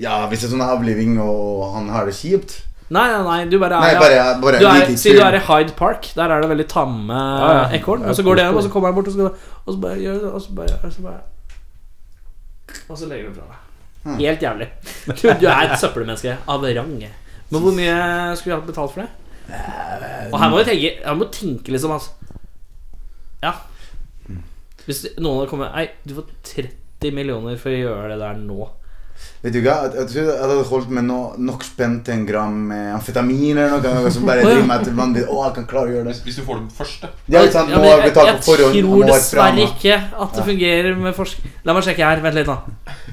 Speaker 7: ja, hvis det er sånn avliving og han har det kjipt
Speaker 2: Nei, nei, nei, du bare er
Speaker 7: Nei, bare- bare
Speaker 2: du er,
Speaker 7: like
Speaker 2: Si du
Speaker 7: kul.
Speaker 2: er i Hyde Park, der er det veldig tamme
Speaker 7: Ja, ja.
Speaker 2: Eh, ekorn.
Speaker 7: Ja,
Speaker 2: Og så går
Speaker 7: koselig.
Speaker 2: det gjennom, og så kommer han bort, og så, går- og så bare gjør det, og så bare, og så bare Og så legger du fra deg.
Speaker 5: Hmm.
Speaker 2: Helt jævlig. Du, du er et søppelmenneske av rang. Men hvor mye skulle jeg hatt betalt for det? Og her må du tenke, her må du tenke liksom, altså. Ja. Hvis noen hadde kommet Nei, du får 30 millioner for å gjøre det der nå.
Speaker 7: Vet du hva, jeg, jeg tror jeg hadde holdt meg no, nok spent til en gram med amfetamin eller noe. noe som bare
Speaker 2: Å, ja.
Speaker 7: driver meg til vanvidd. Å, jeg kan klare å gjøre det.
Speaker 8: Hvis du får den første.
Speaker 7: Ja, ikke sant?
Speaker 2: Ja,
Speaker 7: Nå
Speaker 2: men
Speaker 7: har vi
Speaker 2: jeg,
Speaker 7: betalt
Speaker 2: jeg
Speaker 7: på forhånd. jeg må
Speaker 2: tror
Speaker 7: ha et
Speaker 2: dessverre
Speaker 7: drama.
Speaker 2: ikke at det
Speaker 7: Ja.
Speaker 2: fungerer med forsk... La meg sjekke her. Vent litt, da.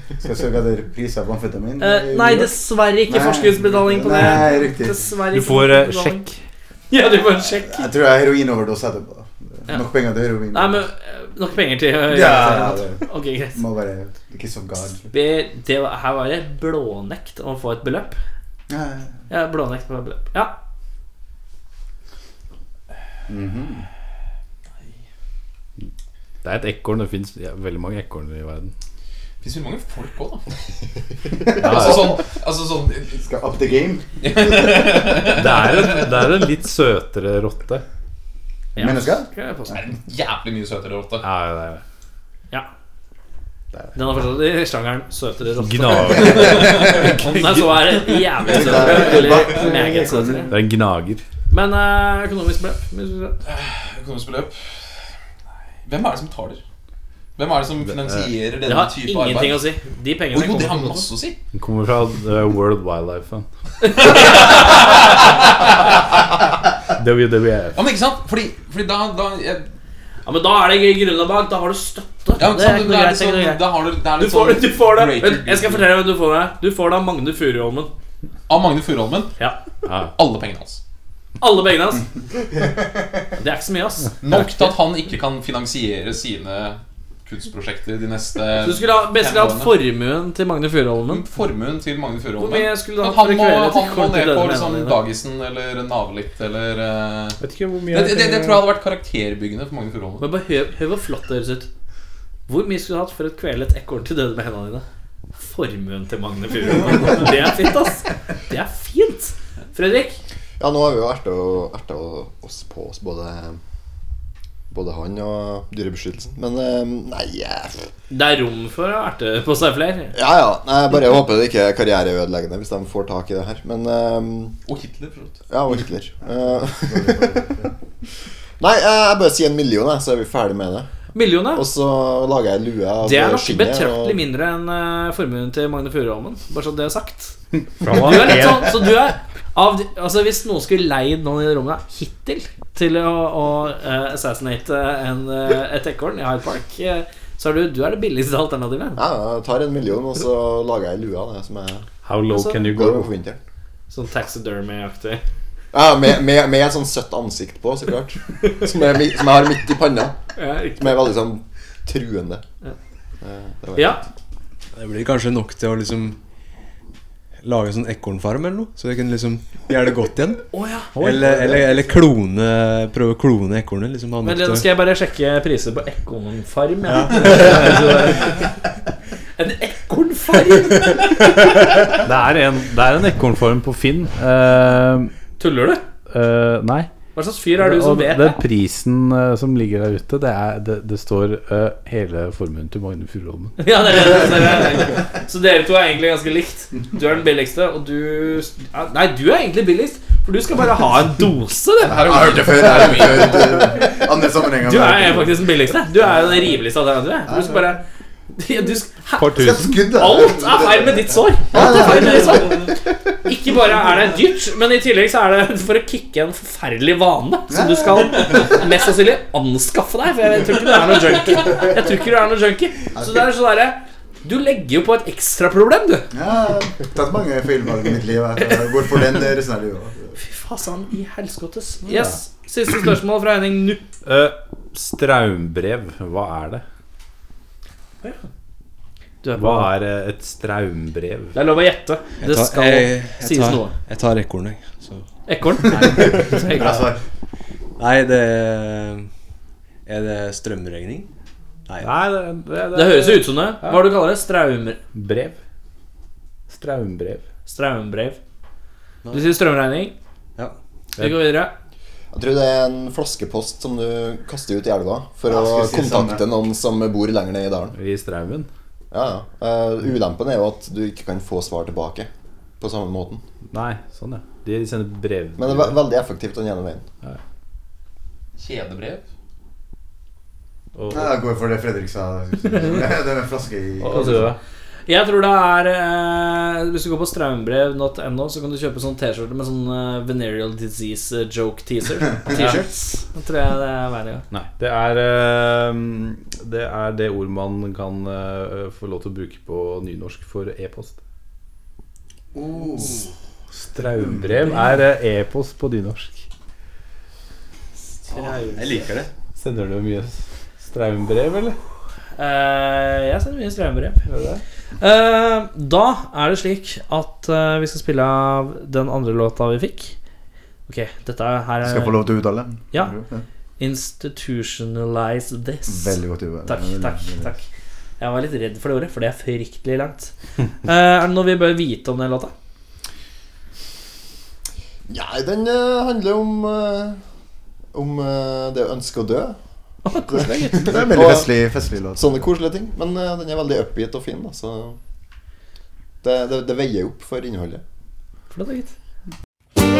Speaker 7: Skal jeg søke etter priser på amfetamin?
Speaker 2: Eh, nei, dessverre ikke forskuddsbetaling på det.
Speaker 7: Nei, riktig.
Speaker 2: Dessverre Du ikke får, eh, forskuddsbetaling. sjekk. Ja, du får en sjekk.
Speaker 7: Jeg tror jeg har heroinoverdose etterpå. Nok penger til heroin.
Speaker 2: Nei, men eh, nok penger til
Speaker 7: Ja,
Speaker 2: eh,
Speaker 7: ja,
Speaker 2: det- Ok, greit.
Speaker 7: Må bare ikke så gard.
Speaker 2: Det, det var, her var det blånekt å få et beløp.
Speaker 7: Ja, ja,
Speaker 2: Ja, blånekt på et beløp. Ja. Mhm.
Speaker 3: Det er et ekorn. Det fins veldig mange ekorner i verden.
Speaker 8: Det fins jo mange folk òg, da.
Speaker 3: Ja, ja.
Speaker 8: altså sånn, altså sånn
Speaker 7: Skal up the game.
Speaker 3: Det er en, det er en litt søtere rotte.
Speaker 2: Ja. Menneske?
Speaker 8: Det er en jævlig mye søtere rotte.
Speaker 3: Ja, det er det.
Speaker 2: ja. Den er fortsatt i sjangeren søtere rotte.
Speaker 3: Gnager.
Speaker 2: Om det er så er det jævlig søtere. Eller meget
Speaker 3: Det
Speaker 2: søtere.
Speaker 3: er en gnager.
Speaker 2: Men eh, økonomisk beløp. hvis du ser.
Speaker 8: Eh, Økonomisk beløp Hvem er det som betaler? Hvem er det som finansierer
Speaker 2: Det
Speaker 8: denne
Speaker 2: har
Speaker 8: type arbeid?
Speaker 2: ingenting å si. De pengene
Speaker 8: Å, jo, det har
Speaker 2: kommer
Speaker 8: masse å si.
Speaker 3: Den kommer fra eh, World Wildlife Fund. WWF. E.
Speaker 8: Ja, men ikke sant? Fordi, fordi da, da jeg,
Speaker 2: Ja, men da er det grunner bak. Da har du støtte.
Speaker 8: Ja, men
Speaker 2: Det er
Speaker 8: sant,
Speaker 2: ikke
Speaker 8: da
Speaker 2: noe
Speaker 8: er
Speaker 2: greit,
Speaker 8: det
Speaker 2: det er ikke noe
Speaker 8: sånn-
Speaker 2: greit.
Speaker 8: da har du- det er
Speaker 2: Du
Speaker 8: litt
Speaker 2: får det.
Speaker 8: sånn
Speaker 2: Du får det.
Speaker 8: greater
Speaker 2: Vent, Jeg skal fortelle deg hvem du får det. Du får det av Magne Furuholmen.
Speaker 8: Av Magne Furuholmen?
Speaker 2: Ja.
Speaker 8: Alle pengene hans.
Speaker 2: Alle pengene hans. Det er ikke så mye, ass.
Speaker 8: Nok til at han ikke kan finansiere sine kunstprosjekter de neste
Speaker 2: Så du skulle ha, best skulle hatt formuen til Magne Furuholmen?
Speaker 8: Formuen til Magne
Speaker 2: Hvor
Speaker 8: Furuholmen.
Speaker 2: mye skulle du
Speaker 8: Men
Speaker 2: hatt for
Speaker 8: han
Speaker 2: å
Speaker 8: må,
Speaker 2: kvele til
Speaker 8: han må
Speaker 2: kortet
Speaker 8: ned
Speaker 2: døde
Speaker 8: på
Speaker 2: med
Speaker 8: liksom
Speaker 2: dine?
Speaker 8: Dagisen eller Navelitt eller eh,
Speaker 2: mye
Speaker 8: det, det, det
Speaker 2: penger-
Speaker 8: tror jeg hadde vært karakterbyggende for Magne Furuholmen.
Speaker 2: Men bare hør, hør hvor flott det høres ut. Hvor mye skulle du hatt for et kvelet ekorn til døde med hendene dine? Formuen til Magne Furuholmen. Det er fint, ass. Det er fint. Fredrik?
Speaker 9: Ja, nå har vi jo erta erta oss på oss både både han og Dyrebeskyttelsen. Men
Speaker 10: ehm,
Speaker 9: eh, nei jeg-
Speaker 2: Det er rom for å erte på seg flere.
Speaker 9: Ja ja. Nei, jeg bare håper det ikke er karriereødeleggende hvis de får tak i det her. Men eh,
Speaker 8: Og Hitler, for så vidt.
Speaker 9: Ja, og Hitler. Eh, Nei, eh, jeg bare sier en million, jeg, så er vi ferdig med det.
Speaker 2: Million, ja.
Speaker 9: Og så lager jeg lue av
Speaker 2: Det er nok
Speaker 9: skinnet,
Speaker 2: betraktelig
Speaker 9: og-
Speaker 2: mindre enn eh, formuen til Magne Furuholmen. Bare så det er sagt. Du
Speaker 3: han var
Speaker 2: er litt
Speaker 3: helt-
Speaker 2: sånn, så du er av, de- altså Hvis noen skulle leid noen i det rommet her hittil til å, å eh, assassinate en, eh, et ekorn i Hyde Park, eh, så er du, du er det billigste alternativet.
Speaker 9: Ja, jeg tar en million, og så lager jeg lue av det som jeg
Speaker 3: How low
Speaker 2: Altså, can you
Speaker 9: går
Speaker 2: go?
Speaker 9: på vinteren.
Speaker 2: Sånn taxidermy-aktig.
Speaker 9: Ja, med, med, med et sånn søtt ansikt på, så klart. Som jeg, mi- som jeg har midt i panna.
Speaker 2: Ja, riktig.
Speaker 9: Som er veldig sånn truende.
Speaker 2: Ja.
Speaker 9: Eh, det var-
Speaker 2: Ja.
Speaker 10: Det blir kanskje nok til å liksom lage sånn ekornfarm eller noe, så jeg kan liksom gjøre det godt igjen.
Speaker 2: Å ja.
Speaker 10: Eller, eller, eller klone Prøve å klone ekornet. Liksom, ha nok
Speaker 2: Men eh,
Speaker 10: til
Speaker 2: nå
Speaker 10: å-
Speaker 2: skal jeg bare sjekke priser på ekornfarm. Ja. en ekornfarm?
Speaker 3: Det er en, det er en ekornform på Finn. Eh,
Speaker 2: Tuller du?
Speaker 3: eh, nei.
Speaker 2: Hva slags fyr er du som
Speaker 3: Og
Speaker 2: vet
Speaker 3: Den
Speaker 2: det?
Speaker 3: prisen eh, som ligger der ute, det, er, det, det står eh, hele formuen til Magne Furuholmen.
Speaker 2: Ja, det er det, det, er det. Så dere to er egentlig ganske likt. Du er den billigste, og du ja, Nei, du er egentlig billigst, for du skal bare ha en dose, du.
Speaker 7: Jeg har hørt det før. Jeg har hørt det før. Andre sammenhenger.
Speaker 2: Du er faktisk den billigste. Du er jo den rimeligste av de andre. Du skal bare ja, du skal, hæ?
Speaker 3: Par tusen.
Speaker 2: Alt er feil med ditt sår! Alt er feil med ditt sår. Ikke bare er det dyrt, men i tillegg så er det for å kicke en forferdelig vane som du skal mest sannsynlig anskaffe deg. For jeg tror ikke du er noe junkie. Jeg tror ikke du er noe junkie. Så det er sånn derre Du legger jo på et ekstraproblem, du.
Speaker 7: Ja, jeg har tatt mange feilvalg i mitt liv. Jeg går for den resten av livet.
Speaker 2: Fy fasan i helskottes. Yes. Siste spørsmål fra Henning nå.
Speaker 3: Eh, straumbrev, hva er det? Hva er eh, et straumbrev?
Speaker 2: Det er lov å gjette.
Speaker 10: Jeg
Speaker 2: Det
Speaker 10: tar-
Speaker 2: skal
Speaker 10: jeg- jeg
Speaker 2: sies
Speaker 10: tar-
Speaker 2: noe.
Speaker 10: Jeg tar ekornet, jeg. så-
Speaker 2: Ekorn?
Speaker 10: Nei.
Speaker 2: Bra svar.
Speaker 10: Nei, det Er det strømregning? Nei.
Speaker 3: det,
Speaker 2: Det høres jo ut som det. Hva er det du kaller det? Straumer...
Speaker 3: Brev. Straumbrev.
Speaker 2: Straumbrev. Du sier strømregning.
Speaker 10: Ja.
Speaker 2: Vi går videre.
Speaker 9: Jeg tror det er en flaskepost som du kaster ut i elva for
Speaker 2: Ja,
Speaker 9: å
Speaker 2: jeg skulle si
Speaker 9: kontakte
Speaker 2: samme.
Speaker 9: noen som bor lenger ned i dalen.
Speaker 3: I straumen?
Speaker 9: Ja, ja. Eh, ulempen er jo at du ikke kan få svar tilbake på samme måten.
Speaker 3: Nei, sånn ja. De sender brev.
Speaker 9: Men det er ve veldig effektivt den ene veien.
Speaker 8: Kjedebrev?
Speaker 7: Nei, jeg går for det Fredrik sa. Det er en flaske i
Speaker 3: Hva sier du da?
Speaker 2: Jeg tror det er eh, Hvis du går på straumbrev.no, så kan du kjøpe sånn T-skjorte med sånn eh, Venereal disease eh, joke teaser. T-shirts. Det tror jeg det er veien å gå.
Speaker 3: Nei. Det er, eh, det er det ord man kan eh, få lov til å bruke på nynorsk for e-post. Straumbrev er eh, e-post på nynorsk.
Speaker 10: Jeg liker det.
Speaker 3: Sender du mye straumbrev, eller?
Speaker 2: Eh, jeg sender mye strømbrev.
Speaker 3: det?
Speaker 2: Eh, da er det slik at eh, vi skal spille av den andre låta vi fikk. Ok, dette er- her er
Speaker 7: Skal jeg få lov til å uttale den?
Speaker 2: Ja. Institutionalize this.
Speaker 7: Veldig godt jobba.
Speaker 2: Takk, takk, takk. Jeg var litt redd for det ordet, for det er fryktelig langt. Eh, er det noe vi bør vite om den låta?
Speaker 9: Nei, den eh, handler om eh, Om eh, det å ønske å dø.
Speaker 7: koselig. Det er en veldig
Speaker 9: Og
Speaker 7: festlig- festlig låt.
Speaker 9: Sånne koselige ting. Men eh, den er veldig upbeat og fin, da, så det, det, det veier opp for innholdet.
Speaker 2: Flott, gitt.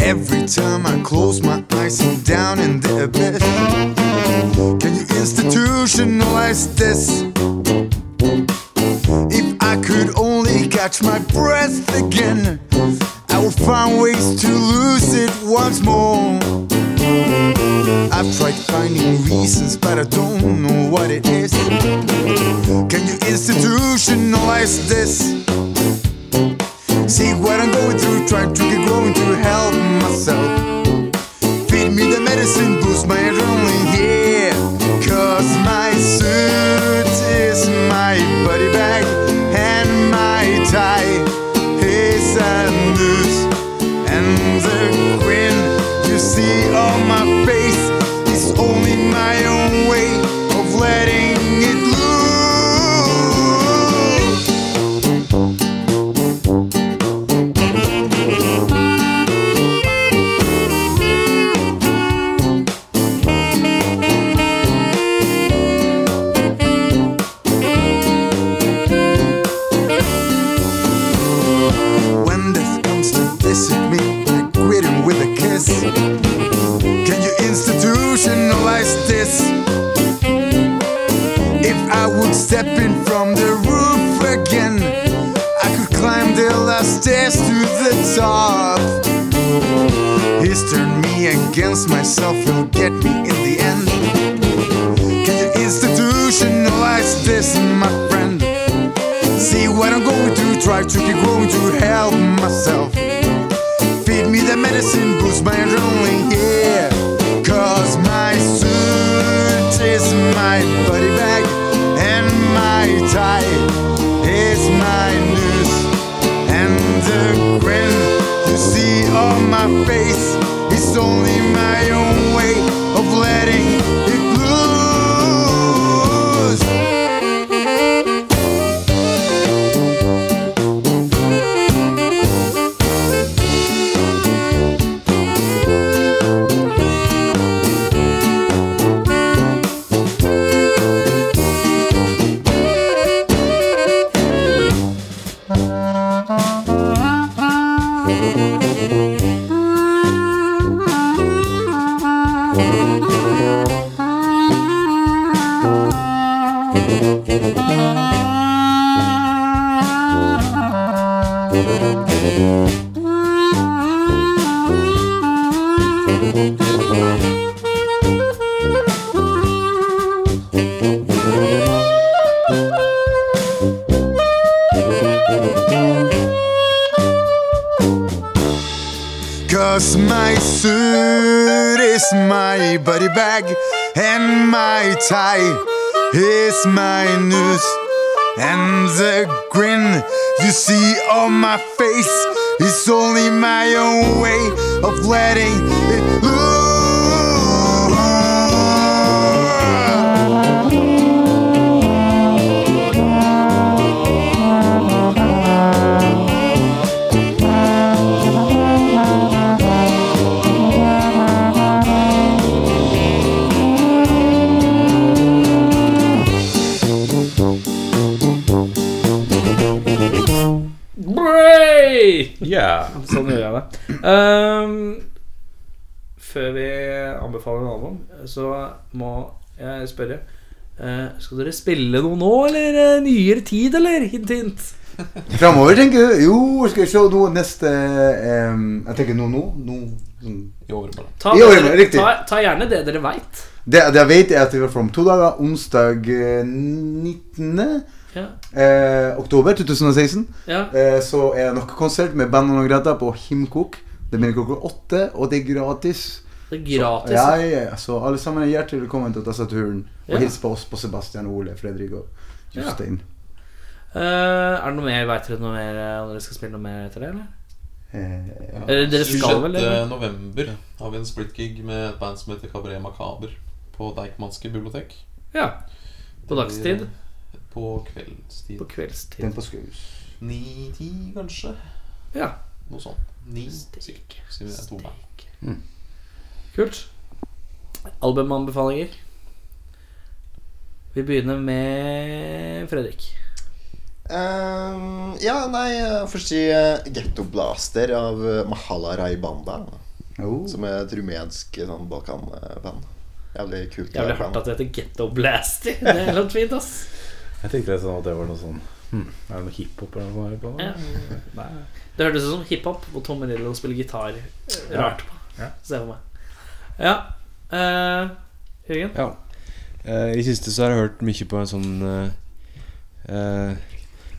Speaker 11: Every time I close my eyes, I'm down in the abyss. Can you institutionalize this? If I could only catch my breath again, I would find ways to lose it once more. I've tried finding reasons, but I don't know what it is. Can you institutionalize this? See what I'm going through, trying to keep growing to help myself. Feed me the medicine, boost my adrenaline, yeah. Cause my suit is my body bag, and my tie is unloose. And the grin you see on my face is only my own way of letting it loose. When death comes to visit me, I greet him with a kiss. Can you institutionalize this? If I would step in from the roof again, I could climb the last stairs to the top. He's turned me against myself, he'll get me in the end. Can you institutionalize this, my friend? See what I'm going to try to keep growing to help myself. Feed me the medicine, boost my adrenaline, yeah. Cause my suit is my body bag, and my tie is my noose. And the grin you see on my face is only my own way of letting it loose. Cause my suit is my body bag and my tie is my noose. And the grin you see on my face is only my own way of letting it loose.
Speaker 2: Sånn gjør jeg det. Ehm, før vi anbefaler en album, så må jeg spørre eh, Skal dere spille noe nå, eller eh, nyere tid, eller? Hint, hint.
Speaker 7: Framover, tenker du? Jo, skal vi se nå neste ehm, Jeg tenker nå, nå. nå sånn- I overmorgen.
Speaker 2: Ta,
Speaker 7: Riktig.
Speaker 2: ta, ta gjerne det dere veit.
Speaker 7: Det, det jeg vet, er at det var om to dager. Onsdag eh, 19.
Speaker 2: Ja.
Speaker 7: Eh, oktober 2016
Speaker 2: Ja.
Speaker 7: eh, så er det nok konsert med band og Greta på Himkok. Det begynner klokka åtte, og det er gratis.
Speaker 2: Det er gratis,
Speaker 7: Så, ja,
Speaker 2: ja.
Speaker 7: ja, ja. så alle sammen er hjertelig velkommen til å ta seg turen. Og
Speaker 2: Ja.
Speaker 7: hils på oss på Sebastian, Ole, Fredrik og
Speaker 2: Ja.
Speaker 7: Jostein.
Speaker 2: Eh, er det noe mer veit dere noe mer eh, om dere skal spille noe mer etter det, eller?
Speaker 7: Eh,
Speaker 2: Eller dere skal vel, eller?
Speaker 8: 26. november har vi en splitgig med et band som heter Cabaret Macaber på Deichmanske bibliotek.
Speaker 2: Ja. På
Speaker 8: Det
Speaker 2: dagstid?
Speaker 8: blir eh, På kveldstid.
Speaker 2: På kveldstid.
Speaker 7: Den på Skaus.
Speaker 8: Ni-ti, kanskje?
Speaker 2: Ja.
Speaker 8: Noe sånt. Ni, sikkert. Siden det er to band.
Speaker 10: Mm.
Speaker 2: Kult. Albumanbefalinger. Vi begynner med Fredrik.
Speaker 9: Ehm, ja, nei, jeg får si eh, Ghetto Blaster av eh, Mahala Rai Banda.
Speaker 7: Oh.
Speaker 9: Som er et rumensk eh, sånn, balkanband. Jævlig kult.
Speaker 2: Jævlig hardt at det heter Ghetto Blaster. Det er helt fint, ass.
Speaker 3: Jeg tenkte det sånn at det var noe sånn hm, Er det noe hiphop eller noe sånt? her på
Speaker 2: Ja.
Speaker 3: det? Nei.
Speaker 2: Det hørtes ut som hiphop hvor Tom Rillo spiller gitar eh, rart på.
Speaker 3: Ja.
Speaker 2: Se for meg. Ja. eh, Jørgen?
Speaker 10: Ja. Eh, I det siste så har jeg hørt mye på en sånn eh, eh,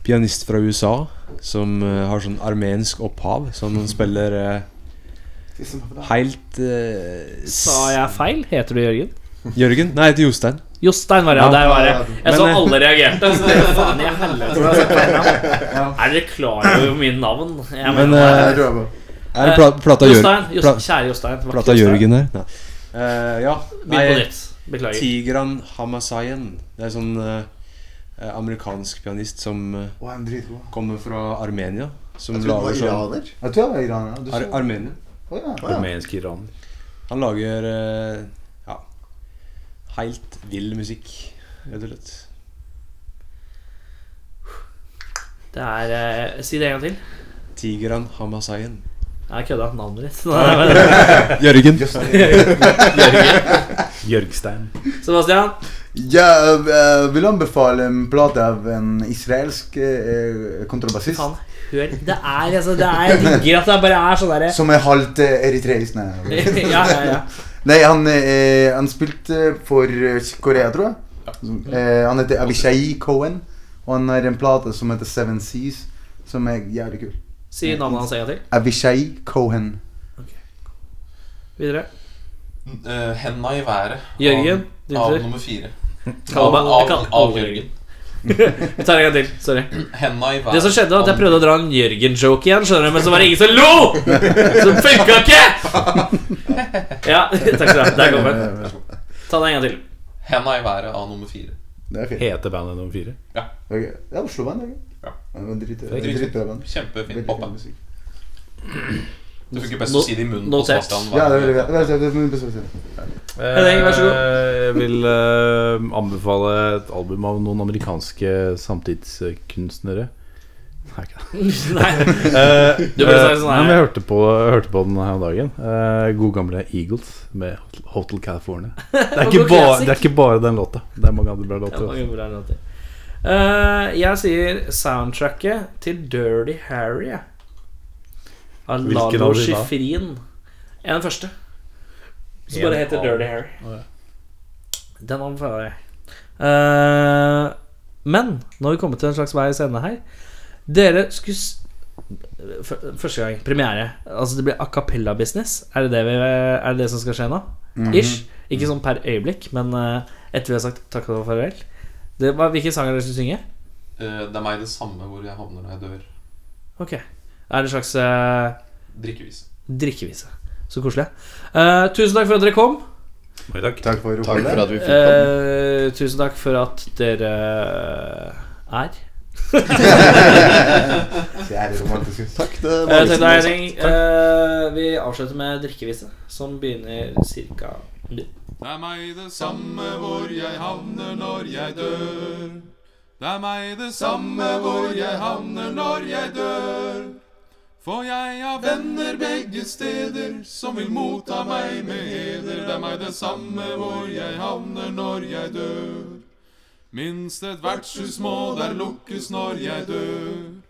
Speaker 10: pianist fra USA som eh, har sånn armensk opphav, som han spiller eh, helt eh, s-
Speaker 2: Sa jeg feil? Heter du Jørgen?
Speaker 10: Jørgen? Nei, jeg heter Jostein.
Speaker 2: Jostein var det, ja. Der var det. Jeg
Speaker 10: Men,
Speaker 2: så
Speaker 10: eh,
Speaker 2: alle reagerte. Så det er faen i helvete. hvor jeg har sett feil navn. Er dere klar over mine navn? Jeg
Speaker 10: Men,
Speaker 2: mener,
Speaker 10: eh,
Speaker 2: jeg tror jeg på.
Speaker 10: er det pla- plata Jør-
Speaker 2: Eh, Jostein, Jost-
Speaker 10: pla-
Speaker 2: Kjære Jostein. det var
Speaker 10: Plata
Speaker 2: ikke Jostein.
Speaker 10: Jørgen her? Nei. Eh, ja.
Speaker 2: Begynn på nytt. Beklager.
Speaker 10: Tigran Hamasayan. Det er sånn eh, eh, amerikansk pianist som eh, kommer fra Armenia. Som
Speaker 9: Jeg trodde han var
Speaker 10: lager sånn
Speaker 9: iraner.
Speaker 7: Jeg tror jeg var iraner. Du
Speaker 10: Ar
Speaker 7: så-
Speaker 10: Armenier.
Speaker 7: Å ja.
Speaker 3: Rumensk iraner.
Speaker 10: Han lager eh, ja helt vill musikk, rett og slett.
Speaker 2: Det er eh, Si det en gang til.
Speaker 10: Tigran Hamasayan.
Speaker 2: Jeg kødda. Navnet ditt.
Speaker 10: Jørgen.
Speaker 2: Jørgen.
Speaker 3: Jørgstein.
Speaker 2: Sebastian?
Speaker 7: Ja, jeg vil anbefale en plate av en israelsk eh, kontrabassist.
Speaker 2: Hør, det er altså Det er jeg digger at det bare er sånn derre
Speaker 7: Som er halvt eh, eritreisk. Nei,
Speaker 2: Ja, ja, ja.
Speaker 7: nei han, eh, han spilte for eh, Korea, tror jeg. Eh, han heter Avishai Cohen, og han har en plate som heter Seven Seas, som er jævlig kul.
Speaker 2: Si navnet hans en gang til.
Speaker 7: Avishai Cohen.
Speaker 2: Videre.
Speaker 8: Eh, henda i været.
Speaker 2: Jørgen, din
Speaker 8: Av, av
Speaker 2: tur.
Speaker 8: nummer fire.
Speaker 2: Kall meg-
Speaker 8: av,
Speaker 2: kall-
Speaker 8: av, av Jørgen.
Speaker 2: Vi tar en gang til. Sorry.
Speaker 8: Henda i været.
Speaker 2: Det som skjedde, var at jeg prøvde å dra en Jørgen-joke igjen, skjønner du, men så var det ingen som lo! Så det funka ikke! Ja, takk skal du ha. Der kom den. Ta den en gang til.
Speaker 8: Henda i været av nummer fire.
Speaker 7: Det er fint.
Speaker 3: Heter bandet nummer fire?
Speaker 8: Ja.
Speaker 7: Det er- det er Oslo-band, ikke?
Speaker 8: Ja.
Speaker 7: Det var drit-
Speaker 8: er dritfint.
Speaker 7: dritbra band.
Speaker 8: Kjempefint
Speaker 7: Veldig
Speaker 8: popband.
Speaker 7: fin musikk.
Speaker 8: Du fikk jo best å si det i munnen. på
Speaker 2: Notert.
Speaker 8: Sebastian, hva
Speaker 7: Ja, det
Speaker 8: er
Speaker 7: er
Speaker 8: det?
Speaker 7: veldig bra. Det er- det er min beste bestilling.
Speaker 2: Henning, vær så god.
Speaker 3: Eh, Jeg vil eh, anbefale et album av noen amerikanske samtidskunstnere. Nei, ikke det.
Speaker 2: Nei.
Speaker 3: Eh,
Speaker 2: Du burde sagt
Speaker 3: eh,
Speaker 2: sånn
Speaker 3: nei,
Speaker 2: her.
Speaker 3: men jeg hørte på, hørte på den her om dagen. Eh, god gamle Eagles med Hotel- Hotel California. Det er, ikke
Speaker 2: God
Speaker 3: bare,
Speaker 2: classic.
Speaker 3: det er ikke bare den låta. Det er mange andre bra altså.
Speaker 2: Det er mange
Speaker 3: låter.
Speaker 2: bra låter. Eh, jeg sier soundtracket til Dirty Harry. jeg. Av
Speaker 3: Hvilken av de
Speaker 2: Lalo
Speaker 3: da?
Speaker 2: Schifrin. Jeg er den første. Som
Speaker 3: En
Speaker 2: bare heter
Speaker 3: av-
Speaker 2: Dirty Harry.
Speaker 3: Å,
Speaker 2: Den anbefaler jeg. Eh, men nå har vi kommet til en slags vei i scenen her. Dere skulle s- F- Første gang. Premiere. Altså det blir a cappella-business. Er, det det vi- er det det som skal skje nå?
Speaker 5: Mhm.
Speaker 2: Ish. Ikke sånn per øyeblikk, men eh, etter vi har sagt takk og farvel. Det var, hvilke sanger dere skulle synge?
Speaker 8: Eh, det er meg det samme hvor jeg havner når jeg dør.
Speaker 2: Ok. Er det en slags eh,
Speaker 8: Drikkevise.
Speaker 2: drikkevise. Så koselig. Eh, tusen takk for at dere kom.
Speaker 3: Takk.
Speaker 7: for,
Speaker 9: Takk for at vi fikk komme.
Speaker 2: Eh, tusen takk for at dere eh, er.
Speaker 7: Det er romantisk. ut.
Speaker 9: Takk, det var
Speaker 2: Eh,
Speaker 9: liksom
Speaker 2: takk til deg,
Speaker 9: noe
Speaker 2: Henning.
Speaker 9: sagt.
Speaker 2: Eh, vi avslutter med drikkevise, som begynner cirka nå.
Speaker 12: Det er meg det samme hvor jeg havner når jeg dør. Det er meg det samme hvor jeg havner når jeg dør. For jeg har venner begge steder som vil motta meg med heder. Det er meg det samme hvor jeg havner når jeg dør. Minst et vertshus må der lukkes når jeg dør.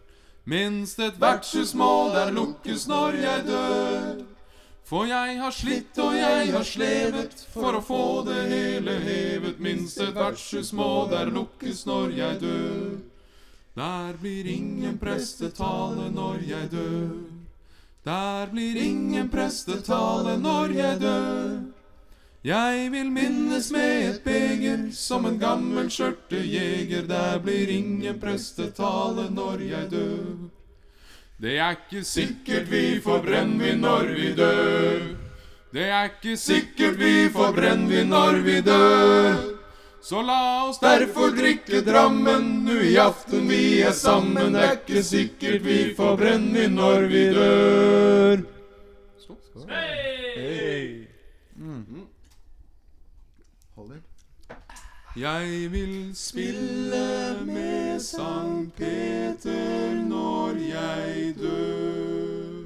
Speaker 12: Minst et vertshus må der lukkes når jeg dør. For jeg har slitt og jeg har slevet for å få det hele hevet. Minst et vertshus må der lukkes når jeg dør. Der blir ingen prestetale når jeg dør. Der blir ingen prestetale når jeg dør. Jeg vil minnes med et beger som en gammel skjørtejeger. Der blir ingen prestetale når jeg dør. Det er ikke sikkert vi får brennevin når vi dør. Det er ikke sikkert vi får brennevin når vi dør. Så la oss derfor drikke Drammen nu i aften vi er sammen. Det er ikke sikkert vi får brennevin når vi dør. Jeg vil spille med Sankt Peter når jeg dør.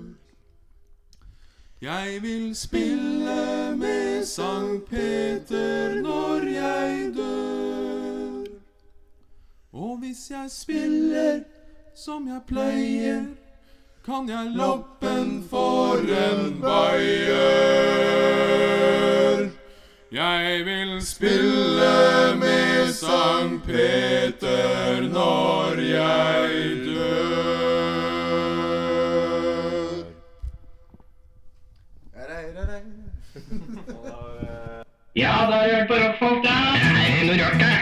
Speaker 12: Jeg vil spille med Sankt Peter når jeg dør. Og hvis jeg spiller som jeg pleier, kan jeg loppen for en bayer. Jeg vil spille med Sankt Peter når jeg dør.
Speaker 7: Nei, nei, nei.
Speaker 5: Ja, da er det rørt på rockfolk, da. Det er noe rart, det.
Speaker 2: Eh,